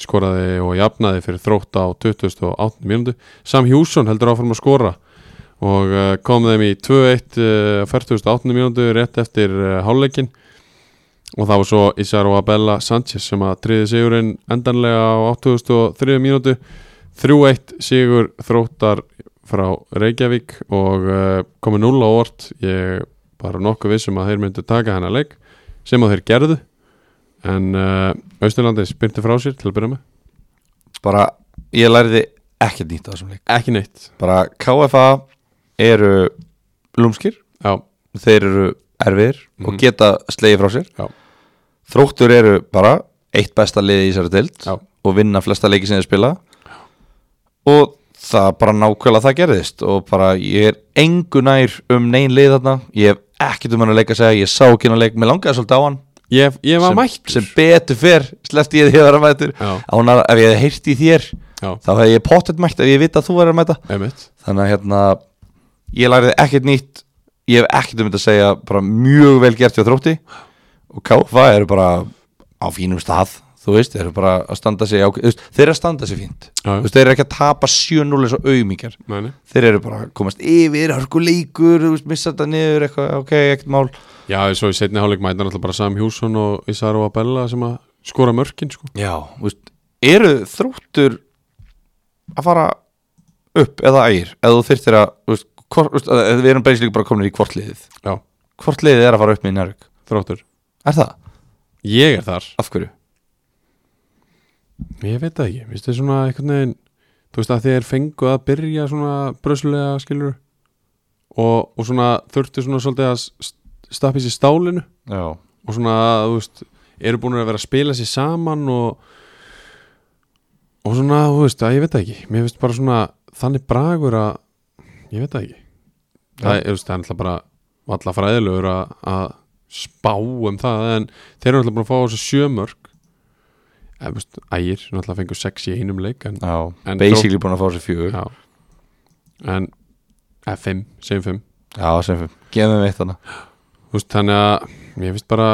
skoraði og jafnaði fyrir þrótt á 28. mínútu Sam Hjússon heldur áfram að skora og uh, kom þeim í 2-1 uh, 48. mínútu rétt eftir uh, hálfleikin og það var svo Isaro Abella Sanchez sem að triði sigurinn endanlega á 83. mínútu 3-1 sigur þróttar frá Reykjavík og uh, komið 0 á orð ég bara nokkuð vissum að þeir myndu taka hennar leik sem að þeir gerðu en uh, Austurlandi spyrnti frá sér til að byrja með
Bara, ég læriði ekkert nýtt á þessum leik
ekki neitt,
Bara, KFA eru lúmskir
já,
Þeir eru erfiðir og
Mhm.
geta slegið frá sér
Já.
Þróttur eru bara eitt besta liði í þessari deild
Já.
og vinna flesta leiki sem þeir spila og það bara nákvæmlega það gerðist og bara ég er engu nær um neyn lið þarna ég hef ekkert um hann að leika að segja ég sá ekki hann að leika, mér langaði svolítið á hann
ég, ég var
sem,
mættur
sem betur fer sleppti ég því að vera mættur
Já.
Ánar, ef ég hefði heyrt í þér
já,
þá hefði ég pottet mætt ef ég vita að þú verður að mæta
einmitt
þannig að hérna ég læriði ekkert nýtt ég hef ekkert um þetta að segja bara mjög vel gert hjá þrótti og KFA eru bara á fínum stað þú veist, þeir eru bara að standa sig á, veist, þeir eru að standa sig fínt
Já, já.
Þú veist, þeir eru ekki að tapa 7-0 eins og auðmíkjar
Nei, nei.
þeir eru bara að komast yfir, hörkuleikur þú veist, missa þetta niður, eitthvað, ok, ekkert mál
já, svo í setni hálfleik mætnar alltaf bara Sam Hjússon og Isaro Abella sem að skora mörkin sko.
já, þú veist, eru þróttur að fara upp eða ægir, eða þú þyrftir að þú veist, hvort, þú veist, að- við erum bæðislega bara komin í hvort liðið,
já,
hvort liðið er að fara upp með nærvík
þróttur
Er það?
ég er þar
Af hverju?
Ég veit það ekki, Mér finnst þið svona einhvern veginn Þú veist að þeir fengu að byrja svona bröslulega skilur og, og svona þurftu svona svolítið að st- stappa í sér stálinu
Já
og svona, þú veist, eru búin að vera að spila sér saman og og svona, þú veist, að ég veit það ekki Mér finnst bara svona þannig bragur að ég veit það ekki Það er, þú veist, það er alltaf bara alltaf fræðilegur að, að spá um það en þeir eru alltaf búin að fá þessu sjömörk eða, þú veist, ægir, náttúrulega fengur sex í einum leik en
Já,
En
basically búin að fá sér fjögur Já,
Já En eða fimm, segjum fimm
sem fyrir Gefum við eitt hana
Þú veist, Þannig að ég finnst bara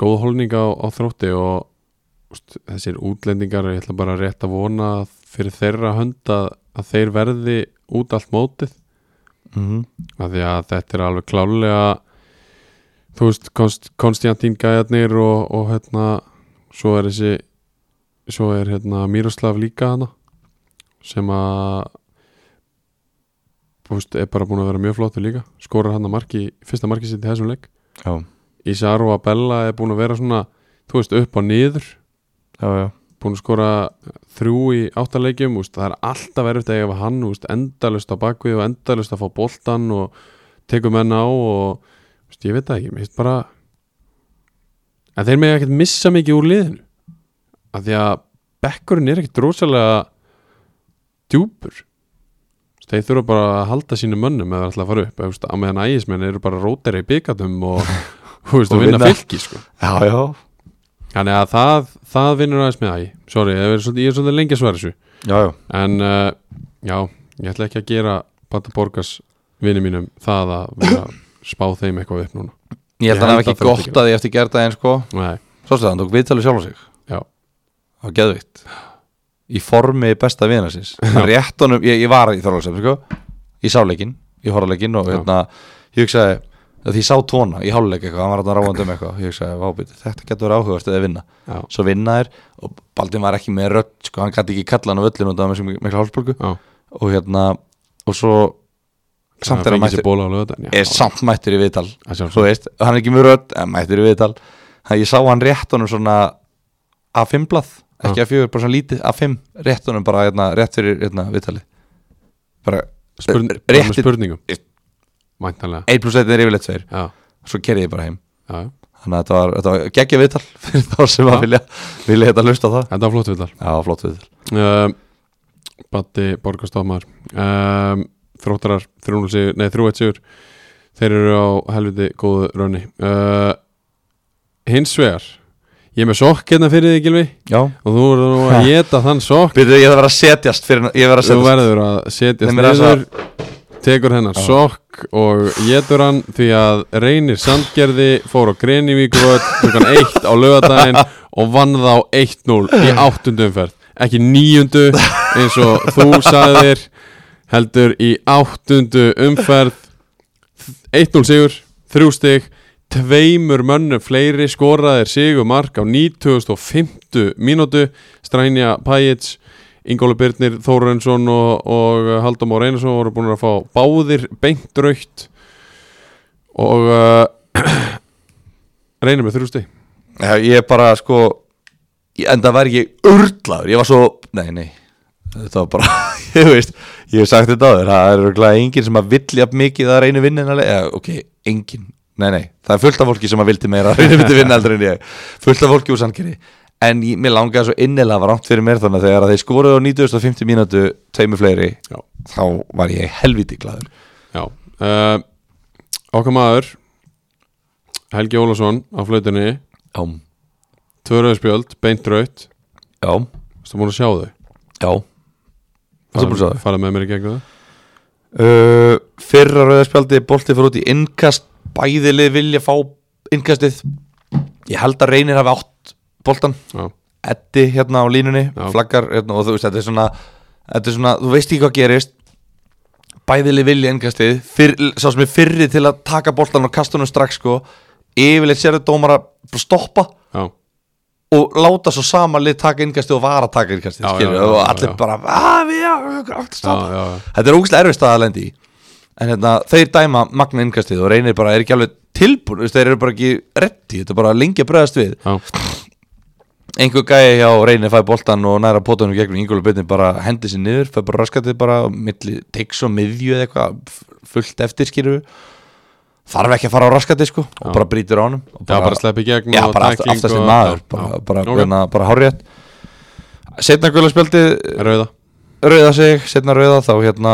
góð holning á, á þrótti og þú veist, þessir útlendingar ég ætla bara rétt að vona að fyrir þeirra hönd að, að þeir verði út allt mótið
mm
af því að þetta er alveg klálega þú veist, Konst, Konstantín Gæjarnir og, og hérna svo er þessi svo er hérna Miroslav líka hana sem að þú veist, er bara búin að vera mjög flottur líka skorar hann að marki, fyrsta marki sitt í þessum leik
Já,
Isaro Abella er búin að vera svona þú veist, upp og niður
já, já
búin að skora þrjú í áttaleikjum úst, það er alltaf erfitt að eiga við hann úst, endalust á bakvið og endalust að fá boltan og tekur menn á og úst, ég veit það ekki, mér finnst bara en þeir með ekkert missa mikið úr liðinu af því að bekkurinn er ekkert rosalega djúpur Úst, þeir þurfa bara að halda sínum mönnum eða alltaf að fara upp, úst, á meðan ægismenn eru bara rótari í byggatum og, úst,
Og
og vinna
vinna.
fylki sko
Já, já
Þannig að það, það vinnur aðeins með æ Sorry, ég er svolítið, ég er svolítið lengi að svara þessu
Já, já
En uh, já, ég ætla ekki að gera Bata Borgas vinni mínum það að vera að spá þeim eitthvað upp núna
Ég held
Ég
að hann
held
hafi
að
ekki
það
gott að því eftir gerða einn sko
Nei,
Svo sem það, hann tók viðtalið sjálf á sig
já,
Það var geðvikt í formi besta vina síns rétt honum, ég, ég var í Þorvaldsöf sko. ég sá leikinn, ég horfði á leikinn og hérna, ég hugsaði að því ég sá tóna í háluleik eitthvað, hann var hérna ráðandi um eitthvað ég hugsaði, vábýti, þetta getur verið áhugast eða vinna
Já.
svo vinna þær og Baldin var ekki með rödd, sko, hann gæti ekki kalla hann á öllin og það var með sem mikla hálsbólgu
Já.
og hérna, og svo samt
að
er hann
mæti
mættur
Bóla á lögðan
er samt mættur í viðtal
Að sjálfsögðu.
þú veist, hann er ekki mjög rödd en mættur í viðtal þannig að ég sá hann rétt honum svona A5 blað, ekki A4, bara svona lítið A5, rétt honum bara hérna, rétt fyrir hérna, viðtalið bara
Spurn,
rétti-
rétti, spurningum Mæntanlega
1 plus 1 er yfirleitt 2
Já,
svo kerði ég bara heim
já, já.
þannig að þetta var, þetta var geggja viðtal fyrir þá sem
Já.
að vilja, vilja þetta hlusta á það
þetta var flott villar
já, flott viðtal
um, Batti Borgastofmar um, Þróttarar 3-0 sigur- Nei, 3-1 sigur Þeir eru á helviti góðu raunni uh, Hins vegar Ég er með sokk hérna fyrir þig, Gilvi
já,
Og þú verður nú að geta þann sokk
byrjuðu ég þarf að vera að setjast fyrir, ég verð að
Þú
setjast
verður að setja
Nei, mér er
niður Tekur hennar sokk og getur hann því að reynir sandgerði fór á Grenivíkvöld klukkan eitt á lögadaginn og vann þá 1-0 í áttundu umferð ekki níundu eins og þú sagðir heldur í áttundu umferð 1-0 sigur, þrjú stig tveimur mönnum fleiri skoraðir sigur mark á 9050 mínútu, Strænja Pajic Ingóla Birnir Þórensson og, og Haldum Már Einarsson voru búin að fá báðir beint raukt og uh, reynir með þrjústi
Já, ég bara sko ég- Enda var ég urlaður Ég var svo, nei, nei Þetta var bara, ég veist Ég hef sagt þetta á þér, það er örugglega enginn sem að vilja mikið að reyna vinna en að leika Ok, enginn, nei, nei, það er fullt af fólki sem að vildi meira að reyna vildi vinna heldur en ég Fullt af fólki úr sangeri En ég, mér langaði svo innilega að var rámt fyrir mér þannig að þegar að þeir skoruðu á 9050 mínútu tveimur fleiri,
Já.
þá var ég helviti glaður
Já uh, Okkar maður Helgi Ólafsson á flautunni
Já,
Tvöröðspjöld, beint raukt
já,
Þú búin að sjá þau
já Varstu búin að sjá þau?
Farið með mér í gegn það
uh, fyrra rauðarspjaldi bolti fyrir út í innkast bæðilið vilja fá innkastið ég held að reynir hafi átt boltan
Já,
Eddi hérna á línunni
Já.
flaggar hérna, og þú veist þetta er svona þetta er svona, þú veist ekki hvað gerist bæðilið vilja innkastið fyrr, sá sem er fyrri til að taka boltan og kasta honum strax sko yfirleitt sérðu dómar að bara stoppa
já,
og láta svo sama lið taka innkastið og vara að taka innkastið
Já,
skilur,
já, já,
og
já,
allir
já.
bara "Ah, við- já, við- átt að
já,
stoppa."
já,
Þetta er ógæslega erfist að lendi í En hérna, þeir dæma magna innkastið og reynir bara, er ekki alveg tilbúin þú veist, Þeir eru bara ekki reddi, þetta er bara lengi að bregðast við
já.
Einhver gæði hjá reynir fæ boltan og næra potanum gegnum yngjölu byrni bara hendi sér niður, fæ bara raskatið bara á milli teiks og miðju eða eitthvað f- fullt eftir skýrðu Þarf ekki að fara á raskatið sko og bara brýtur á honum og
Já, bara sleppa í gegn
Já,
og
bara
tækling
aftast í
og-
maður
Já,
bara,
já.
bara,
Ok.
hérna, bara hárjætt Setna guðlega spjaldið
Rauða
rauða sig, setna rauða þá hérna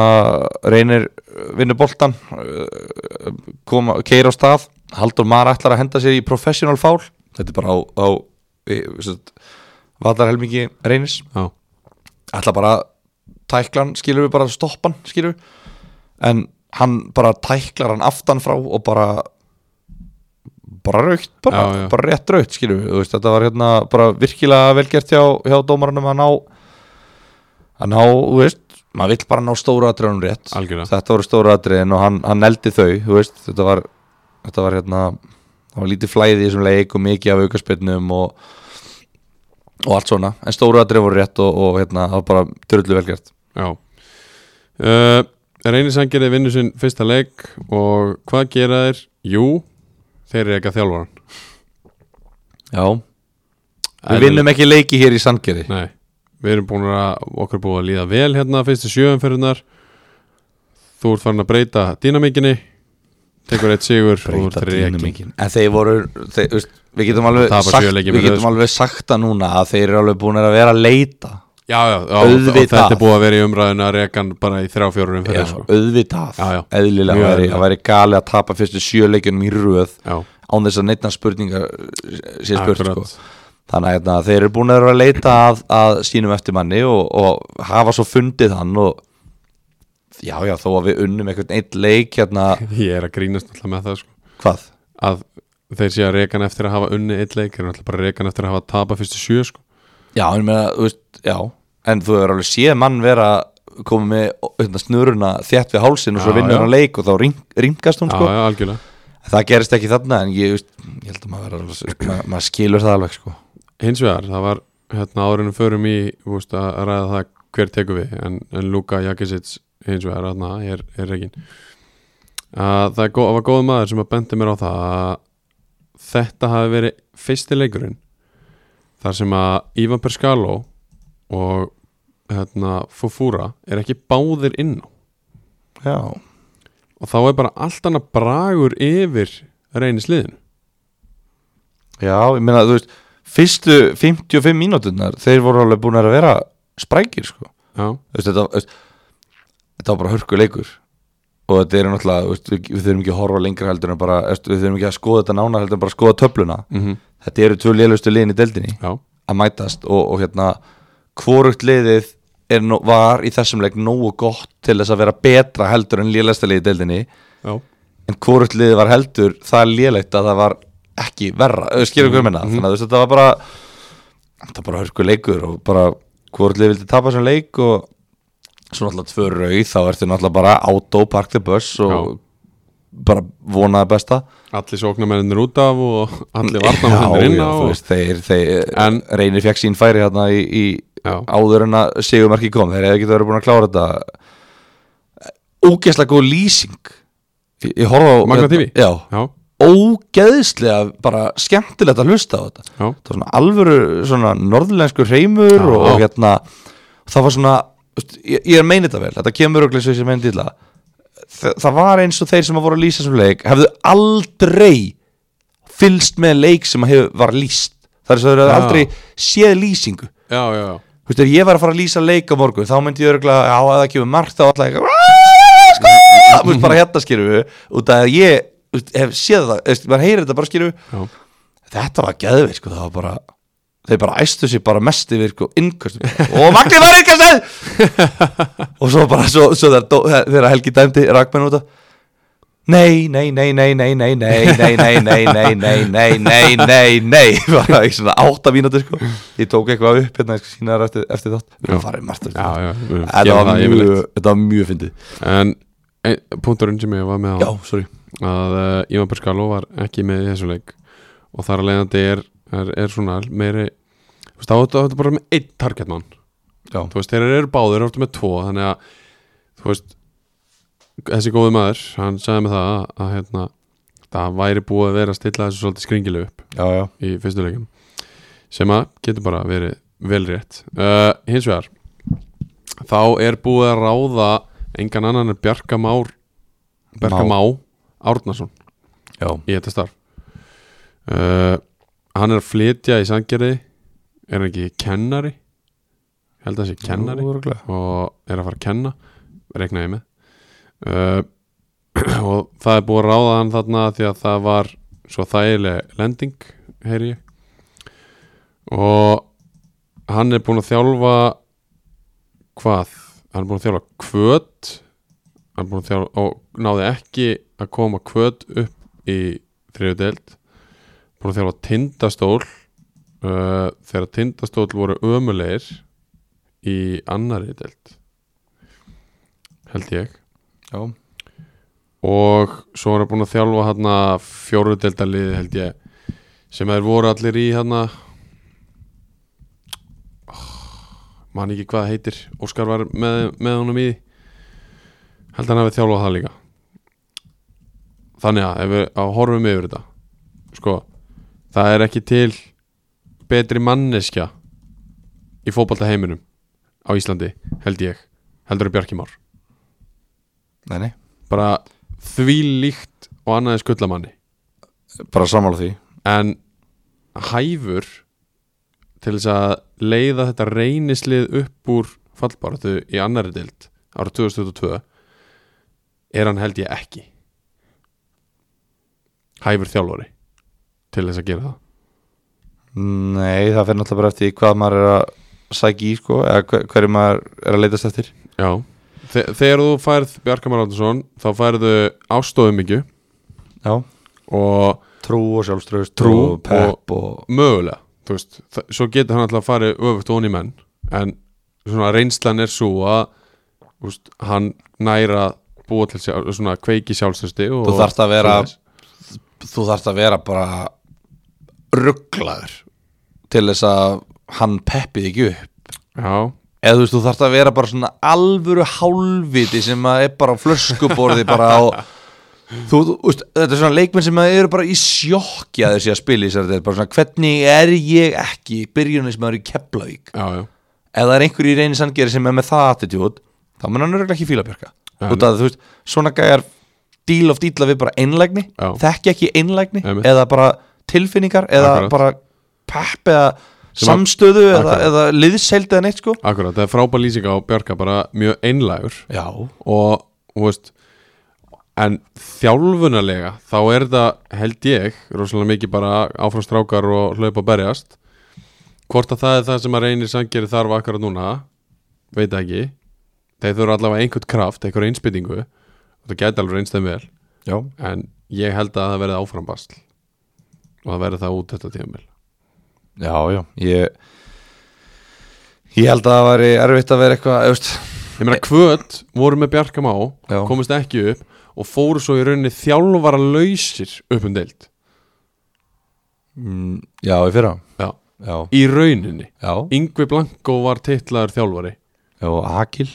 reynir uh, vinnur boltan uh, koma, keir á stað Haldur Mar ætlar að henda sér í professional foul þetta er bara á, á í, satt, vallarhelmingi reynis
Já,
ætla bara að tækla hann, skilur við bara stoppan, skilur við en hann bara tæklar hann aftan frá og bara bara raukt, bara,
Já, já.
bara rétt raukt skilur við, Þú veist, þetta var hérna bara virkilega velgert hjá, hjá dómaranum að ná að ná, þú veist maður vill bara ná stóru atriðunum rétt
Algjörlega.
þetta voru stóru atriðin og hann, hann eldi þau þú veist, þetta var þetta var hérna, það var lítið flæði í þessum leik og mikið af aukaspinnum og og allt svona en stóru aðrið voru rétt og, og hérna það var bara drullu velgjart
já uh, Reynir Sangerði vinnur sinn fyrsta leik og hvað gera þeir? Jú, þeir eru ekki að þjálfa hann
já við vinnum ekki leiki hér í Sandgeri
Nei, við erum búin að okkur er búið að líða vel hérna fyrstu sjöumferðunar Þú ert farin að breyta dýnamikinni tekur eitt sigur og þú ert reyking
en þeir voru þeir, veist, við getum alveg
Tapa sjö
sagt,
leikjum í
við
röð, sko.
getum alveg sagt það núna að þeir eru alveg búin að vera að leita
Já, já, já og og
Auðvitað.
þetta er búið að vera í umræðinu að rekan bara í þrjá fjórum
já,
umferðin sko.
auðvitað
Já, já.
eðlilega
Mjög
væri,
eðlilega.
að væri gali að tapa fyrstu sjö leikjunum í röð
Já,
án þess að neitna spurningar sé spurt
Akkurat.
sko. þannig að hérna, þeir eru búin að vera að leita að, að sínum eftir manni og, og hafa svo fundið hann og já já þó að við unnum einhvern eitt leik hérna
ég er að grínast alltaf með það sko.
hvað?
að þeir sé að rekan eftir að hafa unni eitt leik, þeir eru alltaf bara rekan eftir að hafa tapa fyrstu sjö sko.
Já, en meina, þú veist, já en þú hefur alveg séð mann vera komið með hérna, snuruna þétt við hálsin og svo
Já,
vinnur
já.
hann leik og þá ringast hún
já,
sko.
já, algjörlega
það gerist ekki þarna en ég, veist, ég held að maður, vera, alveg- maður, maður skilur það alveg sko.
hins vegar, það var hérna áriðinu förum í úst, að ræða það hver tekur við en, en Luka Jakisic hins vegar hérna, er, er reikin að það er gó- var góð maður sem að bendi mér á það að þetta hafi verið fyrsti leikurinn þar sem að Ivan Perskaló og hérna, Fufura er ekki báðir inn á
já,
og þá er bara allt annað bragur yfir reynisliðinu
já, ég meina þú veist fyrstu 55 mínúturnar þeir voru alveg búin að vera sprækir sko.
já,
Þú veist, þetta, þú veist, þetta var bara hörku leikur og þetta er náttúrulega þú veist, við, við þurfum ekki að horfa lengra heldur en bara þú veist, við þurfum ekki að skoða þetta nána heldur en bara að skoða töfluna
Mhm.
þetta eru tvö lélustu liðin í deildinni
já,
að mætast og, og hérna hvorugt liðið er, nó- var í þessum leik nógu gott til þess að vera betra heldur en lélasta liðið í deildinni
já,
en hvorugt liðið var heldur það lélegt að það var ekki verra eh, skilur hvað
Mhm.
minna, mm -hmm. þannig að þú veist, þetta var bara þetta var bara hörku leikur og bara hvorugt liðið vildi tapa sem leik og svo náttúrulega tvö rauð þá ertu náttúrulega bara auto park the bus og
Já.
bara vonaði besta
allir sóknarmennir út af og allir
Já,
varnarmennir inn á
já, þú
og,
veist, þeir, þeir
En-
reynir fekk sín færi hérna í, í
Já.
áður en að sigumarki kom þeir hefði ekki verið búin að klára þetta ógeðslega góð lýsing ég, ég horfa á
Magna
hérna-
TV?
já,
já,
ógeðslega bara skemmtilegt að hlusta á þetta
já,
það var svona alvöru svona norðurlenskur hreimur
Já.
og, og hérna það var svona, þú veist, ég, ég er að meina þetta vel þetta kemur örugglega eins og þessi meina dýla það, það var eins og þeir sem að voru að lýsa þessum leik hefðu aldrei fylst með leik sem að hefur var lýst það er svo að þeir hefðu
Já.
aldrei séð lýsingu
já, já, já.
Þú veist, ef ég var að fara að lýsa leik á morgun þá myndi ég örgulega, já, að það kemur margt á alltaf eitthvað sko." Þú veist, bara hérna skýrðu út af að ég þú veist, hef séð það, þú veist, maður heyrir þetta bara skýrðu
Já.
þetta var geðvið, sko, það var bara þeir bara æstu sér bara mest yfir sko, innkastu, og Magni var innkastuð og svo bara svo, svo þegar, dó- þegar Helgi dæmdi Ragnar út af Nei, nei, nei, nei, nei, nei, nei, nei, nei, nei, nei, nei, nei, nei, nei, nei Bara ekki svona átta mínúti sko Ég tók eitthvað upp hérna, ég skal sína þér eftir, eftir þátt Við erum
Já.
farið margt eftir
já,
þátt
já, við gerum
En Þetta var
það
mjög,
yfirleitt.
þetta var mjög fyndið
en ein, punkturinn sem ég var með á
Já, sorry
að uh, Ivan Perskaló var ekki með í þessu leik og þar að leiðandi er, er, er svona meiri þú veist, þá áttu áttu bara með einn targetmann
Já.
þú veist, þeir eru báðir áttu með tvo þannig að, þú veist þessi góði maður, hann sagði með það að, að hérna, það væri búið að vera að stilla þessu svolítið skringileg upp
Já, já,
í fyrstu leikum sem að getur bara verið vel rétt uh, hins vegar þá er búið að ráða engan annan en Bjarka Már Bjarka Má, Árnason
já,
í þetta starf uh, hann er að flytja í sangjari er hann ekki kennari Ég held að það sé kennari
Jú, örugglega.
og er að fara að kenna reikna ég með uh, og það er búið að ráða hann þarna því að það var svo þægileg lending heyri ég og hann er búin að þjálfa hvað? hann er búin að þjálfa kvöt hann er búin að þjálfa og náði ekki að koma kvöt upp í þriðu deild búin að þjálfa tindastól uh, þegar tindastól voru ömulegir í annari deild held ég
já
og svo var hann búin að þjálfa hérna fjóru deildaliði held ég sem þeir voru allir í hérna man ekki hvað það heitir Óskar var með, með honum í því. held að hann hafi þjálfað það líka þannig að ef við að horfum yfir þetta sko, það er ekki til betri manneskja í fótbalta heiminum á Íslandi, held ég heldur að Bjarki Már
Nei, nei,
bara því líkt og annaði skullamanni
bara sammála því
en hæfur til þess að leiða þetta reynislið upp úr fallbaratu í annari dild ára 2022 er hann held ég ekki hæfur þjálfari til þess að gera það
Nei, það fyrir náttúrulega bara eftir því hvað maður er að sækja í sko eða hver- hverju maður er að leitast eftir
Já, Þe þegar þú færð Bjarkamar Áttursson þá færðu ástofum mikið
Já,
og
trú og sjálfströðust
Trú
og pepp og,
mögulega þú veist, þa- svo getur hann alltaf að fara öfugt ón í menn en svona reynslan er svo að úst, hann næra búa til sjálf, svona kveiki sjálfstösti og,
Þú þarft að vera-
svoleiðis.
þú þarft að vera bara rugglaður til þess að hann peppið ekki upp
Já,
eða þú veist, þú þarft að vera bara svona alvöru hálfviti sem að er bara á flöskuborði bara á þú, þú veist, þetta er svona leikmenn sem að eru bara í sjokki að þessi að spila í þessari deild, bara svona, hvernig er ég ekki byrjunismæður í Keflavík
já, já
ef það er einhver í reyni sangeri sem er með það attitúd þá mun hann örgulega ekki fíla björka
Já,
út að þú veist, svona gæjar díl of díla við bara einlægni
Já.
þekki ekki einlægni
Einmitt.
eða bara tilfinningar eða
Akkurat.
bara pepp eða
Sem að-
samstöðu eða,
Akkurat.
eða liðseild eða neitt sko
Akkurat, það er frábær lýsing á Bjarka bara mjög einlægur
Já,
og, þú veist en þjálfunarlega þá er það held ég rosalega mikið bara áfram strákar og hlaupa og berjast hvort að það er það sem að reynir sangeri þarf akkurat núna veit það ekki þeir þurfa allavega einhvern kraft, einhver einspytingu og það gæti alveg reynst þeim vel
Já.
en ég held að það verði áfram basl og það verði það út þetta tímil
Já, já, ég Ég held að það væri erfitt að vera eitthvað eufst.
Ég meina kvöt voru með Bjarkam á
Já.
komist ekki upp og fóru svo í rauninni þjálfara lausir upp um deilt
Já, ég fyrra
Já.
Já,
í rauninni
já,
Yngvi Blanko var titlaður þjálfari
já Akil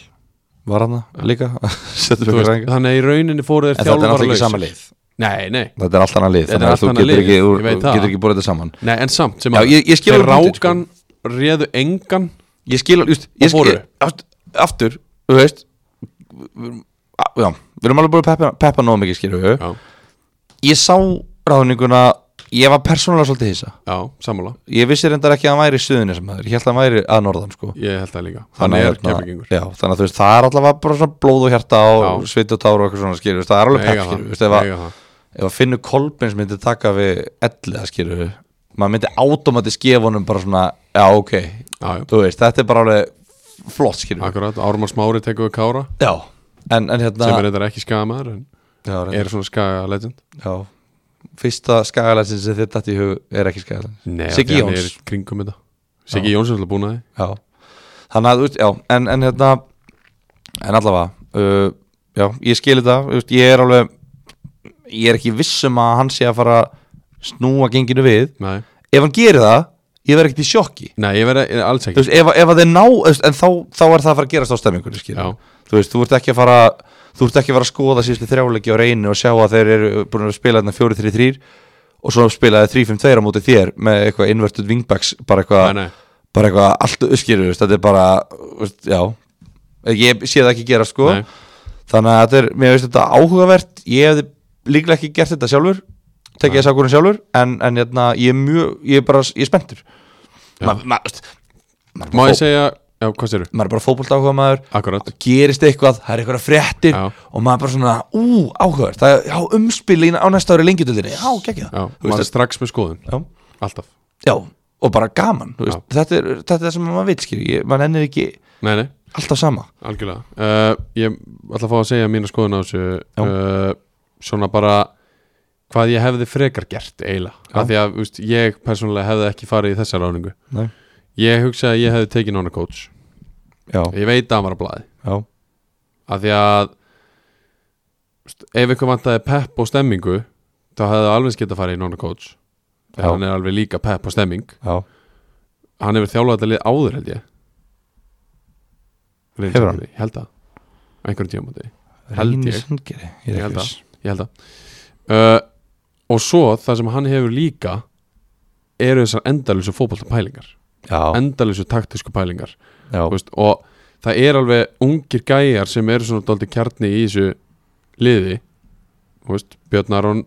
var hann líka Settur
Þú
fyrir
veist,
ræðingar
þannig að í rauninni fóru
En
þeir
þetta er
þjálfara
náttúrulega ekki sama
lausir
lið
Nei, nei,
Þetta er allt annað lið
Þetta er
Þannig að
allt
þú
annað
getur
lið,
ekki, úr,
ég veit það.
getur ekki búið þetta saman
nei en samt sem
Já,
að
ég- ég skil
þeir
alveg hundinn,
rákan réðu engan
Ég skil, just, ég
Og fóru.
skil aft- Aftur, þú veist a- Já, við erum alveg búin að peppa, peppa nóg mikið skilur við
Já,
Ég sá ráðninguna Ég var persónulega svolítið hissa
já sammála,
Ég vissi reyndar ekki að hann væri í suðunni sem maður Ég held að hann væri að norðan sko
ég held það líka Þannig er
hérna-
kemmingingur
já, þannig að þú veist, það er allavega bara svona blóð og hjarta og
Já.
svit og tár og eitthvað svona skilur, það er alveg pepp skilur, veist, ef, að, ef að finnur Kolbins myndi taka við elliða skilur, maður myndi automatist gefa honum bara svona, já ok
Já, já,
þú veist, þetta er bara alveg flott skilur,
akkurat, Ármar Smári tekur við Kára
já en, en hérna
sem er reyndar ekki skamaður en
já,
er svona skaga legend
já, fyrsta skagalæsin sem þið dætt í hug er ekki skagalæsin,
Nei,
Siggi
því hann
Jóns
er í kringum þetta Siggi Jóns er alltaf búin að því
Já, þannig að, þú veist, já, en, en hérna, en allavega, uh, já, ég skil þetta, þú veist, ég er alveg, ég er ekki viss um að hann sé að fara að snúa genginu við,
Nei,
ef hann gerir það, ég verð ekkert í sjokki,
Nei ég verði alls
þú
ekki
veist, ef, ef að þeir ná, þú veist, en þá, þá er það að fara að gerast á stemmingunni, skil,
Já.
þú veist, þú ert ekki að fara, þú ert ekki að fara að skoða síðustu þrjáleiki á reynu og sjá að þeir eru búin að spila þarna 4-3-3 og svo spilaði 3-5-2 á móti þér með eitthvað inverted wingbacks, bara eitthvað,
Nei, nei.
bara eitthvað allt uppskýrur, veist, þetta er bara veist, já, ég sé það ekki gera sko,
Nei.
þannig að þetta er mér veist þetta áhugavert, ég hefði líklega ekki gert þetta sjálfur, tekið þess ákvörðin sjálfur, en, en hérna, ég er mjög ég er bara, ég er spenntur Ma- ma- veist, maður
Má
er bara
ég
fó-
segja, já, hvað séru?
maður er bara fótbolt áhuga maður
Akkurat
gerist eitthvað, það er eitthvað fréttir
Já.
og maður er bara svona, ú, áhugavert það er já, umspil í- á næsta ári lengjutildinni já, gekkja,
Já, maður er strax með skoðun
já
Alltaf
Já, og bara gaman þú veist, þetta, er, þetta er það sem maður veit skilur ég, maður ennir ekki
Nei, nei,
alltaf sama
algjörlega uh, Ég ætla að fá að segja mína skoðun á þessu
Já.
uh, Svona bara Hvað ég hefði frekar gert eiginlega Af því að, úst, ég persónulega hefði ekki farið í þessa ráningu
Nei.
Ég hugsa að ég hefði tekið nána coach
Já,
Ég veit að hann var að blaði
já,
Af því að úst, Ef ykkur vantaði pepp og stemmingu Þá hefði alveg geta farið í nána coach
Já.
Þegar hann er alveg líka pepp og stemming
já
hann hefur þjálfað þetta lið áður held ég Reynis
Hefur hann?
Sandgeri, Ég held að Á einhverjum tímamóti Held
Reyni
ég.
Sandgeri Ég
Ég
er
held
ekki
að,
viss
ég held að. Uh, Og svo það sem hann hefur líka eru þessar endalösu fótbolta pælingar
Já,
endalösu taktísku pælingar
já,
Þú veist, og það er alveg ungir gæjar sem eru svona dálítið kjarni í þessu liði Þú veist, Björn Aron,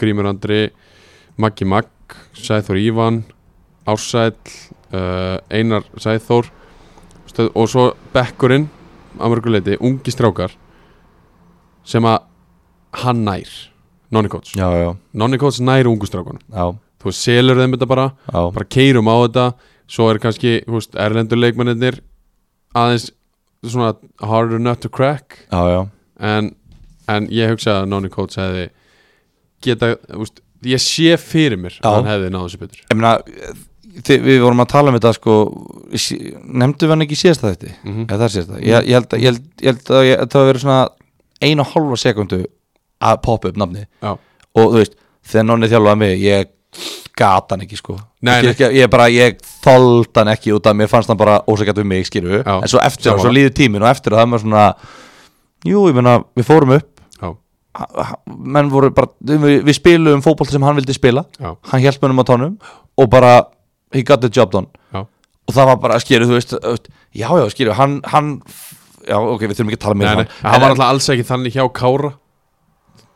Grímur Andri Maggi Magg, Sæþór Ívan Ársæll uh, Einar Sæþór Þú veist, og svo Bekkurinn að mörguleiti, ungi strákar sem að hann nær, Nonni Coates
já, já,
Nonni Coates nær ungu strákunum
já,
þú selur þeim þetta bara
já,
bara keirum á þetta svo er kannski þú veist, erlendur leikmennir aðeins svona harder nut to crack
já, já.
en, en ég hugsa að Nonni Coates hefði geta, þú veist, ég sé fyrir mér
Já.
að hann hefði náðu þessu betur
Ég meina, þi- við vorum að tala um þetta sko sí- nefndum við hann ekki í síðasta þetta mm
Mhm.
eða það síðasta, ég, ég, held, að- ég, held, ég held að ég, það verið svona eina og hálfa sekundu að poppa upp nafni
Já,
og þú veist, þegar nonni þjálfaði mig ég gata hann ekki sko
Nei,
ég, ég, ég bara, ég þoldi hann ekki út af mér fannst hann bara ósækjart við mig, skilju
Já,
en svo eftir,
sammála.
svo líður tíminn og eftir að það er maður svona jú, ég meina, við fórum upp
já,
ha- ha- menn voru bara, við, við spilum fótboll sem hann vildi spila
Já.
hann hjælt mönnum á tónum og bara he got the job done
já
og það var bara, skilju, þú veist þú veist, já, já, skilju, hann, hann já, ok, við þurfum ekki að tala
Nei,
meira um
nei,
hann.
það var
En-
alltaf alls ekki þannig hjá Kára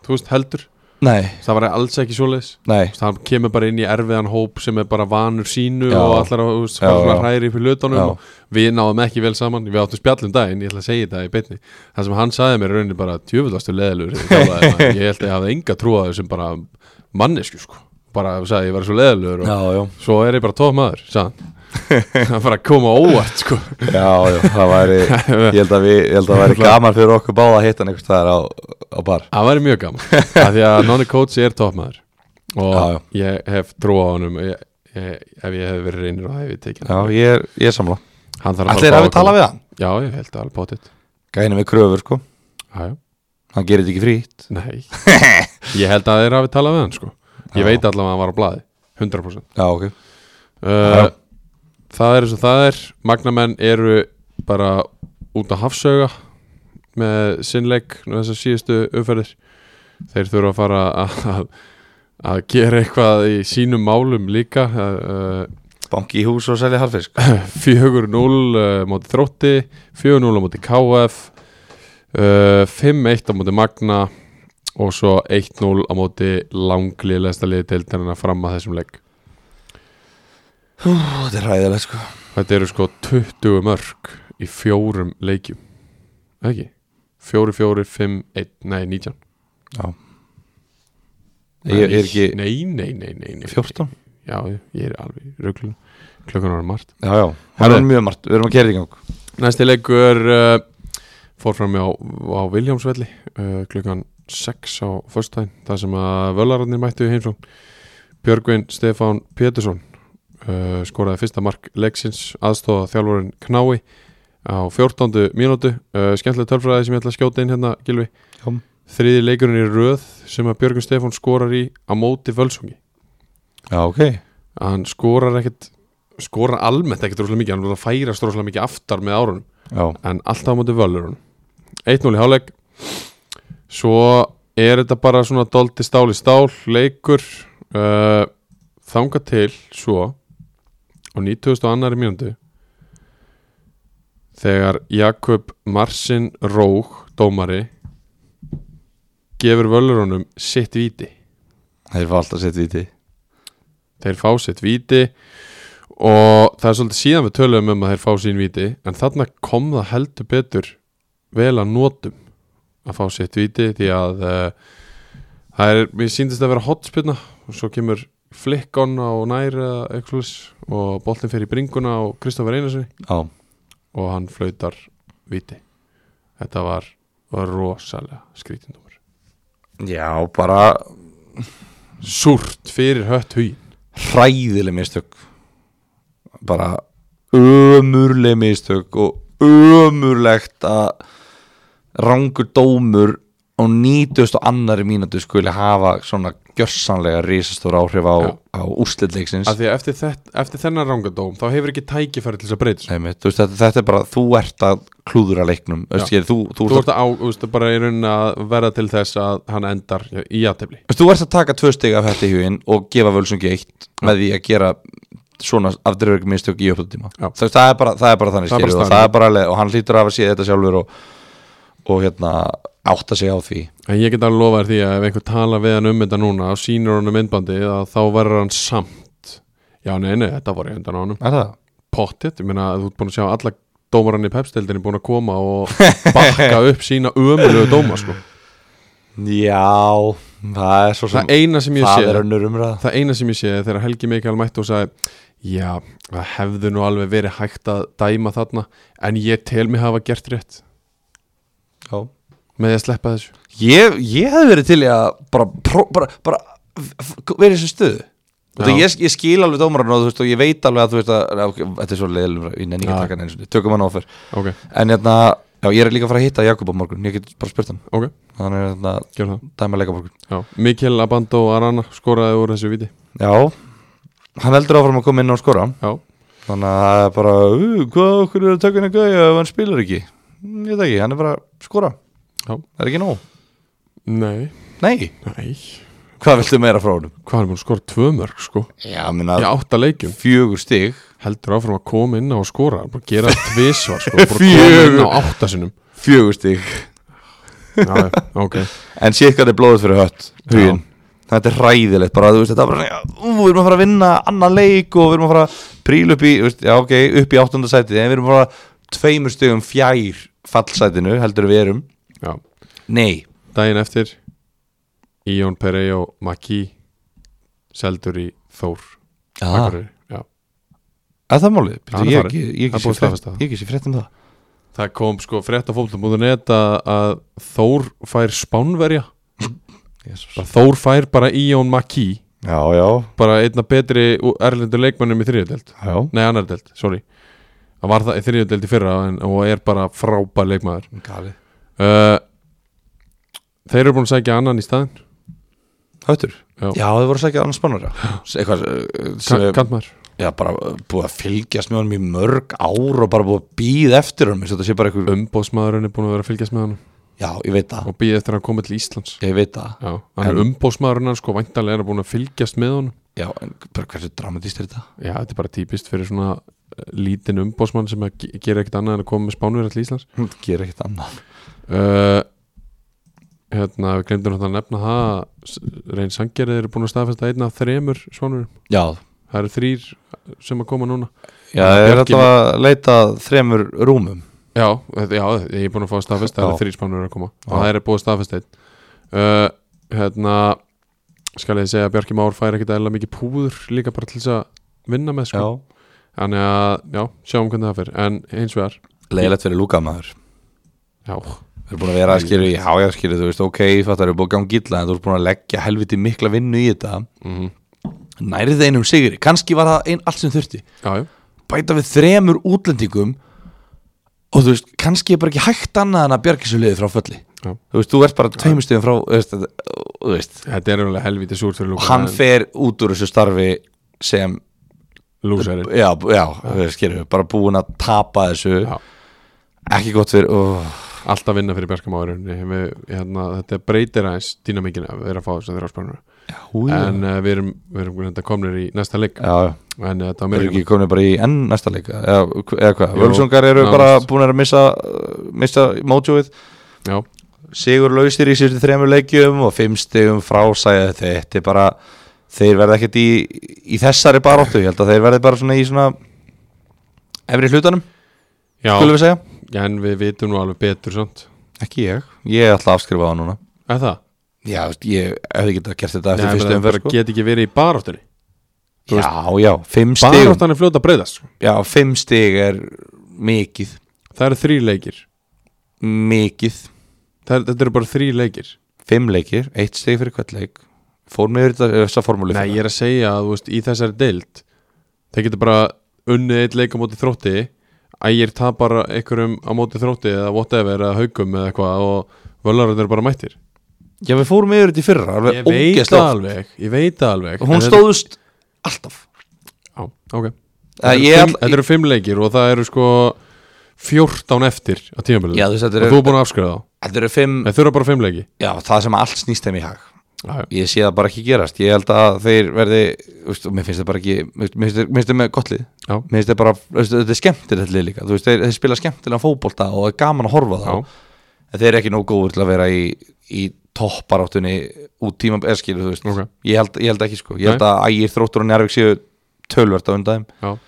Þú veist, heldur
nei,
Það var alls ekki svoleiðis
nei,
Þú veist, hann kemur bara inn í erfiðan hóp sem er bara vanur sínu
Já.
og allar að þú veist,
Já,
bara svona
já.
hræri fyrir
Já.
hlutunum og við náðum ekki vel saman við áttum spjallum daginn, ég ætla að segja þetta í beinni það sem hann sagði mér í rauninni bara djöfullastu leðilur ég held að ég hafði enga trú að þessum bara mannesku sko bara þú sagði ég var svo leðilur og
já, já
svo er ég bara tóf maður sagði hann það var að koma á óvart sko
Já, já, það væri ég held að, við, ég held að það væri gaman fyrir okkur báða að hitta hann einhvers staðar á, á bar
Það væri mjög gaman af Því að Nonni Coates er toppmaður Og
Já, já.
ég hef trú á honum ég, ég, Ef ég hef verið reynir og hef ég tekið
Já, ég er, ég er samla
Hann þarf
Allir hafi talað við hann
Já, ég held að alveg bótið
Gæni með kröfur, sko
Já, já,
Hann gerir þetta ekki frýtt
nei Ég held að þeir hafi talað við hann sko Ég
Já.
veit allavega að hann var á blaði 100%
Já, ok
uh, Það er eins og það er Magnamenn eru bara út að hafsauga með sinnleik þessar síðustu umferðir þeir þurfa að fara að, að gera eitthvað í sínum málum líka uh,
Banki í hús og selja harfisk
4-0 uh, móti þrótti 4-0 á móti KF uh, 5-1 á móti Magna og svo 1-0 á móti langli lesta liði deildarina fram að þessum leik
Ó, Þetta er ræðilegt, sko
Þetta eru sko 20 mörg í fjórum leikjum ekki? 4, 4, 5, 1, nei 19
Ég ég er ekki
Nei, nei, nei, nei, nei.
14
Já, ég er alveg rugglun Klukkan var um margt
Já, já, það
Herðu.
er mjög margt Við erum að kerið í gang
Næsti leikur uh, fór fram á, á Viljámsvelli uh, klukkan 6 á föstudaginn, þar sem að völararnir mættu í heimsón Björgvin Stefán Pétursson uh, skoraði fyrsta mark leiksins aðstóða þjálfurinn Knái á 14. mínútu uh, skemmtileg tölfræði sem ég ætla að skjóta inn hérna Gilvi
Já.
þriði leikurinn í röð sem að Björgvin Stefán skorar í á móti völsungi
Já, ok
að hann skorar ekkit skorar almennt ekkit rosalega mikið hann verður að færa rosalega mikið aftar með árunum
Já,
en alltaf á móti völurun 1-0 í hálfleik svo er þetta bara svona doldi stál í stál, leikur uh, þanga til svo á 92. mínúndu þegar Jakob Marsin Róg dómari gefur völurunum sitt víti
þeir fá alltaf sitt viti
þeir fá sitt víti og það er svolítið síðan við töluðum um að þeir fá sín víti en þarna kom það heldur betur vel að notum að fá sitt víti því að uh, það er, mér síndist að vera hotspilna og svo kemur flick on á nær eða eitthvað svoleiðis og boltin fer í bringuna á Kristoffer Einarssoni
Já,
og hann flautar víti þetta var, var rosalega skrítindumur
já bara
súrt fyrir hött hugin
hræðileg mistök bara ömurleg mistök og ömurlegt að rangur dómur og nýtust og annari mínútu skuli hafa svona gjörsanlega risastór áhrif á,
Já.
á úslitleiksins
af því að eftir, þetta, eftir þennan rangadóm þá hefur ekki tækifæri til þess að breyta þessu.
Einmitt, þú veist, þetta, þetta er bara, þú ert að klúðra leiknum þú, veist,
Já.
ég, þú, þú,
Þú
þú,
ert að á, þú veist, bara í rauninni að verða til þess að hann endar í aðtefli
Þú veist, þú ert að taka tvö stig af hætti huginn og gefa völsungi eitt með því að gera svona afturverk mistök í upptöðtíma
Já.
það, það, er bara- það er bara þannig
Það er bara
skilur og
staðan.
það er bara leið og hann hlýtur af að sé þetta sjálfur og, og hérna átta sig á því
En ég get að lofa þér því að ef einhver tala við hann um þetta núna og sýnir honum myndbandi að þá verður hann samt Já, nei, nei, þetta var í endan á honum
Er það?
Pottet, ég meina að þú ert búin að sjá alla dómarann í pepstildinni búin að koma og bakka upp sína ömulegu dóma sko.
Já, það er svo sem
Það eina sem ég
það
sé
er önnur umræða
það eina sem ég sé er þegar Helgi Mikael mætti og sagði já, það hefðu nú alveg verið hægt að dæma þarna en ég tel mig hafa gert rétt
Já.
með því að sleppa þessu
Ég, ég hefði verið til í að bara, pró- bara, bara f- f- verið í þessu stöðu Þú
Já.
veist, ég, ég skil alveg dómarann og þú veist og ég veit alveg að þú veist að ok, þetta er svo leiðilum, ég nenni ekki að
Já.
taka hann eins og tökum hann áfyr
ok,
en hérna, já ég er líka að fara að hitta Jakob á morgun, ég get bara spurt hann
ok,
þannig er hérna,
gerðu það
dæma leika morgun
já. Mikkel Abando Arana skoraði úr þessu viti
já, hann heldur áfram að koma inn og skora
já,
þannig að það er bara, uh, hvað okkur er að taka hann að gæja ef hann spilar ekki Mm, ég veit ekki, hann er bara að skora
Já.
það er ekki nóg,
nei,
nei,
nei
hvað viltu meira frá honum
hvað er búin að skora tvö mörg sko
já, minna,
í átta leikjum,
fjögur stig
heldur áfram að koma inn á og skora bara gera tvisvar sko, bara koma
Fjögur.
inn á átta sinum
fjögur stig
já, já, ok,
en sé hvað þetta er blóðið fyrir hött hugin, þetta er hræðilegt bara, þú veist, þetta er bara, svona, ú, við erum að fara að vinna annan leik og við erum að fara að príla upp í þú veist, já, ok, upp í áttundasætið, en við erum bara tveimur stigum fjær fallsætinu, heldur við erum
já
nei,
daginn eftir Íon Pereo Maki seldur í Þór
að
Akureyri. já.
Ah. það er málið
Hann
Býttu,
er
ég
farinn.
ekki- ég
Það er búið
ekki sé
að
frétt-
staðfesta það.
ég ekki sé frétt um það
það kom sko frétt á fólk.net að, að Þór fær spánverja
Jesus.
Bara Þór fær bara Íon Maki
já, já,
bara einna betri erlendur leikmannum í þriðjöldeld
já
nei annaðdeld, sorry það var það í þriðjöldeld í fyrra en, og er bara frábær leikmaður
Gali.
uh, þeir eru búin að segja annan í staðin
höttur,
Já.
já, þau voru að segja annars spannar eitthvað eh, sem-
kantmaður
já, bara eh, búið að fylgjast með honum í mörg ár og bara búið að býð eftir honum eins og þetta sé bara eitthvað, um-
umbóðsmaðurinn er búin að vera að fylgjast með hann
já, ég veit það
og býði eftir að hann komið til Íslands
ég veit það
Já, hann er
En-
umbóðsmaðurinn hann sko væntalega er að búin að fylgjast með hann
Já, en bara hversu dramatist er þetta?
Já, þetta er bara típist fyrir svona eh, lítinn umbóðsmann sem að ge- gera ekkert annað en að koma með spánverið til Íslands
Hún gerir ekkert annað
uh, Hérna, við glemdum náttúrulega að nefna það að s- Reyn Sangerið eru búin að staðfesta einn af þremur svonverjum
Já,
Það eru þrýr sem að koma núna
já ég er
Björgin-
alltaf að leita að þremur rúmum
Já, þetta- já ég er búin að fá að staðfesta Það
Já.
eru þrýr spánverjur að koma og
Já.
það eru búið að staðfesta einn uh, Hérna, skal ég segja að Bjarki Már fær ekkert eðla mikið púður líka bara til þess að vinna með sko. Þannig að, já, sjáum hvernig það fyrir En eins vegar,
Leilegt fyrir lúkamaður
já,
Við erum búin að vera að skilja í hájaskilja Þú veist, ok, fattar, við erum búin að ganga illa En þú ert búin að leggja helviti mikla vinnu í þetta
Mhm.
Nærið það einum sigri kannski var það einn allt sem þurfti
já, já
Bæta við þremur útlendingum Og þú veist, kannski er bara ekki hægt annað En að bjarga þessu liði frá fölli
Já.
Þú veist, þú ert bara tveimustugum frá Þú veist, þetta- þú veist
Þetta er alveg helvítið súrt fyrir
Og
Lúka
hann fer út úr þessu starfi sem
Lúsari
já, já, já. Skilur, bara búin að tapa þessu
Já.
ekki gott fyrir ó,
Alltaf vinna fyrir Bjarkamáðurinn hérna, Þetta breytir aðeins dýnamíkina að vera að fá þess að þeirra spánur En uh, við erum, við erum hérna, komnir í næsta leik
já, já,
En uh, þetta var
við
meira
erum ekki komin bara í enn næsta leika eða, eða hvað,
Jú,
Völsungar eru
nánast.
bara búin að missa uh, missa mótjóið
Já,
sigur lausir í sérstu þremur leikjum og fimm stigum frásæði þetta er bara, þeir verða ekkert í í þessari baróttu, ég held að þeir verði bara svona í svona efri hlutanum,
já
skulum við segja
en við vitum nú alveg betur samt
ekki ég, ég ætla að afskrifa það núna
Er það?
Já, þú veist, ég hefði getað gert þetta eftir
Nei,
fyrstu
bara-
umferð
bara
sko.
Get ekki verið í baráttunni þú
Já, já, fimm stig
Baráttan er fljóta að breyðast sko.
Já, fimm stig er mikið
Það eru þrý leikir
Mikið
Það er, Þetta eru bara þrý leikir
Fimm leikir, eitt stig fyrir hvert leik Fór mig yfir þetta- þessa formúlu
Nei,
fyrir
ég er að segja að þú veist, í þessari deild þeir getur bara unnið eitt leik á móti þrótti ægir tapar einhverjum á móti þrótti eða whatever, eða haukum eða eitthvað og völarinn eru bara mættir
Já, við fórum yfir þetta í fyrra
Ég
alveg
veit
ógeðslega
það
oft.
alveg, ég veit það alveg
Og Hún
en
stóðust alltaf
þetta, á, okay. þetta,
Æ,
eru
ég
fimm,
all-
þetta eru fimm leikir og það eru sko 14 eftir á tímabilið
Já, þú veist, þetta
og
eru-
þú er búin að afskrifa þá
Þetta eru fimm
Nei, þau eru bara fimm leiki
Já, það sem allt snýst þeim í hag
Já, já.
Ég sé það bara ekki gerast Ég held að þeir verði þú veist, og Mér finnst það bara ekki Mér finnst- mér finnst þeir- mér finnst þeir með gott lið
Já.
Mér finnst þeir bara þú veist, Þetta er skemmtilegt lið líka Þú veist, þeir, þeir spila skemmtilega fótbolta Og er gaman að horfa á þá
Já.
en þeir eru ekki nóg góður til að vera í, í topparáttunni út tíma eða skilur þú veist
Ok.
ég, held, ég held ekki sko, ég
Nei.
held að ægir þróttur og njárvík séu tölvert á undan þeim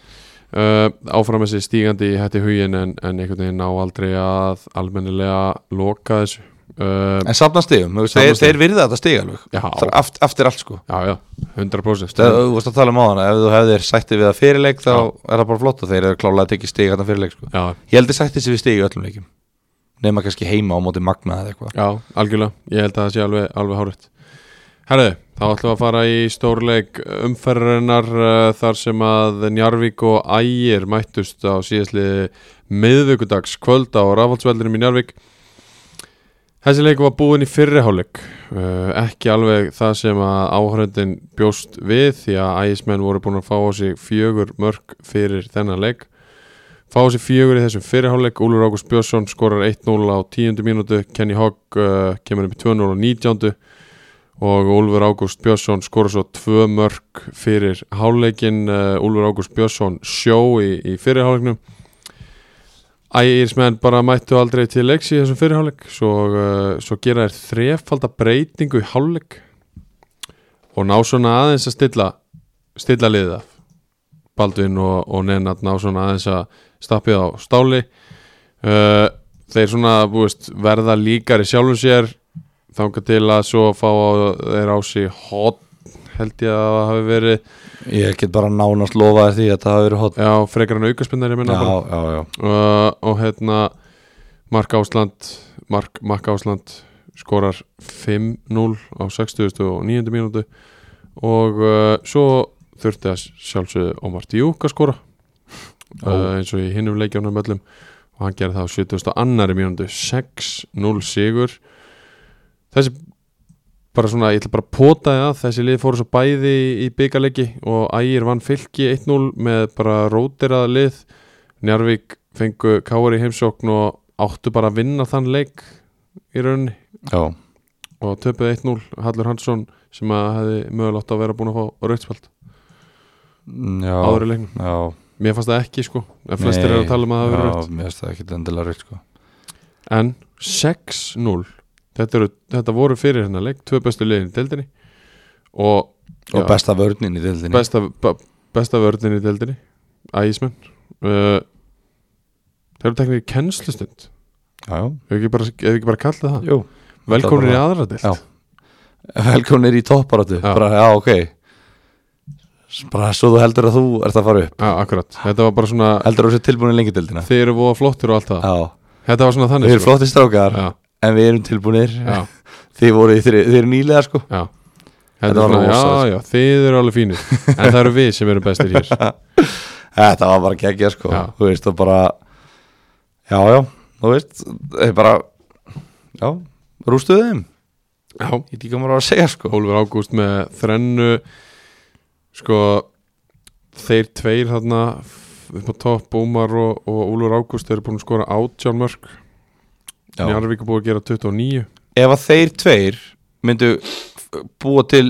Uh, áfram þessi stígandi í hætti hugin en, en einhvern veginn ná aldrei að almennilega loka þessu uh,
en safna stigum, þú veist,
Safna
þeir,
stigum.
þeir virða þetta stig alveg
Já. Mm.
Það er aft, aftir allt sko
Já, já, 100%
Þegar þú veist að tala um á hana, ef þú hefðir sætti við að fyrirleik þá er það bara flott og þeir eru klálega að tekja stig að það fyrirleik sko.
Já,
Ég held að sætti sér við stig í öllum leikum nema kannski heima á móti magna eða eitthvað
já, algjörlega Ég held að það sé alveg, alveg hárætt Herðu, þá ætlum við að fara í stórleik umferðarinnar uh, þar sem að Njarvík og Ægir mættust á síðasliði miðvíkudags kvöld á rafhaldsveldinum í Njarvík. Þessi leik var búin í fyrriháleik, uh, ekki alveg það sem að áhörðin bjóst við því að Ægismenn voru búin að fá á sig fjögur mörg fyrir þennan leik. Fá á sig fjögur í þessum fyrirháleik, Úlur Ágúst Björnsson skorar 1-0 á 10. mínútu, Kenny Hogg uh, kemur upp í 2-0 á 19 og Úlfur Ágúst Björnsson skora svo tvö mörg fyrir háleikin uh, Úlfur Ágúst Björnsson sjó í, í fyrirháleiknum Ægismenn bara mættu aldrei til leiks í þessum fyrirháleik svo, uh, svo gera þér þrefalda breytingu í háleik og ná svona aðeins að stilla stilla liðið af Baldvin og, og Nenad ná svona aðeins að stappið á stáli uh, þeir svona þú veist, verða líkari sjálfum sér þangað til að svo fá á- þeir á sig hot held ég að það hafi verið
Ég get bara nánast lofa því að það hafi verið hot
já, frekar en aukaspinnar ég minna bara
já, já,
uh, og hérna Mark Ásland Mark, Mark Ásland skorar 5-0 á 60 og 9. mínútu og uh, svo þurfti að sjálfsögðu Omar Djúk að skora uh, eins og í hinnum leikjónum öllum og hann gerði það á 70 og annari mínútu 6-0 sigur þessi bara svona, ég ætla bara að pota það þessi lið fóru svo bæði í, í byggarleiki og ægir vann fylki 1-0 með bara róterað lið Njarvík fengu Káur í heimsókn og áttu bara að vinna þann leik í rauninni
já,
og töpuði 1-0 Hallur Hansson sem að hefði mögulegt að vera búin að fá rauðspald
já,
áður í leiknum.
já
Mér fannst það ekki sko, en flestir
Nei,
eru að tala um að það hafi verið rauðt.
Já, mér finnst það ekkit endilega raukt sko
En 6-0, þetta, eru- þetta voru fyrir hennar leik, tvö bestu liðin í deildinni og,
Og
Já.
besta vörnin í dildinni
besta, ba- besta vörðin í deildinni, ægismenn. Uh, þeir eru teknir í kennslustund,
Já, já,
hefur ekki bara, hefur ekki bara kallað það?
jú
Velkomin í
bara-
aðra deild.
Já. Velkomnir í topparáttu
Já.
Bara, já, ok Bara svo þú heldur að þú ert að fara upp
Já, akkurat, þetta var bara svona
Heldur að þú sér tilbúin í lengi dildina
Þið eru voða flottir og allt það
Já,
Þetta var svona
við
þannig sko.
erum flotti strákar
Já,
En við erum tilbúinir
já,
Þið voru, þið, þið eru nýlega sko
já
Þetta
Þetta
var
var svona,
rosa, sko.
já, já, þið eru alveg fínir En það eru við sem eru bestir hér
Þetta var bara geggja sko
Já.
Þú veist og bara Já, já, þú veist Þeir bara Já, rústuðu þeim
Já,
Ég veit ekki hvað maður á að segja sko
Ólfur Ágúst með þrennu Sko Þeir tveir þarna f- upp á topp, Ómar og, og Úlfur Ágúst þeir eru búin að skora átján mörg
Já.
Njarvík er búin að gera 29
Ef að þeir tveir myndu f- búa til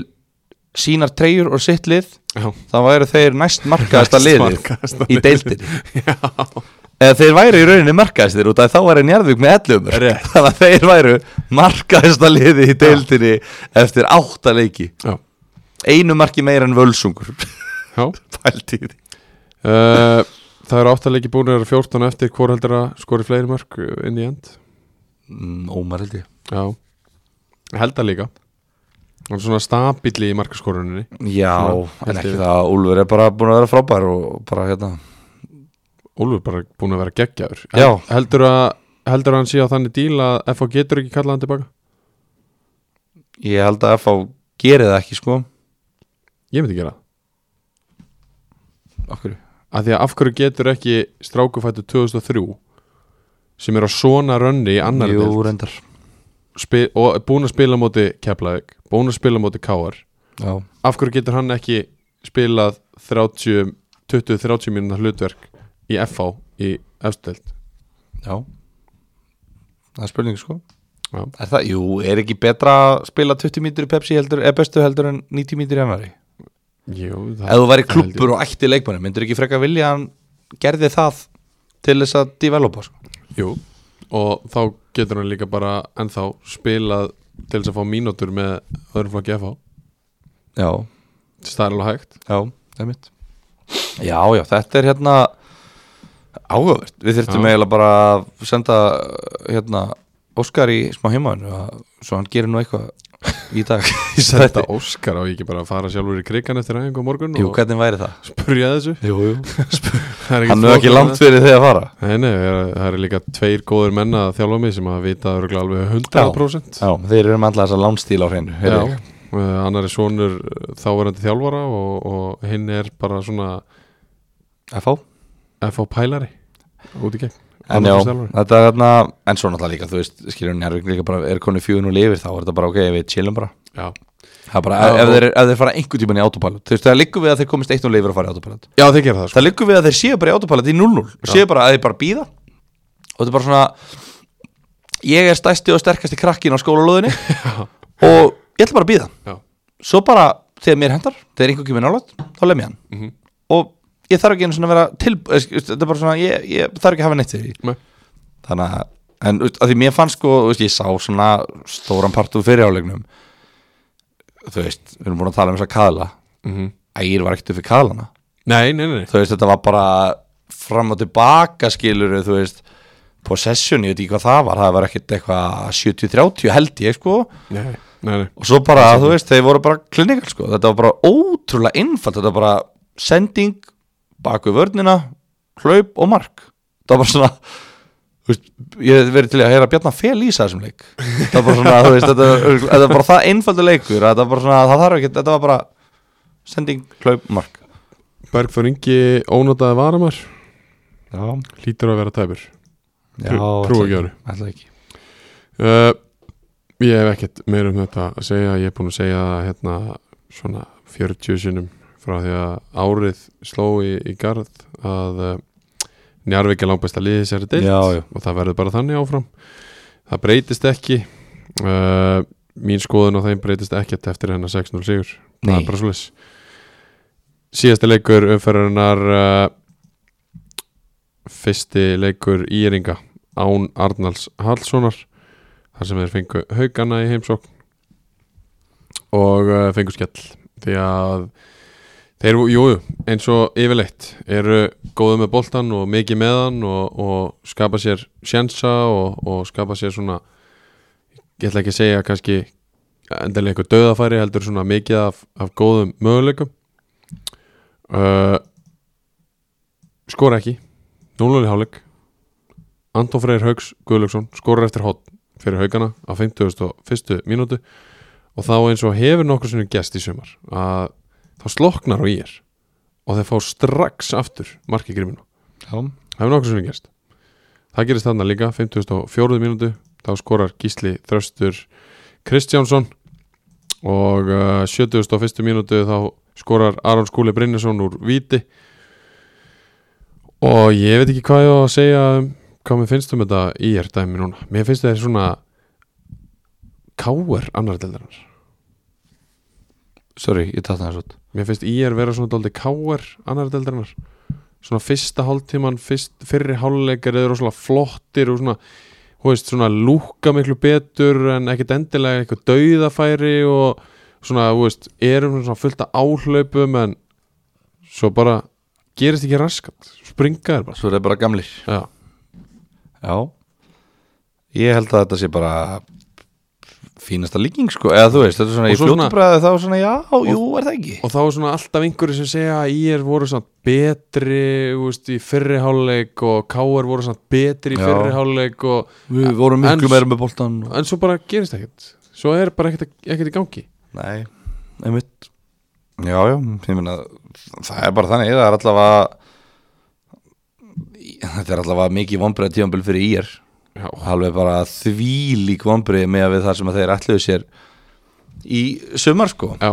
sínar treyjur og sitt lið
Já,
þá væru þeir næst markaðasta
Næst markaðasta
liðið í deildinni eða þeir væru í rauninni markaðastir út af þá væri Njarðvík með 11 mörg
Rétt.
þannig að þeir væru markaðasta liðið í deildinni eftir átta leiki
já,
einu marki meira en völsungur
já
pælt í því
Uh, Það eru áttalegi búin að 14 eftir hvort heldur að skori fleiri mörg inn í end
Mm, Ómar held ég
Já Ég Held að líka Hann er svona stabili í markaskoruninni
Já,
Svona,
en
held
ekki
ég.
það, Úlfur er bara búin að vera frábær og bara hérna
Úlfur bara búin að vera geggjaður
Já.
Hel- Heldur að heldur að hann sé á þannig díl að FH getur ekki kallað hann tilbaka
ég held að FH gerir það ekki sko
Ég myndi gera það
Okkur
Af því að af hverju getur ekki strákufættu 2003 sem er á svona rönni í annar
Jú,
deild
reyndar
spi- og er búin að spila á móti Keflavík búin að spila á móti Káar
Já,
af hverju getur hann ekki spilað 30 20-30 mínúna hlutverk í FH í efstelt
já Það er spurning sko
Já.
Er það, jú, er ekki betra að spila 20 mítur í Pepsi heldur, eða bestu heldur en 90 mítur í MRI?
Jú, það,
Ef þú væri klubbur og ætti leikmanni, myndir ekki frekka vilja að hann gerði það til þess að developa sko?
Jú, og þá getur hann líka bara ennþá spilað til þess að fá mínútur með öðrum flokki FH
Já,
það er alveg hægt
já, það er mitt Já, já, þetta er hérna áhugavert, við þyrftum
Já.
eiginlega bara að senda hérna Óskar í smá heimaðinu svo hann gerir nú eitthvað í dag í
Þetta
þetta
Óskar á ég ekki bara að fara sjálfur í krigan eftir aðeins og morgun
Jú,
og
hvernig væri það?
spurja þessu
Jú, jú
Það
Hann er ekki
flókið
langt fyrir því að fara
annað. Nei, nei, það eru- það eru líka tveir góður menna að þjálfa mig sem að vita örugglega alveg 100%
Já, þeir eru með alla þessa lánstíl á
Já,
hreinu heyrðu ég.
uh, annar er sonur uh, þáverandi þjálfara og, og hinn er bara svona
FH
FH pælari út í gegn
En
Annar
já,
er þjálfari.
þetta er þarna En svo náttúrulega líka, þú veist, skilur njárvík líka bara Er konu fjögun og lifir, þá er þetta bara ok, við chillum bara
já.
Það er bara,
Já,
ef,
og-
þeir, ef þeir fara einhvern tímann í autopilot Þú veist, það liggur við að þeir komist eitt og lifir að fara í autopilot
já, þeir gera það sko.
Það liggur við að þeir séu bara í autopilot í 0-0 og Séu bara að þeir bara býða Og þetta er bara svona Ég er stæsti og sterkasti krakkin á skólalóðinni Og ég ætla bara að býða
Já.
Svo bara, þegar mér hendar Þegar einhver kemur nálægt, þá lem ég hann
Mhm.
Og ég þarf ekki einu svona að vera til eh, Þetta er bara svona, ég, ég þarf ekki að hafa neitt fyrir því
Nei.
þannig að en þú veist, að því mér fannst sko, þú veist, ég sá svona stóran part úr fyrirálegnum þú veist, við erum búin að tala um þess að kaðla
Mhm.
ægir var ekkert upp fyrir kaðlana
nei, nei, nei, nei.
þú veist, þetta var bara fram og tilbaka skilur þú veist, possession, ég veit ekki hvað það var það var ekkert eitthvað 70-30 held ég sko,
Nei, nei, nei.
og svo bara, þú veist, þeir voru bara klinikal sko, þetta var bara ótrúlega innfald, þetta var bara sending baku vörnina, hlaup og mark, það var bara svona þú veist, ég hef verið til í að heyra Bjarnar Fel lýsa þessum leik það var bara svona, þú veist, þetta, þetta var bara það innfaldu leikur, að þetta var bara svona, það þarf ekki þetta var bara sending, hlaup, mark
Bergþór Ingi ónotaði varamar
já,
lítur að vera tæpur
já
trú ekki ári
ætla ekki
uh, ég hef ekkert meira um þetta að segja ég er búin að segja það, hérna svona 40 sinnum frá því að árið sló í, í garð að uh, Njarvík er langbæsta liðið sér deilt
Já, já.
og það verður bara þannig áfram það breytist ekki uh, mín skoðun á þeim breytist ekkert eftir hennar 6-0 sigur það
Nei.
er bara svo síðasti leikur umferðarinnar uh, fyrsti leikur íringa án Arnalds Hallssonar þar sem þeir fengu haugana í heimsókn og uh, fengu skell því að þeir, jú, jú, eins og yfirleitt eru góðu með boltan og mikið með hann og, og skapa sér sjensa og, og skapa sér svona ég ætla ekki að segja kannski endalega eitthvað döðafæri heldur svona mikið af, af góðum möguleikum uh, skora ekki 0-0 í hálfleik Anton Freyr Haugs Guðlaugsson skorar eftir hot fyrir haugana á 51. mínútu og þá eins og hefur nokkur sinni gest í sumar að þá sloknar og ég er og þeir fá strax aftur markið griminu
já,
Það hefur nokkuð sem við gerst Það gerist þarna líka, 54. mínútu þá skorar Gísli Þröstur Kristjánsson og uh, 71. mínútu þá skorar Aron Skúli Brynjason úr Víti og ég veit ekki hvað ég á að segja um hvað mér finnst um þetta í er dæmi núna mér finnst þetta svona káer annar deildarinnar
sorry, ég tatt það eins og
Mér finnst IR vera svona dálítið káar annar deildarinnar svona fyrsta hálftíman fyrst, fyrri hálfleikar eru svona flottir og svona hú veist, svona lúka miklu betur en ekkert endilega eitthvað dauðafæri og svona, þú veist, erum svona fullt af áhlaupum en svo bara gerist ekki raskat springa er bara
svo er það bara gamlir
Já,
Já Ég held að þetta sé bara fínasta líking sko, eða þú veist, þetta er svona
Og
í
svo svona-
fljótubræði þá svona já, jú, er það ekki
og þá er svona alltaf einhverju sem segja að IR voru svona betri þú veist, í fyrri hálfleik og KR voru svona betri í
Já.
fyrri hálfleik og
Við vorum miklu
En-
meira með boltan og...
en svo bara gerist ekkert svo er bara ekkert, ekkert í gangi
Nei, einmitt Já, já, ég meina það er bara þannig, það er allavega þetta er allavega mikið vonbreið tífambil fyrir ír
já,
alveg bara því lík vonbreið með að við það sem að þeir ætluðu sér í sumar sko
já,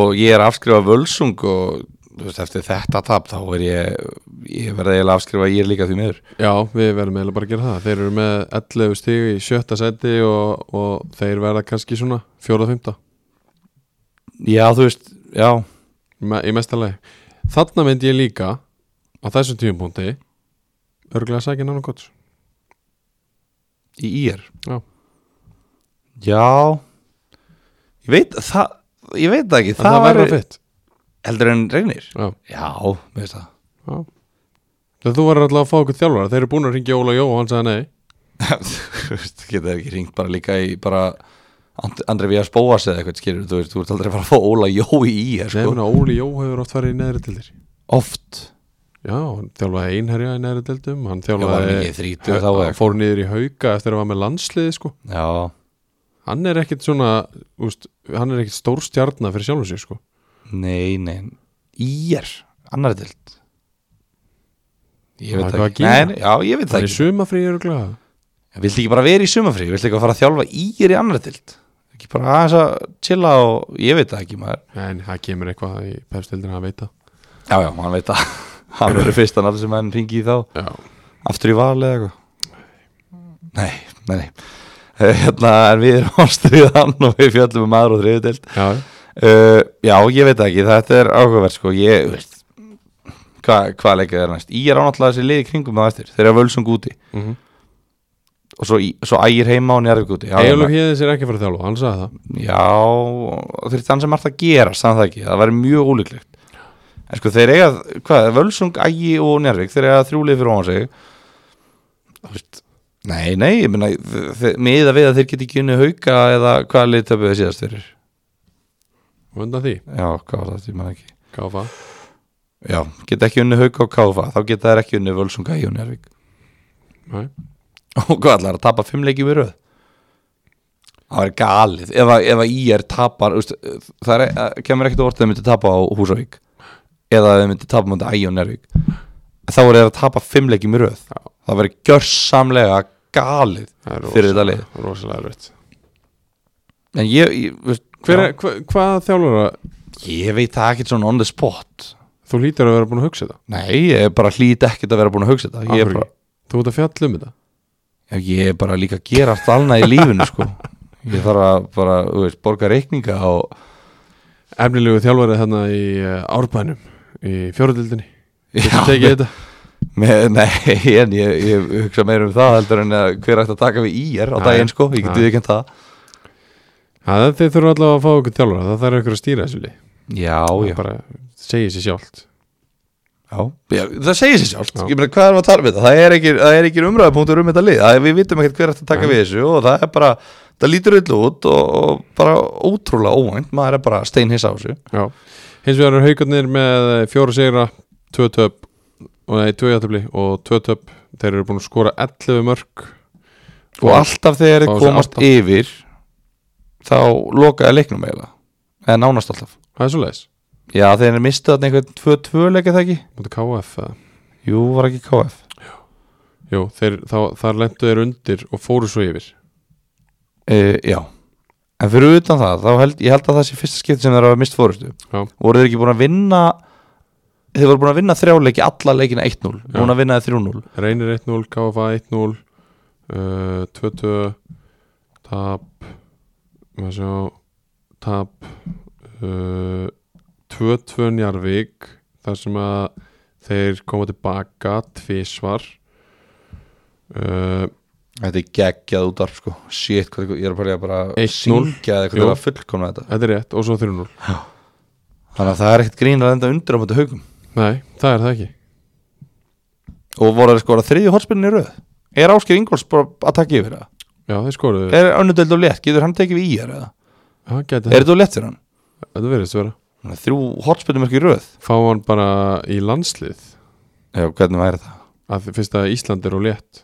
og ég er að afskrifa völsung og þú veist, eftir þetta tap þá er ég, ég verði eiginlega að afskrifa ég er líka því miður
já við verðum eiginlega bara að gera það þeir eru með 11 stig í sjötta seti og, og þeir verða kannski svona fjóra fymta
já þú veist, já,
me, í mesta lagi þarna myndi ég líka á þessum tíumpúnti örglega sækja nann og gott
í ír
Já.
já ég veit það ég veit það ekki,
en það verður
væri-
fitt
heldur en reynir
já,
já, mér veist það
já. Þegar þú verður alltaf að fá okkur þjálfara þeir eru búin að ringja Óla Jó og hann sagði nei
þú veist, geta ekki ringt bara líka í bara And- Andri Vías Bóas eða eitthvað skilur þú veist, þú ert aldrei að fara að fá Óla Jó í ír
Nei,
sko.
menna, Óli Jó hefur oft farið í neðri til þér
oft
Já, hann þjálfaði einherja í neðri deildum Hann
Já, var hann
þjálfaði
ekki þrítugur þá eða
Hann fór niður í hauka eftir að var með landsliði sko
já,
hann er ekkit svona úst, hann er ekkit stór stjarnar fyrir sjálfum sig sko.
Nei, nei, ír annar dild Ég
Það
veit
er
það
hvað að
ekki
gera.
nei, nei, Já, ég veit
það
það
er
ekki
sumafrí öruglega
Viltu ekki bara vera í sumafrí, viltu ekki fara að þjálfa ír í annar dild Ekki bara aðeins að chilla og ég veit það ekki maður
en það kemur eitthvað í pefstildina að veita
Já, já, hann veit það Hann verður fyrsta nafn sem hann ringi í þá
já,
Aftur í val eða eitthvað Nei, nei, nei Eh, Hérna, en við erum ástriðið hann og við fjöllum um aðra og þriðu dild
já,
Uh, já, ég veit það ekki, þetta er áhugaverð sko, ég veist hva, hvað leikið er næst, ég er ánáttúrulega þessi liði kringum það eftir, þeir eru völsung úti
mm -hmm.
og svo, í- svo ægir heima og njárvík úti já,
Egilur Híðis er ekki að fara að þjálfa, hann sagði það
já þeir þann sem margt að gera, sann það ekki það væri mjög ólíklegt en sko þeir eiga, hvað, völsung, ægi og njárvík þeir eiga þrjúlið fyrir ofan sig þú veist nei, nei, ég meina, þe- þe- miða við að þeir geti ekki unni hauka eða hvað liðtöpuðu síðast fyrir
og undan því,
já, hvað var það, ég man ekki
káfa
Já, geta ekki unni hauka og káfa þá geta þær ekki unni völsunga í Jónjarvík
Nei.
og hvað allar að tapa fimm leikjum í röð það er galið ef, að- ef að í er tapar úst, það er, eh, kemur ekkert á orð að þau myndi tapa á Húsavík eða að þau myndi tapa mútið ægjum Njárvík þá eru þeir að tapa fimm leikjum í röð
Já.
það verður gjörsamlega galið
Það er
fyrir
rosa-
þetta lið
rosalega erfitt
en ég, ég, veist,
Hver
já,
er, hva, hvað þjálfara,
ég veit það ekkert svona on the spot
þú lítur að vera búin að hugsa þetta
nei, ég er bara hlýt ekkert að vera búin að hugsa þetta ég
Af
er
hverju
bara
ekki? Þú ert að fjalla um þetta
Já, ég er bara líka að gera allt annað í lífinu sko Ég þarf að bara, þú veist, borga reikninga og
Efnilegu þjálfarið hérna í eh, árbænum í fjóruðildinni
Já,
Tekið þetta
með, Nei, en ég, ég hugsa meira um það heldur en að hver ætti að taka við ír á
Nei,
daginn sko, ég
nei.
getið ekki en það
Það er þeir þurfa allavega að fá okkur þjálfara Það þarf ykkur að stýra þessu lið
Já, já,
Það bara segir sér sjálft
já, já Það segir sér sjálft,
Já.
ég meina hvað erum við að tala um þetta Það er ekki, það er ekki umræðupunktur um þetta lið það, er- Við vitum ekkert hver ætti að taka
Nei.
við þessu og það er bara, það lítur öll út og, og bara ótrúlega óvænt, maður er bara steinhissa á þessu
Já. Hins vegar eru haugarnir með eh, fjóra sigra, tvö töp og nei, tvö jættabli og tvö töp Þeir eru búin að skora 11 mörg
og alltaf þegar
fá
þeir
þessi
komast
átta.
yfir þá lokaði leiknum eiginlega eða nánast alltaf
Það er svo leiðis
já þeir mistu þarna einhvern 2-2 leikja það ekki
Mútu KF eða?
jú var ekki KF
Jú, þeir, þá, þar lentu þeir undir og fóru svo yfir
uh, já en fyrir utan það þá held ég held að það sé fyrsta skipti sem þeir hafa mist fórustu
Já.
voru þeir ekki búin að vinna þeir voru búin að vinna þrjáleiki alla leikina 1-0
Já.
búin að vinna þeir 3-0
Reynir 1-0, KFA 1-0 uh, 2-2 tap maður sjá tap uh, 2-2 Njarvík þar sem að þeir koma tilbaka tvísvar uh,
þetta er geggjað út af sko shit hvað ég er bara, ég er bara
1-0.
syngja eða
Jú.
hvað það var fullkomna þetta
þetta er rétt og svo 3-0
þannig að það er ekkert grín að enda undir á mútu haugum
nei, það er það ekki
og voru að skora þriðju hortspilin í röð er Ásker Ingolds bara að taka yfir það
já, þeir skoruðu,
er önnudeld og létt, getur hann tekið við í er,
það geti
er þetta of létt fyrir hann
þetta verðist vera
Hann er þrjú hortspilin mörg í röð
fá hann bara í landslið
já, hvernig væri það?
að fyrst að Ísland er og létt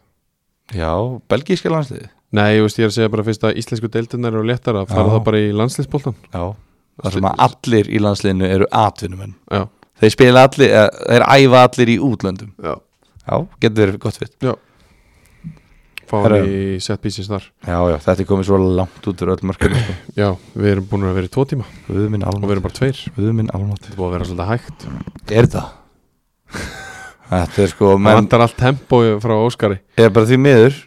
já, belgíska landsliði
nei, ég veist, ég er að segja bara fyrst að íslensku deildunar eru léttara, fara
Já.
það bara í landsliðsbóltan
já, það sem að allir í landsliðinu eru atvinnumenn
Já,
þeir spila allir, eh, þeir æfa allir í útlöndum
já.
já, getur verið gott fyrir
fá
Herra.
hann í set pieces þar
já, já, þetta er komið svo langt út úr öll mörgum sko.
Já, við erum búin að vera í tvo tíma og
við minn
við
almátt
erum bara tveir Þetta
við minn almátt
er búin að vera svolítið hægt
er það? þetta er sko,
Það
menn
vantar allt tempói frá Óskari
Ég er bara því miður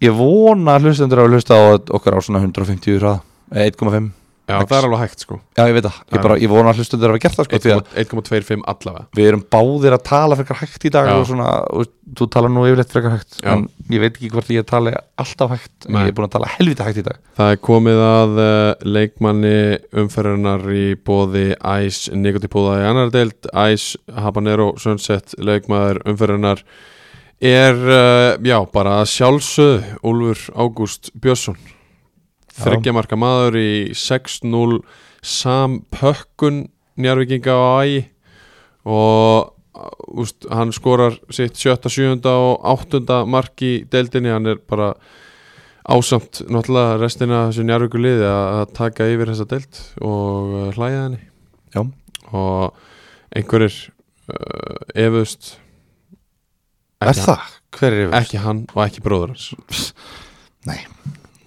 Ég vona að hlustendur að hlusta á okkar á svona 150 hraða Eh, 1,5
Já,
Max.
það er alveg hægt sko
Já, ég veit það Ég, bara, ég vona að hlustendur að hafa gert það sko Því að
1,25 allavega
við erum báðir að tala frekar hægt í dag
Já.
og svona, og þú talar nú yfirleitt frekar hægt
Já.
en ég veit ekki hvort ég tali alltaf hægt en
Nei.
ég er búin að tala helvita hægt í dag
Það er komið að eh, leikmanni umferðunar í bóði Ice Nikotipúða í annar deild Ice Habanero Sunset leikmaður umferðunar er, eh, já, bara að sjálfsögðu Úlfur Ágúst Björnsson þryggja marka maður í 6-0 sampökkun njárvikinga á ægi og úst, hann skorar sitt sjötta, sjöunda og áttunda mark í deildinni hann er bara ásamt náttúrulega restina af þessu njárvíku liði að að taka yfir þessa deilt og eh, hlæja henni
Já.
og einhverjir uh, efust
Er það? Hver er yfir?
ekki hann og ekki bróður hans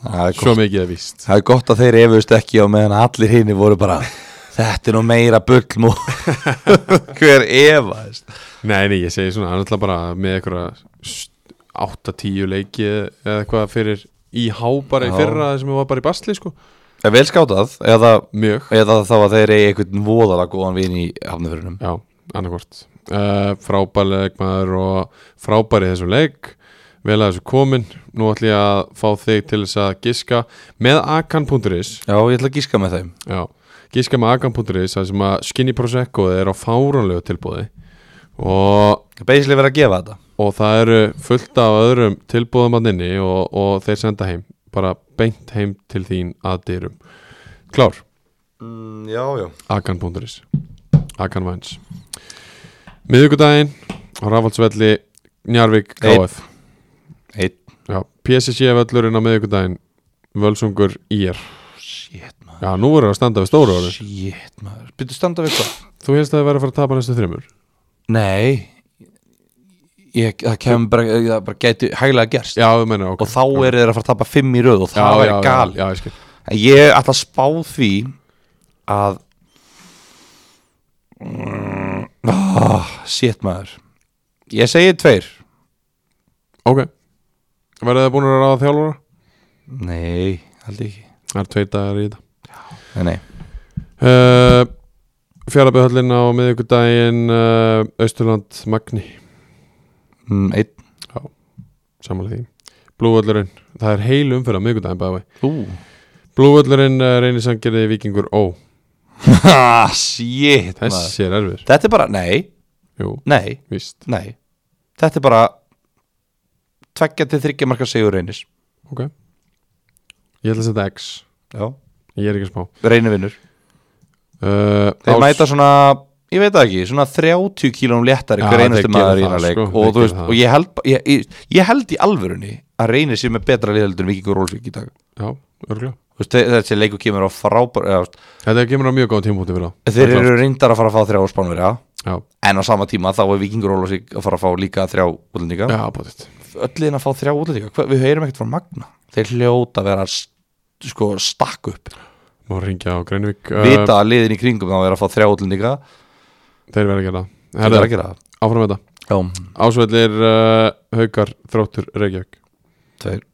Það er
svo
gott.
mikið er víst
Það er gott að þeir efust ekki á meðan allir hini voru bara Þetta er nú meira bull mú Hver efa
nei, nei, ég segi svona, hann er alltaf bara með einhverja 8-10 leiki eða eitthvað fyrir í hábara í
Já.
fyrra sem var bara í basli sko.
Er vel skátað eða,
mjög
eða þá að þeir eigi einhvern voðalega góðan vin í hafnafyrunum
Já, annarkvort uh, Frábæri leikmaður og frábæri í þessum leik Vel að þessu komin Nú ætlum ég að fá þig til þess að giska Með akan.is
Já, ég ætla að gíska með þeim
Já, giska með akan.is Það sem að Skinny Prosecco er á fáránlegu tilbúði Og
Beisli verið að gefa þetta
og það eru fullt af öðrum tilbúðum að nynni og, og þeir senda heim bara beint heim til þín að dyrum klár,
mm, Já, já
akan.is akan væns miðugudaginn á Rafaldsvelli Njarvík
Einn.
KF
Eitt
Já, PSC völlurinn á miðugudaginn Völsungur IR
Shit maður
Já, nú voru að standa við stóru orði
Shit maður Byrðu standa við hvað?
Þú hefst að þið væri að fara að tapa næstu þreymur
Nei ég, Það kemur bara, það bara gæti hæglega gerst
Já, þú menna, ok
Og þá eru þeir að fara að tapa fimm í röð Og
Já,
það
já,
væri gali
Já, já, ég skil
En ég ætla að spá því að oh, Shit maður Ég segi tveir
Ok Verðið þið búin að ráða þjálfara?
Nei, aldrei ekki
Það er tveit dagar í þetta
Nei, nei
Uh, Fjarlaböðhöllin á miðvikudaginn uh, Austurland Magni
mm, Eitt
samanlega því Blúvöllurinn, það er heil umfyrra miðvikudaginn bæði
Ú
Blúvöllurinn uh, reynir sangjörði vikingur ó
Ha, Shit maður
Þessi er erfir
Þetta er bara, nei,
Jú,
nei
víst
Nei, þetta er bara tveggja til þryggja marka sigur reynis
Ok Ég ætla að setja X
Já
Ég er ekki að spá
Reynir vinnur
uh,
Þeir mæta svona, ég veit það ekki, svona 30 kílum léttari
Já,
hver
þeir
einasti
gera
maður
það,
í hérna leik
sko,
og,
þeir
þú veist,
gera það.
og ég, held, ég, ég, ég held í alvörunni að reynir sér með betra liðaldur en Vikingur Rólfsvík í dag
Já, örgulega
Þú veist, þe- þessi leiku kemur á frábær eða, þú veist,
Þetta kemur á mjög góð tímpúti fyrir það
Þeir eru reyndar að fara að fá þrjá spánverja
Já,
en á sama tíma þá er Vikingur Rólfsvík að fara að fá líka þrjá útlendinga
já, bóttið
öll inn að fá þrjá útlendinga, Hva- við heyrum ekkert frá Magna þeir hljóta að vera st- sko, stakk upp
Má ringja á Greinvík Eh,
vita að liðin í kringum þá er að fá þrjá útlendinga
Þeir verða að gera það
þetta er
Herra,
að gera
Áfram með þetta
það já,
Ásvellir uh, Haukar Þróttur Reykjavík
tveir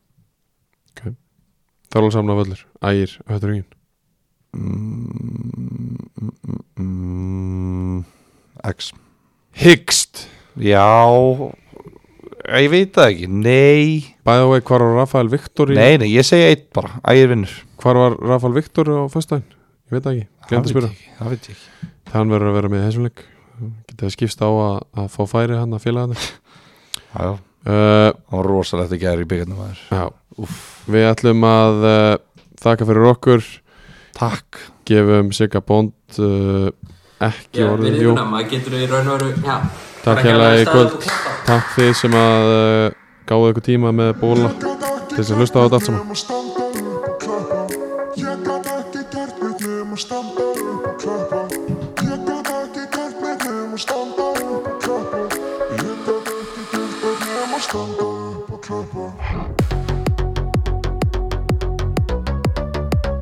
Þorlóðsamna völlur, ægir, höttur hugin
mm, x
Hyggst
já, ég veit það ekki nei,
Bæða vei, hvar var Rafael Viktor í,
nei, nei, ég segi eitt bara ægir vinnur
Hvar var Rafael Viktor á föstudaginn? Ég veit það ekki, glemt að
það veit
spyrja
ég ekki, það veit ég ekki
Hann verður að vera með í þessum leik Getið það skipst á að, að fá færi hann að félaga hann
já, já,
uh,
það var rosalegt að gera í byggarnum aður
Já, við ætlum að uh, þakka fyrir okkur
takk,
gefum Sigga Bond uh, ekki
Já,
orðið
við
jú,
erum að maður getur í raun og veru, já
takk hérlega í kvöld takk því sem að uh, gáðu ykkur tíma með bóla
Til
þess að hlusta á þetta allt saman.
saman